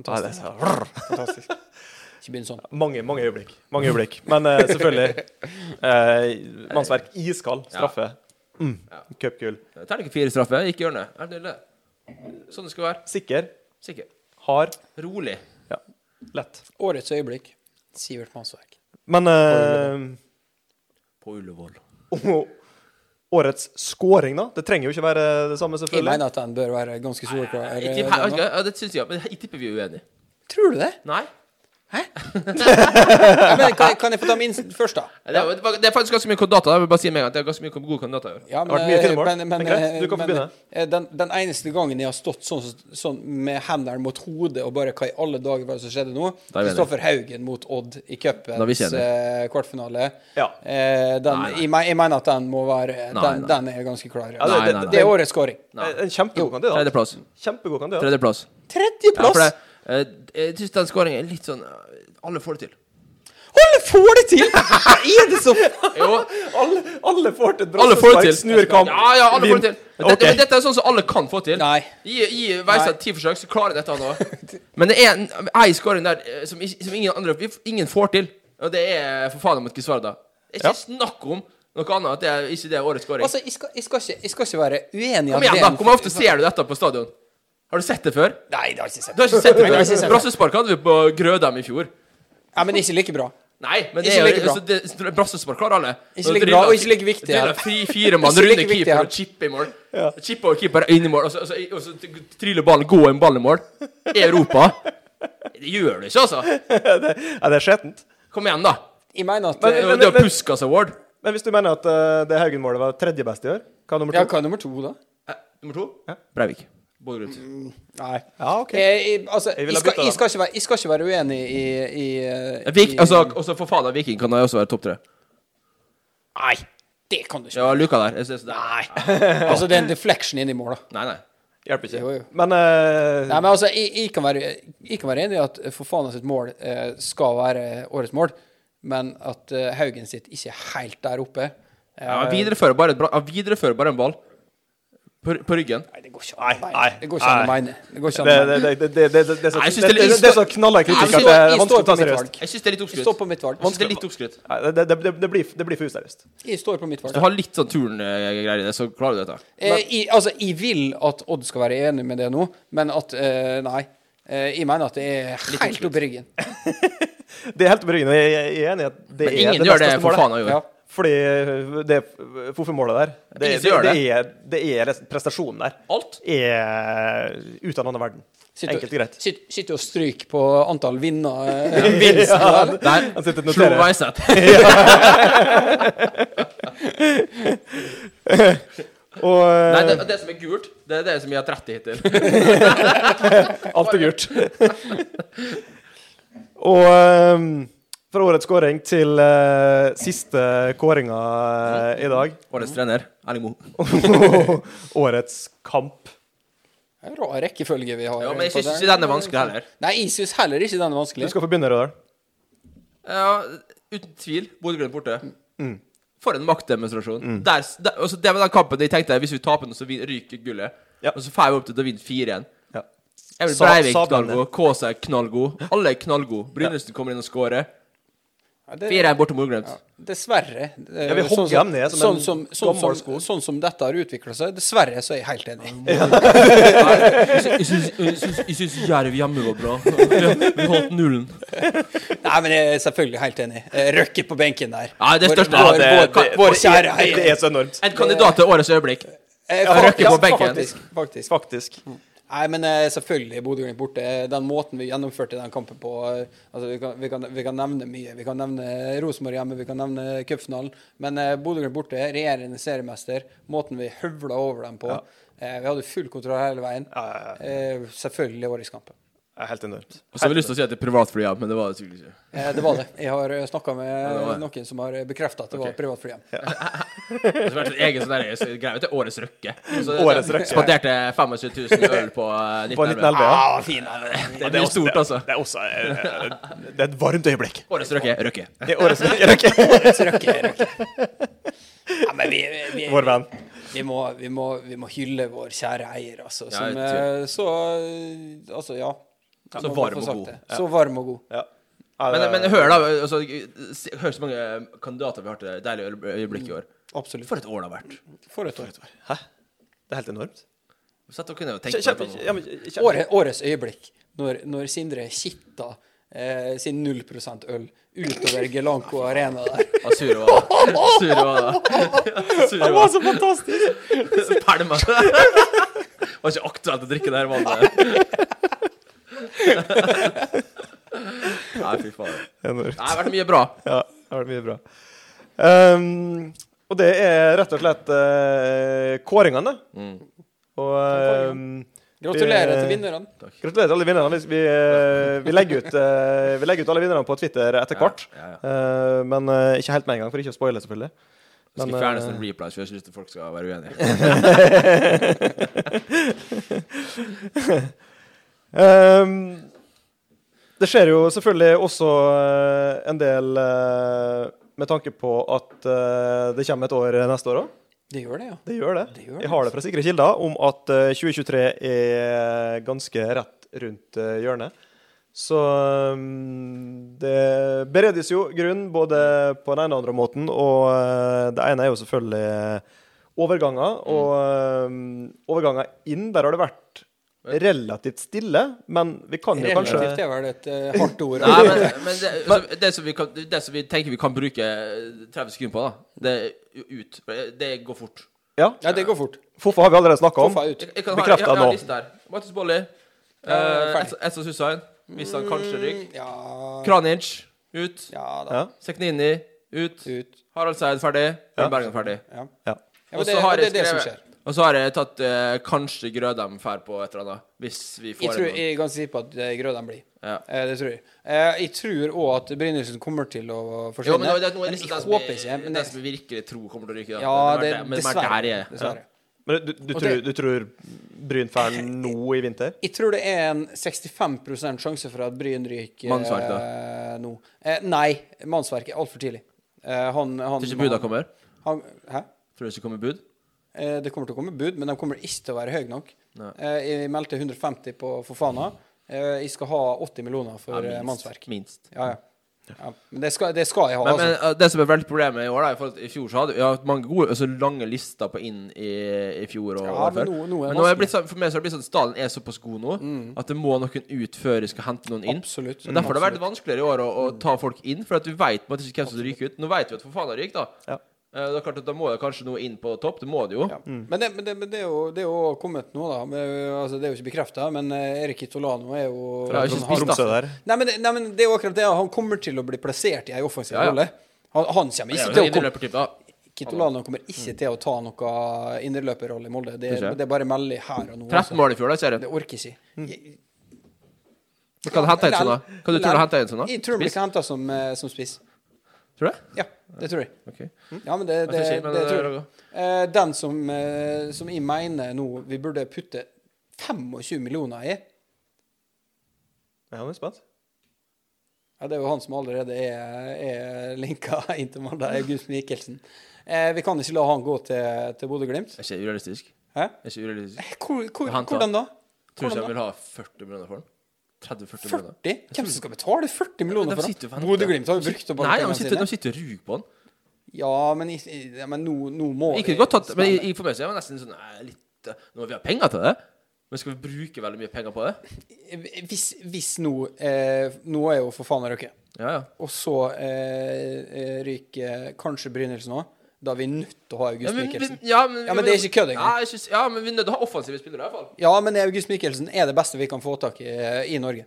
S1: Nei, det er så-
S2: Fantastisk. Ikke begynn sånn.
S1: Mange, mange øyeblikk. Mange øyeblikk. Men eh, selvfølgelig. eh, mannsverk. Iskald. Straffe. Mm. Cupgull.
S3: Terningkast fire straffe, gikk i hjørnet. Er det det? Sånn det skal være.
S1: Sikker.
S3: Sikker.
S1: Hard.
S3: Rolig.
S1: Ja. Lett.
S2: Årets øyeblikk. Sivert Mannsverk.
S1: Men eh,
S3: På Ullevål.
S1: og- årets scoring, da? Det trenger jo ikke være det samme,
S2: Jeg
S1: selvfølgelig.
S2: mener at den bør være ganske soleklar.
S3: Jeg
S2: eh, den
S3: tipper, jeg,
S2: da.
S3: altså, ja, det synes jeg, men jeg tipper vi er uenige.
S2: Tror du det?
S3: Nei?
S2: Ja, men, kan, jeg- kan jeg få ta min s- først, da?
S3: Det er, det var- det er faktisk ganske mye kandidater. Jeg vil bare si med en gang at Det er ganske mye gode kandidater i år.
S2: Ja,
S1: Det har vært mye fine mål,
S2: men, men,
S1: men greit, du kan få
S2: men,
S1: begynne.
S2: eh, Den, den eneste gangen jeg har stått sånn, sånn med hendene mot hodet og bare hva i alle dager var det som skjedde nå?
S3: Da er vi enige.
S2: Kristoffer Haugen mot Odd i
S3: Da er vi
S2: cupens
S3: ikke
S2: eh, kvartfinale.
S1: Ja.
S2: Eh, den,
S3: Nei, nei.
S2: Jeg, me- jeg mener at den må være Den,
S3: Nei, nei.
S2: den er ganske klar.
S1: Ja,
S3: Nei,
S1: det,
S3: nei,
S1: det,
S3: nei.
S2: Det er årets scoring.
S1: det er en kjempegod kandidat.
S3: Tredjeplass.
S1: Kjempegod kandidat.
S3: Tredjeplass. Ja, for
S2: Tredjeplass!
S3: det, eh, jeg synes den skåringen er litt sånn eh, Alle får det til.
S2: Alle får det til! Hva er det som
S3: Jo,
S1: Alle, alle får til
S3: alle får det til.
S1: snur kamp.
S3: Ja, ja, alle får det til. Men dette,
S1: Ok.
S3: men dette er sånn som alle kan få til.
S2: Nei.
S3: Gi, gi Veistad ti forsøk, så klarer jeg dette nå. Men det er en ei scoring der eh, som, ikke- som ingen andre Ingen får til. Og det er for faen mot Kisvarda. Det er
S1: Ja.
S3: ikke snakk om noe annet at det er ikke det er årets scoring.
S2: Altså, jeg skal, jeg, skal ikke, jeg skal ikke være uenig i at
S3: Kom igjen,
S2: det er
S3: da.
S2: en-
S3: Hvor ofte ser du dette på stadion? Har du sett det før?
S2: Nei, det har jeg ikke sett.
S3: Du har ikke sett
S2: Nei, jeg har ikke
S3: det
S2: sett
S3: før?
S2: det.
S3: Brassespark hadde vi på Grødem i fjor.
S2: Ja, men ikke like bra.
S3: Nei, men det
S2: Ikke
S3: er
S2: like bra.
S3: jo altså, det- Brassespark klarer alle.
S2: Ikke like bra, og ikke like viktig, ja.
S3: Driller fri fire mann,
S2: Ikke like
S3: runde
S2: viktig,
S3: keeper
S2: ja.
S3: og chippe i mål. Chippe over keeper inn i mål, og så, og så, og så tryller ballen, gå en ball i mål. I Europa. Det gjør du ikke, altså.
S1: Ja, det er skjetent.
S3: Kom igjen, da.
S2: Jeg mener at
S3: Det er
S2: eh,
S3: jo- det er jo Puskas Award.
S1: Men hvis du mener at eh, det Haugen-målet var tredje best i år, hva er nummer to?
S2: Ja, hva er nummer to, da?
S3: Eh, Nummer to? Breivik. Bodø-Glimt.
S2: Nei.
S1: Ja, ok.
S2: Jeg, jeg, altså,
S1: Jeg
S2: jeg,
S1: ville ha
S2: skal,
S1: byttet, da.
S2: jeg, skal ikke være, jeg skal ikke være uenig i, i, eh,
S3: Vik,
S2: i
S3: altså, også for faen av Viking kan det også være topp tre.
S2: Nei, det kan du ikke.
S3: Det var Luka der. Jeg synes det er.
S2: Altså, det er en deflection inn i mål, da.
S3: Nei, nei.
S1: Hjelper
S2: Jo, jo.
S1: Men eh,
S2: Nei, men altså, jeg, jeg, kan være, jeg kan være enig i at for faen av sitt mål eh, skal være årets mål, men at eh, Haugen sitt ikke er helt der oppe eh,
S3: Ja, han viderefører bare, et bra- han viderefører bare en ball på, på ryggen.
S2: Nei, det går ikke an å
S1: Nei,
S2: mene.
S1: nei,
S2: Det går ikke an å
S1: nei.
S2: mene. Det går ikke an
S1: det,
S2: å
S1: det,
S2: mene.
S1: det, det, det, det, det, det,
S3: Nei, jeg
S1: det,
S3: synes det er litt-
S1: det, det er så knallet kritikk
S2: Jeg
S1: at det er
S2: står- jeg
S1: vanskelig
S2: står
S1: å
S2: på
S1: ta
S2: mitt
S1: seriøst.
S2: valg.
S3: Jeg syns det er litt
S2: Jeg
S3: oppskrytt.
S2: står på mitt valg.
S3: Jeg synes det er litt oppskrytt.
S1: Nei, det, det, det, det, blir, det blir for useriøst.
S2: Jeg står på mitt valg.
S3: Hvis du har litt sånn turngreier i det, så klarer du dette.
S2: Eh, jeg, altså, jeg vil at Odd skal være enig med det nå, men at eh, Nei. Eh, jeg mener at det er helt
S3: oppskrytt.
S2: oppi ryggen.
S1: Det er helt betryggende. Jeg, jeg, jeg er enig i at det
S3: Men
S1: er
S3: ingen
S1: det
S3: gjør det
S1: beste
S3: for
S1: målet.
S3: faen av
S2: Ja.
S3: jord.
S1: Fordi eh, det Fofu-målet der, det,
S3: Ingen
S1: det,
S3: som gjør
S1: det, er, det er prestasjonen der.
S3: Alt.
S1: Er ute av den andre verden.
S2: Sitter,
S1: Enkelt og greit.
S2: sitter, sitter og stryker på antall vinner. Eh, vinster, der.
S3: Der
S1: Han sitter og
S3: slo
S1: noterer.
S3: Weiseth.
S1: Og eh,
S3: Nei, det, det som er gult, det er det som gir 30 hittil.
S1: Alt er gult. og ehm, fra årets scoring til eh, siste kåringa eh, i dag.
S3: Årets trener, Erling Moe.
S1: årets kamp.
S2: Det er en rar rekkefølge vi har.
S3: Ja, men jeg
S2: på
S3: syns
S2: der.
S3: ikke den er vanskelig heller.
S2: Nei, jeg syns heller ikke den er
S1: Du
S2: vanskelig.
S1: skal få begynne, Rødal.
S3: Ja, uten tvil. Bodø-Glimt borte.
S1: Mm.
S3: For en maktdemonstrasjon. Der, der, altså, det var den kampen jeg tenkte hvis vi taper nå, så vi- ryker gullet.
S1: Ja.
S3: Og så får vi opp til å vinne 4-1.
S1: Ja.
S3: Emil
S1: Sa-
S3: Breivik
S1: sa den
S3: knallgod. Kaasa er knallgod. Alle er knallgode. Brynesen kommer inn og scorer.
S2: Ja, det-
S3: 4-1 borte mot Bodø-Glimt.
S2: Ja, dessverre. eh,
S1: vi hogger
S2: som-
S1: dem ned som
S2: sånn
S1: en
S2: som, sånn,
S1: gammel
S2: som, sånn som dette har utvikla seg. Dessverre så er jeg helt enig.
S3: Jeg syns- Jeg syns- jeg syns Jerv hjemme var bra. Vi- Vi holdt nullen.
S2: Nei, men jeg er selvfølgelig helt enig. Eh, Røkke på benken der.
S3: Ja, det er
S2: Vår-
S3: største-
S2: Vår,
S3: Ja,
S1: det-
S2: vår,
S1: det-
S2: vår kjære
S1: Det, det
S2: heier.
S1: er så enormt.
S3: En kandidat til årets øyeblikk.
S2: Eh,
S1: Ja,
S2: fa-
S3: Røkke på benken.
S2: Faktisk. faktisk.
S1: Faktisk.
S2: Nei, men eh, selvfølgelig Bodø-Glimt borte. Eh, Den måten vi gjennomførte den kampen på eh, altså, vi, kan, vi, kan, vi kan nevne mye. Vi kan nevne eh, Rosenborg hjemme, vi kan nevne cupfinalen. Men eh, Bodø-Glimt borte, regjerende seriemester. Måten vi høvla over dem på. Eh, vi hadde full kontroll hele veien.
S1: Ja, ja, ja.
S2: Eh, selvfølgelig årets kamp.
S1: Det er helt enormt.
S3: Og så har vi lyst til å si at det er privatfly, ja, men det var det tydeligvis ikke.
S2: Eh, Det var det. Jeg har snakka med
S3: det var det.
S2: noen som har bekrefta at det var
S3: Ok.
S2: privatflyhjem.
S3: Det har vært en egen sånn der- så greie til årets røkke. Så det- sånn,
S1: Årets Røkke.
S3: Spanderte 25 000 øl på eh,
S1: På
S3: 1911.
S1: 1911, ja.
S2: Ah, fin er den.
S3: Det blir stort, altså.
S1: Det er også eh, Det er et varmt øyeblikk.
S3: Årets røkke. Røkke.
S1: Det er årets øyeblikk.
S2: Årets røkke, røkke. Ja, men vi, vi,
S1: Vår
S2: vi,
S1: venn.
S2: vi, må, vi, må, vi må hylle vår kjære eier, altså.
S3: Ja,
S2: Som
S3: jeg
S2: eh, så eh, Altså, ja.
S3: Så
S2: Jeg må
S3: varm
S2: bare få
S3: og
S2: sagt
S3: god.
S2: det. Så varm og god.
S1: Ja. Ja,
S3: Men,
S1: det-
S3: men hør, da. Altså, se- hør så mange eh, kandidater vi har til det deilige øl- øyeblikk i år.
S2: Absolutt.
S3: For et år det har vært.
S2: For et år.
S1: Hæ? Det er helt enormt.
S3: Sett dere ned og tenk på
S1: Kjem-
S3: dette
S1: kjem-
S3: nå.
S1: ja, men kjem-
S2: Året, årets øyeblikk, når, når Sindre kitta eh, sin 0 %-øl utover Gelanco Arena der.
S3: Ja, Sure var det. Sure var det.
S1: Det
S3: Sure
S1: var
S3: var
S1: så fantastisk!
S3: det. Pælma. Det var ikke aktuelt å drikke det her vannet. Nei, fy faen. Nei,
S1: Enormt.
S3: Det har vært mye bra.
S1: Ja, det har vært mye bra. Ehm, og det er rett og slett eh, kåringene.
S3: Mm.
S1: Og ehm,
S2: Gratulerer
S1: vi-
S2: til vinnerne.
S1: Gratulerer til alle vinnerne. Vi, vi, eh, vi, legger ut, eh, vi legger ut alle vinnerne på Twitter etter hvert.
S3: Ja, ja.
S1: Eh, men eh, ikke helt med en gang, for ikke å spoile, selvfølgelig.
S3: Skal
S1: Men,
S3: vi fjerne
S1: eh,
S3: sånn sånne replies, for jeg har ikke lyst til at folk skal være uenige.
S1: Ehm, eh, Det skjer jo selvfølgelig også eh, en del eh, med tanke på at eh, det kommer et år neste år òg.
S2: Det gjør det, ja.
S1: Det gjør det.
S2: Det gjør det, altså.
S1: Jeg har det fra sikre kilder om at eh, 2023 er ganske rett rundt eh, hjørnet. Så mm, det beredes jo grunn både på den ene og andre måten, og eh, det ene er jo selvfølgelig eh, overganger.
S2: Mm.
S1: Og eh, overganger inn, der har det vært relativt stille, men vi kan jo kanskje
S2: Relativt er vel et eh, hardt ord.
S3: Nei, men, men det, altså, det, som vi kan, det som vi tenker vi kan bruke 30 sekunder på, da, det er ut. Det går fort.
S1: Ja.
S2: Ja, det går fort.
S1: Foffa har vi allerede snakka om.
S2: Foffa er ut.
S3: Jeg, jeg kan ha, jeg,
S1: Bekreftet
S3: jeg har
S1: nå.
S3: en liste der. Mattis Bolli.
S2: Eh,
S3: Uh,
S2: ferdig.
S3: Essa Susain. Hvis han kanskje ryker.
S2: Ja,
S3: Kranic ut.
S2: ja da.
S1: Ja.
S3: Seknini ut.
S2: Ut.
S3: Harald Seid ferdig.
S1: Ja.
S3: Bjørn Bergen ferdig.
S2: Ja.
S1: Ja.
S2: Ja, men
S3: Og
S2: det,
S3: så har
S2: det
S3: jeg
S2: er det som
S3: skrevet
S2: skjer.
S3: Og så har jeg tatt eh, kanskje Grødem fær på et eller annet. Hvis vi får
S2: Jeg tror
S3: en
S2: jeg er ganske sikker på at eh, Grødan blir.
S3: Ja.
S2: Eh, Det tror jeg. Eh, Jeg tror òg at Brynildsen kommer til å
S3: Jo,
S2: forsvinne.
S3: men det er noe
S2: men
S3: liksom
S2: jeg
S3: den som
S2: håper ikke.
S3: jeg-
S2: Men
S3: Den
S2: det,
S3: som jeg virkelig tror kommer til å ryke. da.
S2: ja,
S3: Men
S2: det,
S3: er- men er der jeg
S2: dessverre.
S3: er.
S2: dessverre.
S1: Men du, du,
S2: Og
S1: tror,
S2: det-
S1: du tror Bryn drar nå i vinter?
S2: Jeg tror det er en 65 sjanse for at Bryn ryker
S3: Mannsverk,
S2: eh, nå. Eh, nei, mannsverk er altfor tidlig. Eh, han, han,
S3: Tror du ikke buda kommer?
S2: han, Hæ?
S3: Tror du ikke kommer bud?
S2: Eh, det kommer til å komme bud, men de kommer ikke til å være høye nok.
S3: Nei.
S2: Eh, jeg meldte 150 på Fofana. Eh, jeg skal ha 80 millioner for
S3: Ja,
S2: eh,
S3: minst.
S2: mannsverk.
S3: minst.
S2: Ja, ja. ja. Men det skal, det skal jeg ha,
S3: Men, men
S2: altså.
S3: uh, det som er veldig problemet i år, da, i forhold til i fjor så hadde vi hatt mange gode, altså lange lister på inn i, i fjor og
S2: Ja,
S3: året
S2: men
S3: før.
S2: nå- nå er det
S3: men nå er det
S2: vanskelig. Mm.
S3: blitt sånn, for meg så har det blitt sånn at stallen er såpass god nå at det må noen ut før de skal hente noen inn.
S2: Absolutt. Mm.
S3: Og Derfor har det vært vanskeligere i år å, å ta folk inn, for at du vet på en måte ikke hvem som ryker ut. Nå vet vi at for faen ryker, da.
S1: Ja.
S3: Eh, det er klart at da må det kanskje noe inn på topp. Det må det jo.
S2: Ja. Men, det, men, det, men det er jo det er jo kommet nå, da. Men, altså, det er jo ikke bekrefta, men eh, Erik Kitolano er jo
S3: For det er jo ikke
S2: han-
S3: spist, da.
S1: Tromsø der.
S2: Nei, men, det- nei, men det er jo akkurat det. Han kommer til å bli plassert i ei offensiv
S3: Ja, ja.
S2: rolle. Han, han kommer
S3: Det
S2: ikke til å
S3: er jo en
S2: komme
S3: innløpertype, da.
S2: Kitolano kommer ikke til å ta noe indreløperrolle i Molde. Det,
S3: Ikke?
S2: det er bare meldig her og nå. altså.
S3: 13 mål i fjor, da, ser
S2: Det
S3: jeg.
S2: orker jeg ikke. Jeg,
S3: Hva kan du hente inn sånn, da? Hva du tror du henter inn sånn, da?
S2: Jeg tror han blir
S3: Spiss?
S2: henta som, eh, som spiss.
S3: Tror du det?
S2: Ja, det tror jeg.
S3: Ok.
S2: Ja, men det,
S3: Mm. Jeg
S2: det,
S3: skal si,
S2: det,
S3: men det
S2: tror
S3: er
S2: jeg. Eh, Den som, eh, som jeg mener nå vi burde putte 25 millioner i,
S1: Ja, nå er jeg spent.
S2: ja, det er jo han som allerede er, er linka inn til Molde, August Michelsen. Eh, vi kan ikke la han gå til, til Bodø-Glimt.
S3: Er ikke urealistisk.
S2: Hæ?
S3: Er ikke urealistisk.
S2: Eh, Hvor, hvor,
S3: Han tar-
S2: hvordan da?
S3: Tror du ikke
S2: Hvordan
S3: de
S2: da?
S3: vil ha 40 millioner for den? 30-40
S2: 40?
S3: millioner?
S2: Hvem som skal betale 40 millioner
S3: de
S2: for
S3: sitter og
S2: han?
S3: venter.
S2: Bodø-Glimt har jo brukt opp
S3: Nei,
S2: alle
S3: de sitter,
S2: pengene sine.
S3: de sitter og ruger på den.
S2: Ja, men, i- ja, men nå, nå må
S3: Ikke
S2: vi
S3: godt tatt, men
S2: spille.
S3: i, i for meg så er det nesten sånn eh, litt eh, Nå har vi har penger til det, men skal vi bruke veldig mye penger på det?
S2: Hvis, hvis nå eh, Nå er jo for faen røket.
S3: Ja, ja.
S2: Og så eh, eh, ryker kanskje Brynildsen òg. Da er vi nødt til å ha
S3: Ja,
S2: August
S3: men,
S2: Mikkelsen.
S3: vi- ja, men,
S2: Ja, men det er ikke kødd engang.
S3: Ja, jeg synes- ja, men vi er nødt til å ha offensive spillere, i hvert fall.
S2: Ja, men August Mikkelsen er det beste vi kan få tak i eh, i Norge.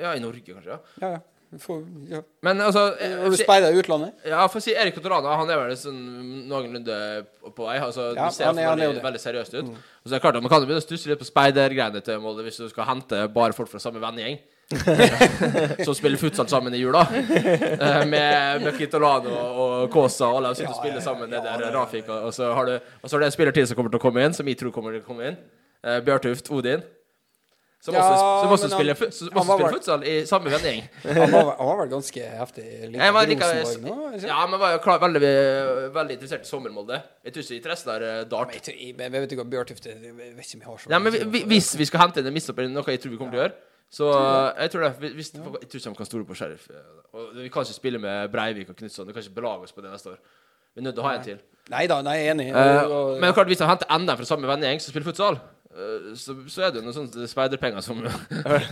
S3: Ja, i Norge, kanskje. ja
S2: Ja, ja. Vi får- ja.
S3: Men altså eh,
S2: Har du
S3: si-
S2: speida i utlandet?
S3: Ja, for å si Erik Cotorana, han er vel sånn noenlunde på vei. Altså,
S2: Ja,
S3: du ser
S2: han er- han er
S3: iallfall
S2: jo
S3: veldig,
S2: det. Mm.
S3: veldig seriøst ut. Og så er det klart at Man kan jo begynne å stusse litt på speidergreiene til Molde hvis du skal hente bare folk fra samme vennegjeng. som spiller futsal sammen i jula. Eh, med med Kitolano og Kåsa og alle. Og sitter og spiller sammen nede der Rafik. Og og så, har du, og så er det en spiller til som kommer til å komme inn, som jeg tror kommer til å komme inn. Eh, Bjørtuft Odin. Som
S2: Ja,
S3: også, som også
S2: men han-
S3: spiller, fu- som
S2: han
S3: også
S2: var
S3: spiller
S2: vel-
S3: futsal i samme vennegjeng.
S2: Han var, han var vel ganske heftig? Like
S3: Jeg var like,
S2: Rosenborg nå? ikke sant?
S3: ja, men var jo klar, veldig, veldig interessert i sommermolde. Jeg tror ikke interessen er eh,
S2: Men
S3: dart.
S2: Jeg, tror- jeg, jeg vet ikke hva Bjørtuft Jeg vet ikke om jeg har så
S3: Nei, men vi, vi, hvis vi skal hente inn en mistopp eller noe jeg tror vi kommer til å gjøre, så eh, jeg tror det. vi- Hvis, Jeg tror ikke de kan stole på Sheriff. eh, Og vi kan ikke spille med Breivik og Knutson. Vi kan ikke belage oss på det neste år. Vi er nødt til å ha en til.
S2: Nei da, nei, jeg er enig.
S3: Eh,
S2: Og- og-
S3: men klart, hvis de henter enda en fra samme vennegjeng som spiller futsal, eh, så, så er det jo noen sånne speiderpenger som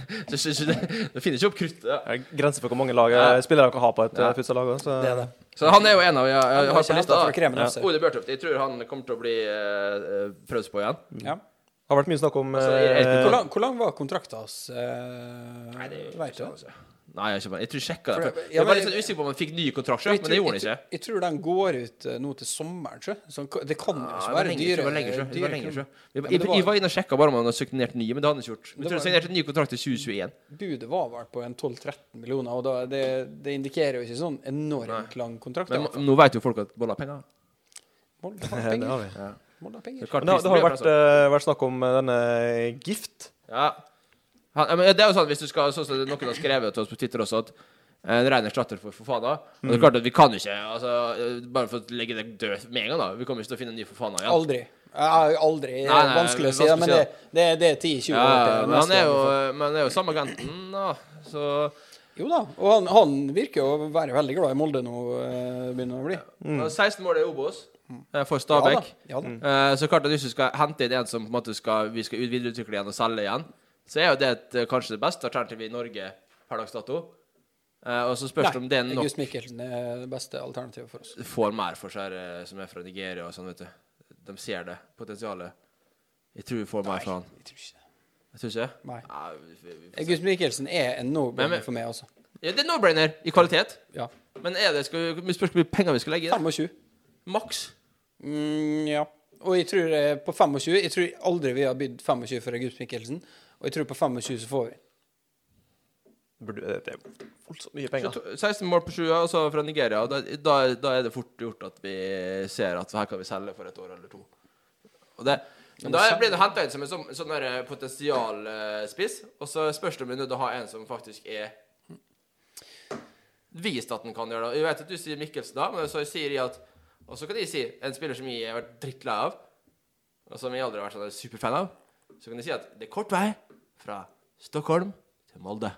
S3: så, så, så, det, det finner ikke opp kruttet. Ja.
S1: Det er Grenser for hvor mange lag,
S3: Ja.
S1: spillere kan ha på et
S3: Ja.
S1: eh, futsallag. også, Så.
S2: det er det.
S3: Så han er jo en av jeg, jeg,
S2: Han
S3: har
S2: har
S3: på
S2: ikke
S3: lista.
S2: hentet fra Kremen
S3: da.
S2: FC.
S3: Ole Bjørtoft. Jeg tror han kommer til å bli eh, eh, prøvd på igjen.
S2: Ja.
S1: Det har vært mye snakk om
S3: Altså, jeg- jeg-
S2: Hvor,
S1: eh,
S2: lang, hvor lang var kontrakten hans? Nei, vet du. det?
S3: Nei, jeg, er ikke, jeg tror jeg sjekka det.
S2: For det-
S3: før.
S2: ja,
S3: Jeg var
S2: men-
S3: litt sånn usikker på om han fikk ny kontrakt,
S2: Jeg
S3: selv, men det
S2: tror-
S3: gjorde han ikke.
S2: jeg, tror- jeg tror den går ut eh, nå til sommeren, sjø. Så han kan- det kan jo
S3: Ja,
S2: ikke
S3: det
S2: være
S3: var lenge-
S2: dyre
S3: det var lenge selv, det var
S2: dyre
S3: lenge
S2: kroner.
S3: selv.
S2: Ja,
S3: Jeg
S2: men
S3: jeg-
S2: det var-
S3: jeg var inne og sjekka bare om han hadde signert ny, men det hadde han ikke gjort. Jeg
S2: Det
S3: tror han
S2: var-
S3: signerte ny kontrakt i 2021.
S2: Budet var vel på en 12-13 millioner, og da, det, det indikerer jo ikke sånn enormt lang kontrakt. altså-
S3: Men
S2: da.
S3: ma- nå vet jo folk at Bolle har penger.
S2: Molde har
S1: det har
S2: penger.
S1: vi.
S2: Molde har eh,
S3: Det,
S2: penger.
S3: er klart
S1: Men det,
S3: prisen
S1: det har
S3: blir
S1: eh, vært,
S3: presset.
S1: eh, vært snakk om eh, denne Gift.
S3: Ja. Han, ja, men det er jo sånn, hvis du skal, sånn som Noen har skrevet til oss på Twitter også at eh, en rein erstatter for Fofana. Og det
S2: Mm.
S3: er klart at Vi kan jo ikke altså, eh, bare for å legge det død med en gang. da Vi kommer ikke til å finne en ny Fofana igjen.
S2: Aldri. Jeg er jo aldri
S3: Nei, nei,
S2: Vanskelig å si, det, men det,
S3: vanskelig å
S2: det, er- det er 10-20
S3: Ja,
S2: år til.
S3: men han
S2: neste
S3: er jo, eh,
S2: gang vi
S3: men han er jo samme agenten, da. Så
S2: får- Jo da. Og han, han virker jo å være veldig glad i Molde nå, eh, begynner å bli.
S3: og 16 mål er Obos eh, for
S2: Ja da.
S3: Stabæk.
S2: Ja, da.
S3: Eh, Så klart at hvis du skal hente inn en som på en måte skal, vi skal ut- videreutvikle igjen og selge igjen, så er jo det et, eh, kanskje det beste alternativet i Norge per dags dato. Eh, Og så spørs det om det er
S2: Nei,
S3: nok
S2: August Mikkelsen er det beste alternativet for oss.
S3: får mer for seg eh, som er fra Nigeria og sånn, vet du. De ser det, potensialet. Jeg tror vi får mer fra han.
S2: Jeg tror ikke det.
S3: Jeg tror ikke det.
S2: Nei.
S3: Ja, vi- vi- vi får se.
S2: August Mikkelsen Eh, er en
S3: Men-
S2: no-brainer
S3: men-
S2: for meg, altså.
S3: Ja, det er no-brainer i kvalitet.
S2: Ja.
S3: Men er det, skal vi, vi spørs hvor mye penger vi skal legge i det.
S2: 25.
S3: Maks.
S2: Mm, ja. Og jeg tror eh, på 25 Jeg tror aldri vi har bydd 25 for August Mikkelsen. Og jeg tror på 25 så får vi.
S1: Burde, eh, det er voldsomt mye
S3: Så
S1: penger.
S3: to- 16 mål på sjua, og så fra Nigeria. og Da, da, da er det fort gjort at vi ser at her kan vi selge for et år eller to. Og det, men da blir det henta inn som en sånn, sånn der potensialspiss, og så spørs det om vi er nødt til å ha en som faktisk er Vist at den kan gjøre det. Jeg vet at du sier Mikkelsen, da, men så sier jeg at Og så kan de si en spiller som jeg har vært drittlei av, og som jeg aldri har vært sånn superfan av, så kan de si at det er kort vei fra Stockholm til Molde.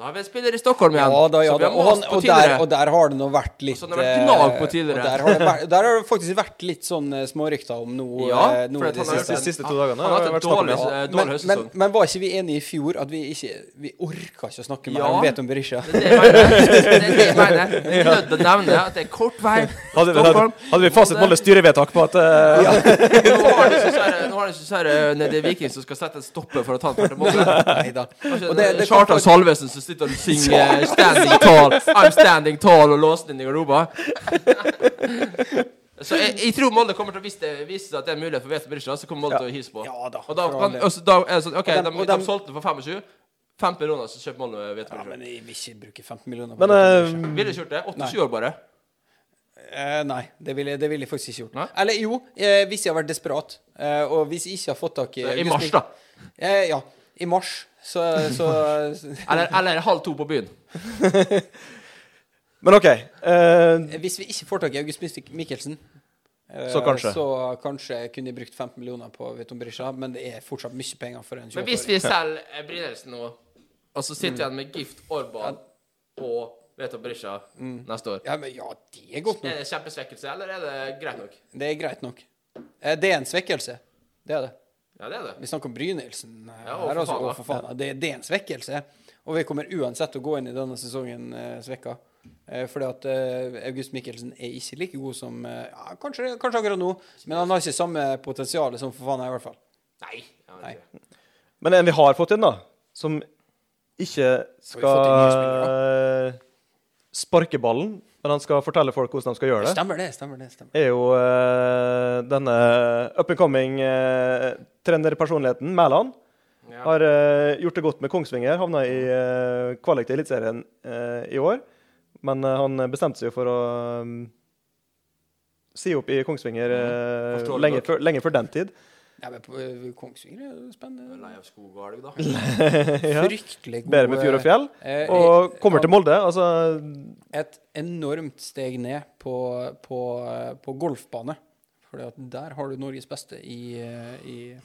S3: Da har vi en spiller i Stockholm igjen.
S2: Ja da, ja
S3: som vi
S2: da.
S3: har
S2: Og, han,
S3: mast på
S2: og, der,
S3: tidligere.
S2: og der har det nå vært litt
S3: så har det vært gnag på
S2: eh,
S3: tidligere.
S2: og Der har, det vært, der har det faktisk vært litt sånn eh, smårykter om noe,
S3: Ja,
S2: eh,
S3: for
S2: noe i
S3: at
S2: det
S3: han
S1: De
S3: har
S2: siste.
S3: gjort en-
S1: siste to dagene
S3: Han
S1: har
S3: har hatt
S1: det
S3: en
S1: vært snakk om
S3: dårlig,
S1: det.
S3: eh,
S2: Men,
S3: dårlig
S2: men,
S3: høstsesong.
S2: men var ikke vi enige i fjor at vi ikke Vi orka ikke å snakke mer
S3: Ja.
S2: om Veton Berisha?
S3: Det er det jeg mener. Det er det jeg mener. Jeg er nødt til å nevne at det er kort vei.
S1: Hadde, vi- hadde,
S3: Stockholm.
S1: hadde vi fasit Moldes styrevedtak på at eh,
S3: Nå har det ikke sånn nede i Viking som skal sette en stopper for å ta en part i målet.
S2: Neida. Og det, det kom faktisk-
S3: Kjartan Altså, Salvesen som sitter og synger 'Standing Tall', 'I'm Standing Tall' og låser den inn i garderoben. Så jeg, jeg tror Molde kommer til å vise det vise seg at det er en mulighet for Veto Berisha, så kommer Molde til å hisse på.
S2: Ja da,
S3: og da,
S2: for all
S3: kan,
S2: del.
S3: og så da er det sånn OK,
S2: Og
S3: de,
S2: dem-
S3: de,
S2: og dem-
S3: solgte den for 25. 5 millioner, så kjøper Molde Veto
S2: ja,
S3: Berisha.
S2: men jeg vil ikke bruke 15 millioner på
S1: Men
S2: Veton
S1: eh,
S2: Berisha.
S3: Ville ikke gjort det. 87 år bare.
S2: Eh, nei, det ville, det ville jeg faktisk ikke gjort.
S3: Nei?
S2: Eller jo, eh, hvis jeg har vært desperat, eh, og hvis jeg ikke har fått tak i
S3: I
S2: August
S3: mars,
S2: Mik-
S3: da.
S2: Eh, ja. I mars. Så, så
S3: Eller, eller halv to på byen.
S1: Men OK. eh,
S2: Hvis vi ikke får tak i August Mik- Mikkelsen, eh,
S1: Så kanskje.
S2: så kanskje kunne jeg brukt 15 millioner på Veton Berisha, men det er fortsatt mye penger for en
S3: Men
S2: 20-åring.
S3: hvis vi selger eh, Brynildsen nå, og så sitter vi igjen med Gift Orban og Veto Berisha neste år
S2: Ja, men ja, det er godt nok.
S3: Er det kjempesvekkelse, eller er det greit nok?
S2: Det er greit nok. Eh, det er en svekkelse. Det er det.
S3: Ja, det er det.
S2: Vi snakker om Brynildsen eh,
S3: Ja, og
S2: her, altså.
S3: Fofana.
S2: Og Fofana. Det, det er en svekkelse. Og vi kommer uansett å gå inn i denne sesongen eh, svekka. Eh, fordi at eh, August Mikkelsen er ikke like god som eh, ja, kanskje, kanskje akkurat nå, men han har ikke samme potensial som Fofana, i hvert fall.
S3: Nei. Jeg vet
S2: Nei.
S3: ikke.
S1: men en vi har fått inn, da, som ikke
S2: Har vi fått inn nye
S1: skal eh, sparke ballen, men han skal fortelle folk hvordan de skal gjøre det.
S2: Stemmer det, stemmer det. stemmer
S1: er jo eh, denne up and coming eh, trenerpersonligheten, Mæland.
S3: Ja.
S1: Har eh, gjort det godt med Kongsvinger, havna i eh, kvalik til Eliteserien eh, i år. Men eh, han bestemte seg jo for å mm, si opp i Kongsvinger
S2: Mm.
S1: eh,
S3: Forståelig
S1: lenge,
S3: nok.
S1: før, lenge før den tid.
S2: Nei, men på, eh, Kongsvinger er jo
S3: Jeg er
S2: spennende.
S3: Lei av skog og elg, da.
S1: ja.
S2: Fryktelig god
S1: Bedre med fjord og fjell.
S2: eh,
S1: Og
S2: eh,
S1: kommer til
S2: han-
S1: Molde. Altså
S2: Et enormt steg ned på, på, eh, på golfbane. Fordi at der har du Norges beste i, eh, i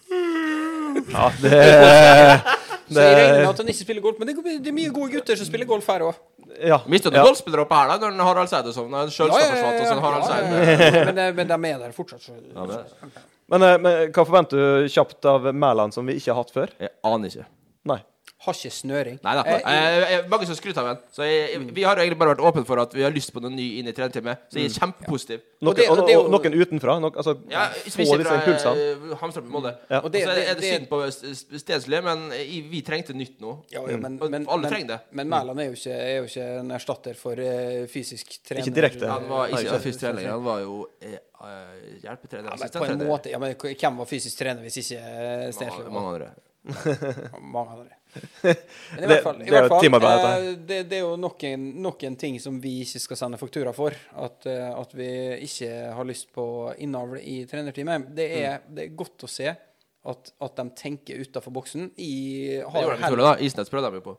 S1: Ja, det,
S2: Så jeg regner med at han ikke spiller golf, men det er- det er mye gode gutter som spiller golf her òg.
S1: ja,
S3: Mista du
S1: ja.
S3: golfspillere oppe her, da, når Harald Seid og sånn? Når Sjølstad forsvant, og så Harald Seid
S2: Men, eh, men de er der fortsatt. Så.
S1: Men, eh, men hva forventer du kjapt av Mæland, som vi ikke har hatt før?
S3: Jeg aner ikke.
S1: Nei.
S2: Har ikke snøring.
S3: Nei da.
S2: Eh, i-
S3: Eh, eh, mange som skryter av den. Så jeg, jeg, vi har jo egentlig bare vært åpne for at vi har lyst på noe ny inn i trenerteamet, så jeg
S2: Mm.
S3: er kjempepositiv.
S1: Noen,
S2: Og det- og
S1: og,
S2: det er
S1: og,
S2: jo-
S1: noen utenfra. Nok, altså,
S3: Ja,
S1: få
S2: liksom
S1: disse
S2: eh,
S1: impulsene.
S3: eh, Hamstrøm på Molde.
S1: Ja.
S3: Og
S2: Og det-
S3: så er det, er det
S2: det-
S3: synd på s- s- Stensli, men i, vi trengte nytt nå.
S2: ja, ja, men,
S3: Og
S2: men,
S3: Mm. alle
S2: men-
S3: trenger det.
S2: Men Mæland er, jo ikke- er jo ikke en erstatter for eh, fysisk trener.
S1: Ikke direkte.
S2: Ja,
S3: Han var
S1: Nei,
S3: ikke
S1: ikke.
S3: fysisk trener, han var jo eh, eh, hjelpetrener.
S2: men på en måte, ja, men hvem var fysisk trener hvis ikke eh, Stensli?
S3: Mange,
S2: var?
S3: mange andre.
S2: Mange andre. Men i
S1: Det-
S2: hvert fall,
S1: det
S2: i
S1: er jo
S2: hvert fall
S1: teamarbeid, dette her.
S2: eh, det, det er jo noen, noen ting som vi ikke skal sende faktura for. At, eh, at vi ikke har lyst på innavl i trenerteamet. Det er, det er godt å se at, at de tenker utafor boksen. I,
S3: Det
S2: har
S3: gjorde de utrolig, da. Isnes prøvde de jo på.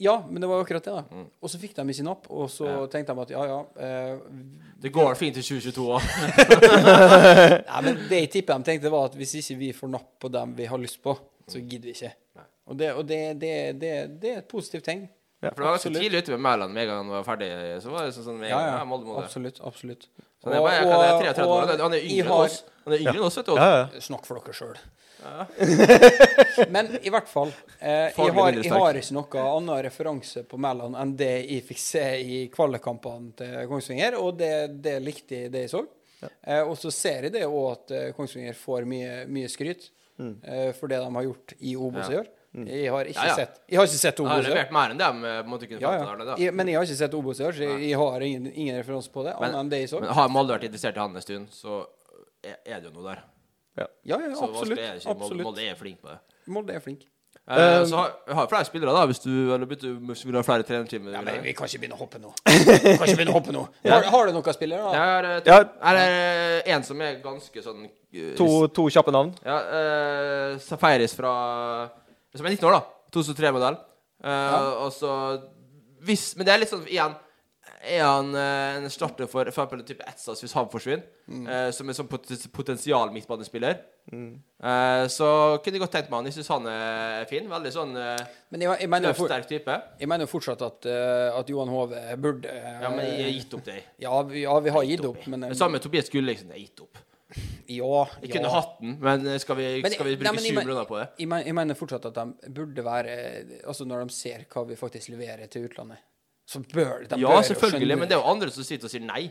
S2: Ja, men det var jo akkurat det, da. Og så fikk de ikke napp, og så tenkte de at ja, ja eh,
S3: Det går fint i 2022 òg.
S2: Nei, men det jeg tipper de tenkte, var at hvis ikke vi får napp på dem vi har lyst på, så gidder vi ikke. Og det, og det, det, det, det er et positivt tegn.
S3: For det var ganske
S2: Absolutt.
S3: tidlig ute med Mæland med en gang han var ferdig. Så var det sånn, sånn med en gang, ja, Molde, Molde.
S2: Absolutt. absolutt.
S3: Så han er, bare, han er 33 år. Han er- Han er
S2: jeg
S3: yngre enn
S2: har-
S3: oss. Han er yngre enn oss, vet du.
S1: Ja, ja.
S2: Snakk for dere sjøl. Men i hvert fall. Eh, jeg, har,
S3: Faglig mindre
S2: jeg
S3: sterk.
S2: har ikke noe annen referanse på Mæland enn det jeg fikk se i kvalikkampene til Kongsvinger, og det, det likte jeg det jeg så. Eh, og så ser jeg det òg at eh, Kongsvinger får mye, mye skryt eh, for det de har gjort i Obos i år. Jeg har ikke
S3: Mm. Ja, ja.
S2: sett Jeg har ikke sett
S3: Han har
S2: Obos i år.
S3: levert mer enn dem. eh, på en måte kunne
S2: Ja,
S3: fått
S2: ja.
S3: det der, da.
S2: Jeg, men jeg har ikke sett Obos i år, så jeg, jeg har ingen, ingen referanse på det.
S3: Men-
S2: Annet enn det jeg så.
S3: Men har Molde vært interessert i han en stund, så er er det jo noe der.
S2: Ja, ja,
S3: Så
S2: absolutt.
S3: vanskelig er det ikke. Molde,
S2: absolutt.
S3: Molde er flink på det.
S2: Molde er flink.
S3: Eh, så har, jeg har flere spillere, da, hvis du eller bytter, hvis du vil ha flere trenertimer.
S2: Ja,
S3: vil
S2: men
S3: jeg.
S2: vi kan ikke begynne å hoppe nå. Vi kan ikke begynne å hoppe nå. Har, har du noen spillere? da?
S3: Jeg har eh, to,
S1: Ja.
S3: er det en som er ganske sånn eh,
S1: To, to kjappe navn.
S3: Ja, eh, Safaris fra Som er 19 år, da. 2003-modell. Eh, Og så hvis, Men det er litt sånn igjen Er han eh, en starter for for eksempel type Etsas hvis han forsvinner?
S2: Mm.
S3: eh, som en sånn poten- potensial midtbanespiller? Eh, så kunne jeg godt tenkt meg han. Jeg syns han er fin. Veldig sånn eh,
S2: Men jeg, jeg, mener jo for,
S3: løftsterk type.
S2: jeg mener jo fortsatt at, eh, at Johan Hove burde eh,
S3: Ja, men jeg har gitt opp det. jeg.
S2: ja, vi, ja, vi har gitt opp, men eh,
S3: Det samme med Tobias Gulliksen. Jeg har gitt opp.
S2: Ja.
S3: Jeg
S2: ja.
S3: kunne hatt den, men eh, skal vi,
S2: Men-
S3: skal vi
S2: nei,
S3: bruke
S2: men jeg
S3: sju
S2: men-
S3: millioner på det?
S2: Jeg men- jeg mener fortsatt at de burde være Altså når de ser hva vi faktisk leverer til utlandet, så bør de
S3: Ja,
S2: bør jo
S3: selvfølgelig,
S2: skjønne-
S3: men det er jo andre som sitter og sier nei.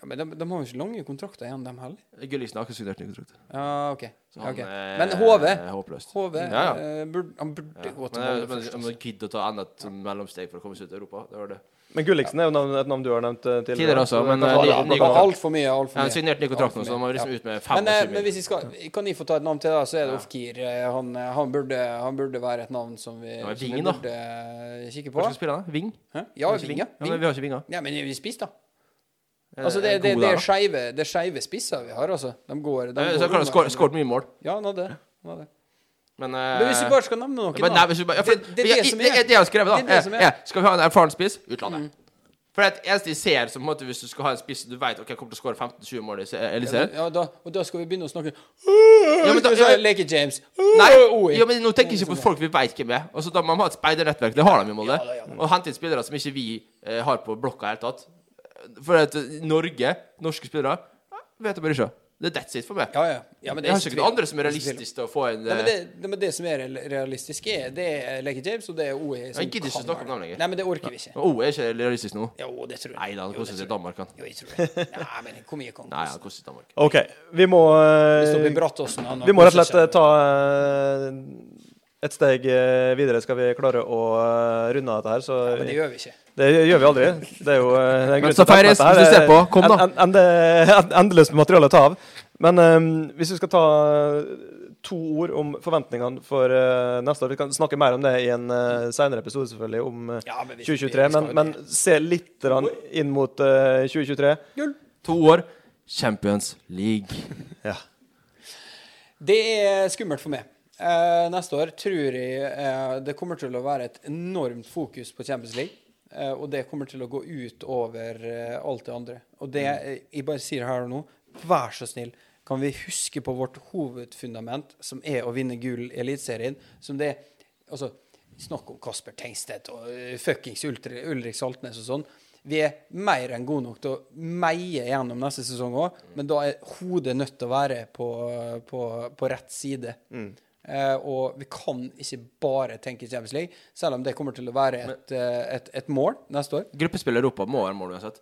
S2: ja, men de, de har jo ikke lange kontrakter igjen, de heller.
S3: Gulliksen har ikke signert ny kontrakt.
S2: Ja, OK.
S3: Så han
S2: ok.
S3: er-
S2: Men HV
S3: er Håpløst.
S2: HV
S3: Sånn, eh, Ja, ja.
S2: eh, burde, han burde gå til
S3: Men
S2: Molde
S3: det- men-
S2: først.
S3: men
S2: Altså.
S3: man gidder å ta enda et sånn mellomsteg for å komme seg ut i Europa. Det var det.
S1: Men Gulliksen er jo navn, et navn du har nevnt eh, tidligere.
S3: Tidligere også,
S1: Så
S3: men,
S1: kan
S3: eh,
S1: ta
S2: Ja,
S1: det
S2: ja,
S1: opp.
S3: ny-
S2: det
S3: ny
S2: var
S3: kontrakt.
S2: altfor mye. Alt for
S3: Jeg har
S2: mye.
S3: signert ny
S2: Alt
S3: kontrakt nå,
S2: for
S3: så han må
S2: mye,
S3: liksom
S2: ja.
S3: ut med fem
S2: Men, eh,
S3: år.
S2: men hvis jeg skal, kan jeg få ta et navn til, da, så er det Ofkir. Eh, Han, han, burde, han burde være et navn som vi, som
S3: men
S2: vi
S3: Vingen, da?
S2: burde eh, kikke
S3: Hva
S2: på.
S3: skal vi spille, da? Ving?
S2: Hæ? Ja,
S3: Har vi ikke
S2: Vinga.
S3: Ja, men
S2: Ving.
S3: vi har ikke vinger.
S2: Ja, men vi spiser, da.
S3: Eh,
S2: Altså,
S3: er
S2: det, det,
S3: god
S2: det
S3: der,
S2: er skeive det er skeive spisser vi har, altså. De går,
S3: da.
S2: de
S3: Eh,
S2: går
S3: Så har han
S2: unna.
S3: skåret- skåret mye mål.
S2: Ja, han hadde det. han hadde det.
S3: Men
S2: Men hvis vi bare skal nevne noen,
S3: Men nei, hvis vi bare, Eh, ja, for,
S2: Det- det er det som er.
S3: Det, jeg har skrevet, da,
S2: Det er det som er. Mm.
S3: er, skal vi ha en erfaren spiss? Utlandet. For det eneste jeg ser, som på en måte, hvis du skal ha en spiss du vet ok, jeg kommer til å skåre 15-20 mål i se-
S2: Ja,
S3: Eliteserien
S2: da- ja, da, og da skal vi begynne å snakke
S3: Ja, men da-
S2: Så
S3: ja.
S2: Leke James.
S3: Nei,
S2: Oi.
S3: ja, men nå tenker jeg ikke på folk vi veit hvem er. Altså, da må man ha et speidernettverk. Det har de i Molde. Og hente inn spillere som ikke vi eh, har på blokka i det hele tatt. For at eh, Norge, norske spillere, eh, vet jeg bare ikke. Det er that's it for meg.
S2: Ja, ja. ja men det
S3: jeg
S2: er
S3: har ikke noen andre som er realistiske til å få en
S2: Nei, men
S3: eh,
S2: det, det, men det som er real- realistisk, er, det er Leke James, og det er OE. som
S3: Jeg gidder ikke
S2: kan
S3: snakke om
S2: være-
S3: dem lenger.
S2: Nei, men det orker vi ikke.
S3: Å, er ikke realistisk nå?
S2: Jo, det tror jeg.
S3: Nei da, han
S2: jo, det
S3: koster
S2: tror
S3: seg i
S2: jeg.
S3: Danmark, han.
S2: Jo, jeg tror det. Nei, men hvor mye kan
S3: Nei, han
S2: koste?
S3: koster seg i Danmark.
S1: OK. Vi må eh,
S2: Hvis det blir Brattåsen han har
S1: Vi må rett og slett
S2: koster
S1: eh,
S2: seg-
S1: ta eh, et steg eh, videre, skal vi klare å eh, runde av dette her. Så
S2: Men det gjør vi ikke.
S1: det gjør vi aldri. Det er jo eh, det er en
S3: Men
S1: grunn til at
S3: Safaris,
S1: dette her
S3: hvis
S1: er
S3: du ser på, kom da.
S1: en- en- en- en- Endeløst materiale å ta av. Men eh, hvis vi skal ta eh, to ord om forventningene for eh, neste år Vi kan snakke mer om det i en uh, seinere episode, selvfølgelig, om eh,
S2: Ja, men vi- vi
S1: 2023.
S2: skal
S1: Men,
S2: jo
S1: men
S2: det.
S1: se litt grann inn mot eh, 2023.
S3: To år, Champions League.
S1: Ja.
S2: Det er skummelt for meg. Eh, neste år tror jeg eh, det kommer til å være et enormt fokus på Champions League. eh, og det kommer til å gå ut over eh, alt det andre. Og det eh, jeg bare sier her og nå, vær så snill, kan vi huske på vårt hovedfundament, som er å vinne gull i Eliteserien, som det er Altså, snakk om Kasper Tengstedt og eh, fuckings Ultri- Ulrik Saltnes og sånn. Vi er mer enn gode nok til å meie gjennom neste sesong òg,
S3: Mm.
S2: men da er hodet nødt til å være på, på, på rett side.
S3: Mm.
S2: Eh, og vi kan ikke bare tenke Champions League, selv om det kommer til å være et, eh, et, et mål neste år.
S3: Gruppespill i Europa må være mål uansett.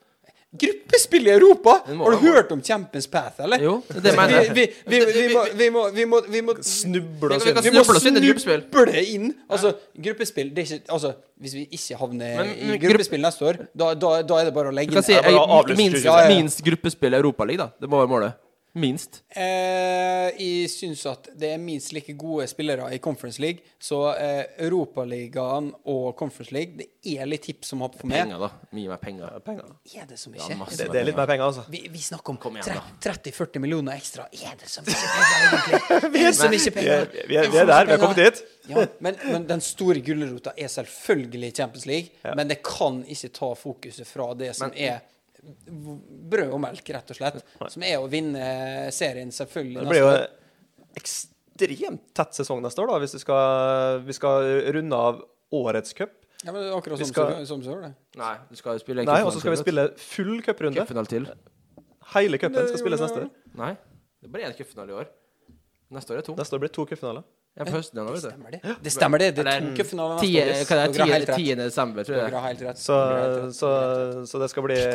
S2: Gruppespill i Europa!
S3: Det må
S2: Har du
S3: være mål.
S2: hørt om Champions Path, eller?
S3: Jo, det mener jeg.
S2: Vi, vi, vi, vi, må, vi, må, vi, må, vi må
S1: Snuble oss
S3: Vi
S1: inn.
S3: kan
S2: vi må
S3: snuble oss inn i et gruppespill.
S2: snuble inn. Altså, gruppespill det er ikke, altså, Hvis vi ikke havner
S3: Men- men
S2: i
S3: grupp-
S2: gruppespill neste år, da, da, da er det bare å legge
S3: Du kan si
S1: Jeg bare
S3: jeg,
S1: avlyser
S3: minst,
S2: Ja, ja.
S3: minst gruppespill i Europaligaen, da. Det må være målet.
S4: Minst.
S2: Eh, jeg syns at det er minst like gode spillere i Conference League, så eh, Europaligaen og Conference League Det er litt tips som hopp for meg.
S3: Penger, da. Mye mer penger.
S1: Penger.
S2: Er det som
S3: Ja,
S2: ikke?
S3: masse.
S1: Det, det er litt mer penger, altså.
S2: Vi, vi snakker om
S3: Kom igjen,
S2: tre-
S3: da.
S2: 30-40 millioner ekstra. Er det som ikke penger, egentlig? Er det som ikke
S1: Vi
S2: penger?
S1: er, vi er, vi er der. Vi har kommet dit.
S2: Ja, men, men den store gulrota er selvfølgelig Champions League, men det kan ikke ta fokuset fra det som er brød og melk, rett og slett, som er å vinne serien, selvfølgelig.
S1: Det blir jo
S2: neste år.
S1: ekstremt tett sesong neste år, da, hvis vi skal, vi skal runde av årets cup.
S2: Ja, men det er akkurat
S1: Vi
S2: som
S1: skal-
S2: så- som så, det.
S3: Nei, du skal jo spille en
S1: Nei,
S3: cupfinale
S1: og så skal vi
S3: til,
S1: spille full
S3: vet du.
S1: cuprunde.
S3: Cupfinale til.
S1: Hele cupen skal spilles neste år.
S3: Nei. Det er bare én cupfinale i år. Neste år er det to.
S1: Neste år blir det to cupfinaler.
S3: En på høsten igjen,
S2: Det
S3: vet du.
S2: stemmer, det. Det stemmer det. Det er
S3: Eller-
S2: to cupfinaler neste
S3: Tie-
S2: år.
S3: hva er det,
S2: Dere har helt rett.
S3: tie- 10. desember, tror
S2: Dere
S3: jeg.
S2: har helt rett.
S1: Så, så, så det skal bli Det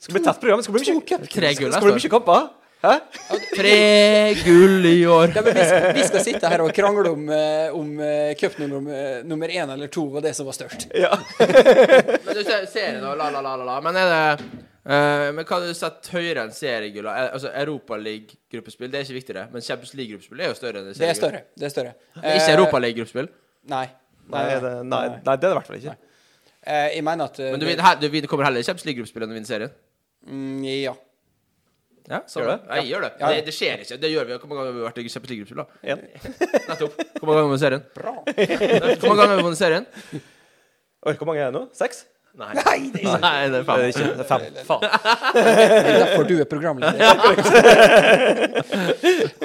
S1: skal bli tett program. Det skal bli mye,
S3: Tre gull
S1: det skal bli
S3: neste
S1: mye kamper. Hæ?
S3: år. Tre gull i år!
S2: Ja, men vi, skal, vi skal sitte her og krangle om, eh, om eh, cupnummer eh, nummer én eller to var det som var størst.
S1: Ja.
S3: Men du ser serien og la, la, la, la, la. Men er det eh, Men hva har du sett høyere enn seriegull? Eh, Altså, Europaliga-gruppespill, det er ikke viktig, det. Men Champions League-gruppespill er jo større enn
S2: Det er
S3: seriegull.
S2: større. Det er større.
S3: Men ikke
S2: Eh,
S3: Europaliga-gruppespill.
S2: Nei.
S1: Nei, det, nei, nei, det er det i hvert fall ikke.
S2: Eh, jeg mener at eh,
S3: Men du,
S2: det-
S3: vinner, her- du vinner, kommer heller i Champions League-gruppespill enn du vinner serien.
S2: Mm, ja.
S3: Ja,
S1: gjør
S3: gjør det?
S1: det?
S3: Nei, gjør det.
S2: Ja.
S3: det. Det skjer ikke. Det gjør vi. Hvor mange ganger har vi vært i Champions League-gruppespill, da?
S1: En.
S3: Nettopp. Hvor mange ganger har vi vunnet serien?
S2: Bra.
S3: Hvor mange ganger har vi vunnet serien?
S1: Oi, hvor mange er det nå? Seks?
S3: Nei.
S2: Nei, det er
S3: Nei, det er
S1: Det
S3: fem.
S1: er ikke det er fem. Faen.
S2: derfor du er programleder.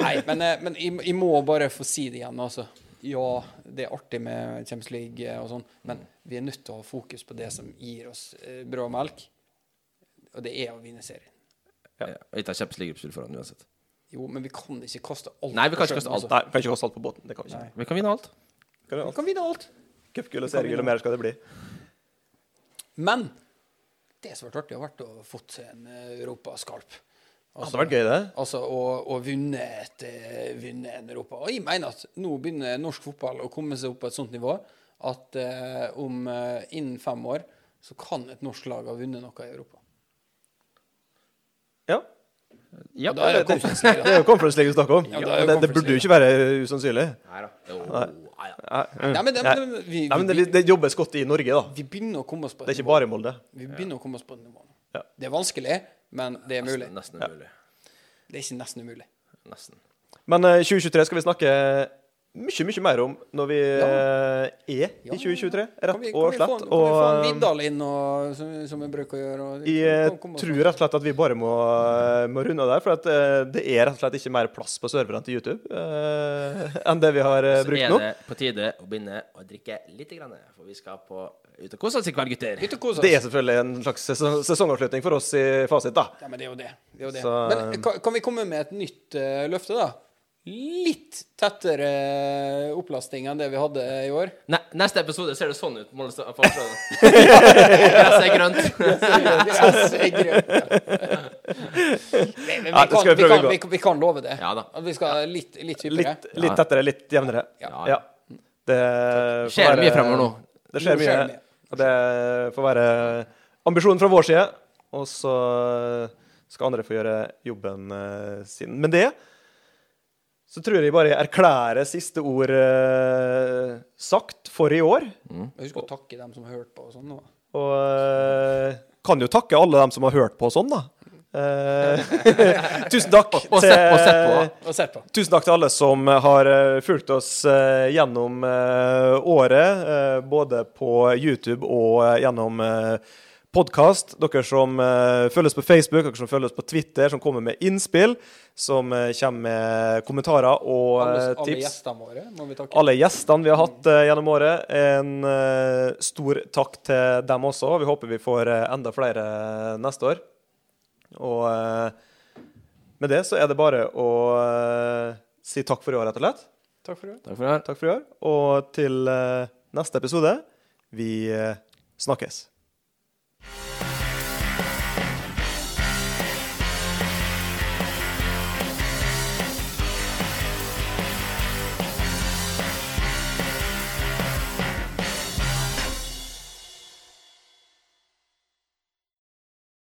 S2: Nei, men, eh, men jeg, jeg må bare få si det igjen, altså. Ja, det er artig med Champions League eh, og sånn, men vi er nødt til å ha fokus på det som gir oss eh, brød og melk, og det er å vinne serien.
S3: Ja. Vi tar Champions League-gruppespill foran uansett.
S2: Jo, men vi kan ikke kaste alt.
S3: Nei, vi kan ikke
S2: på
S3: kaste
S2: skjønnen,
S3: alt.
S2: altså.
S1: Nei, vi kan ikke kaste alt på båten. Det kan vi ikke.
S2: Nei.
S3: Vi kan vinne alt.
S1: Kan vi
S2: Vi
S1: alt?
S2: kan vinne alt.
S1: Cupgull og seriegull og mer skal det bli.
S2: Men det som har vært artig, har vært å få seg en eh, europaskalp.
S1: Hadde vært gøy, det.
S2: Altså og, og vunnet, et, eh, vunnet en Europa. Og jeg mener at nå begynner norsk fotball å komme seg opp på et sånt nivå at eh, om eh, innen fem år så kan et norsk lag ha vunnet noe i Europa.
S1: Ja.
S3: Ja.
S2: Og da er det Conference League,
S1: Det er jo Conference League du snakker om.
S2: Ja, det er jo
S1: Det, det
S2: Conference
S1: burde jo
S2: League.
S1: ikke være usannsynlig.
S3: Nei da. Jo, nei da.
S1: Nei,
S2: da. Nei, men det,
S1: Nei.
S2: men vi,
S1: Nei, men det,
S2: vi,
S1: det jobbes godt i Norge, da.
S2: vi begynner å komme oss
S1: Det
S2: på
S1: er
S2: et
S1: ikke
S2: nivå.
S1: bare i Molde.
S2: Vi begynner å komme oss på et nivå.
S1: Ja.
S2: Det er vanskelig, men det er mulig.
S3: Nesten umulig.
S2: Det er ikke nesten umulig.
S3: Nesten.
S1: Men eh, 2023 skal vi snakke mye, mye mer om når vi eh, er i
S2: Ja.
S1: 2023,
S2: Kan
S1: rett
S2: vi- kan
S1: og
S2: vi
S1: slett.
S2: Få, kan vi få en
S1: Og eh,
S2: Vidal inn, og, som, som vi bruker å gjøre? Og,
S1: jeg eh,
S2: kom- kom oss
S1: tror
S2: opp.
S1: rett og slett at vi bare må, må runde av der, for at, eh, det er rett og slett ikke mer plass på serverne til YouTube eh, enn det vi har eh,
S3: Så
S1: brukt
S3: er
S1: nå.
S3: det på tide å begynne å drikke litt, grann, for vi skal på ut og kose oss i kveld, gutter.
S2: Ut og kos oss.
S1: Det er selvfølgelig en slags sesong, sesongavslutning for oss i fasit, da.
S2: Ja, men det er jo det. det, er jo det.
S1: Så,
S2: men eh, kan, kan vi komme med et nytt eh, løfte, da? Litt tettere eh, opplasting enn det vi hadde i år.
S3: Ne neste episode ser det sånn ut. Målestad- for Oslo. Gresset er grønt.
S2: Gress er grønt, ja. Men- men
S1: Ja,
S2: Vi
S1: det
S2: kan-
S1: skal vi
S2: vi
S1: prøve
S2: kan-
S1: å
S2: vi kan- vi kan love det.
S3: Ja da.
S2: At vi skal litt, litt hyppigere.
S1: Litt, litt tettere, litt jevnere.
S3: Ja.
S1: Ja. Det får
S3: skjer
S1: være-
S3: mye fremover nå.
S1: Det skjer
S2: Nå
S1: mye.
S2: skjer det mye.
S1: Og det får være ambisjonen fra vår side. Og så skal andre få gjøre jobben eh, sin. Men det så tror jeg bare jeg erklærer siste ord eh, sagt for i år.
S2: Og Husk å takke dem som har hørt på og sånn. nå.
S1: Og eh, kan jo takke alle dem som har hørt på og sånn, da. Eh, tusen takk
S3: Og- og sett- og sett på.
S2: Og sett på.
S1: Tusen takk til alle som har eh, fulgt oss eh, gjennom eh, året, eh, både på YouTube og eh, gjennom podkast. Dere som eh, følges på Facebook, dere som følges på Twitter, som kommer med innspill, som eh, kommer med kommentarer og
S2: Alle,
S1: eh,
S2: alle
S1: tips.
S2: gjestene våre må vi takke.
S1: Alle gjestene vi har hatt eh, gjennom året. En eh, stor takk til dem også. Vi håper vi får eh, enda flere eh, neste år. Og eh, med det så er det bare å eh, si takk for i år, rett og slett.
S2: Takk for det.
S3: Takk for det.
S1: Takk for i år. Og til eh, neste episode, vi eh, snakkes.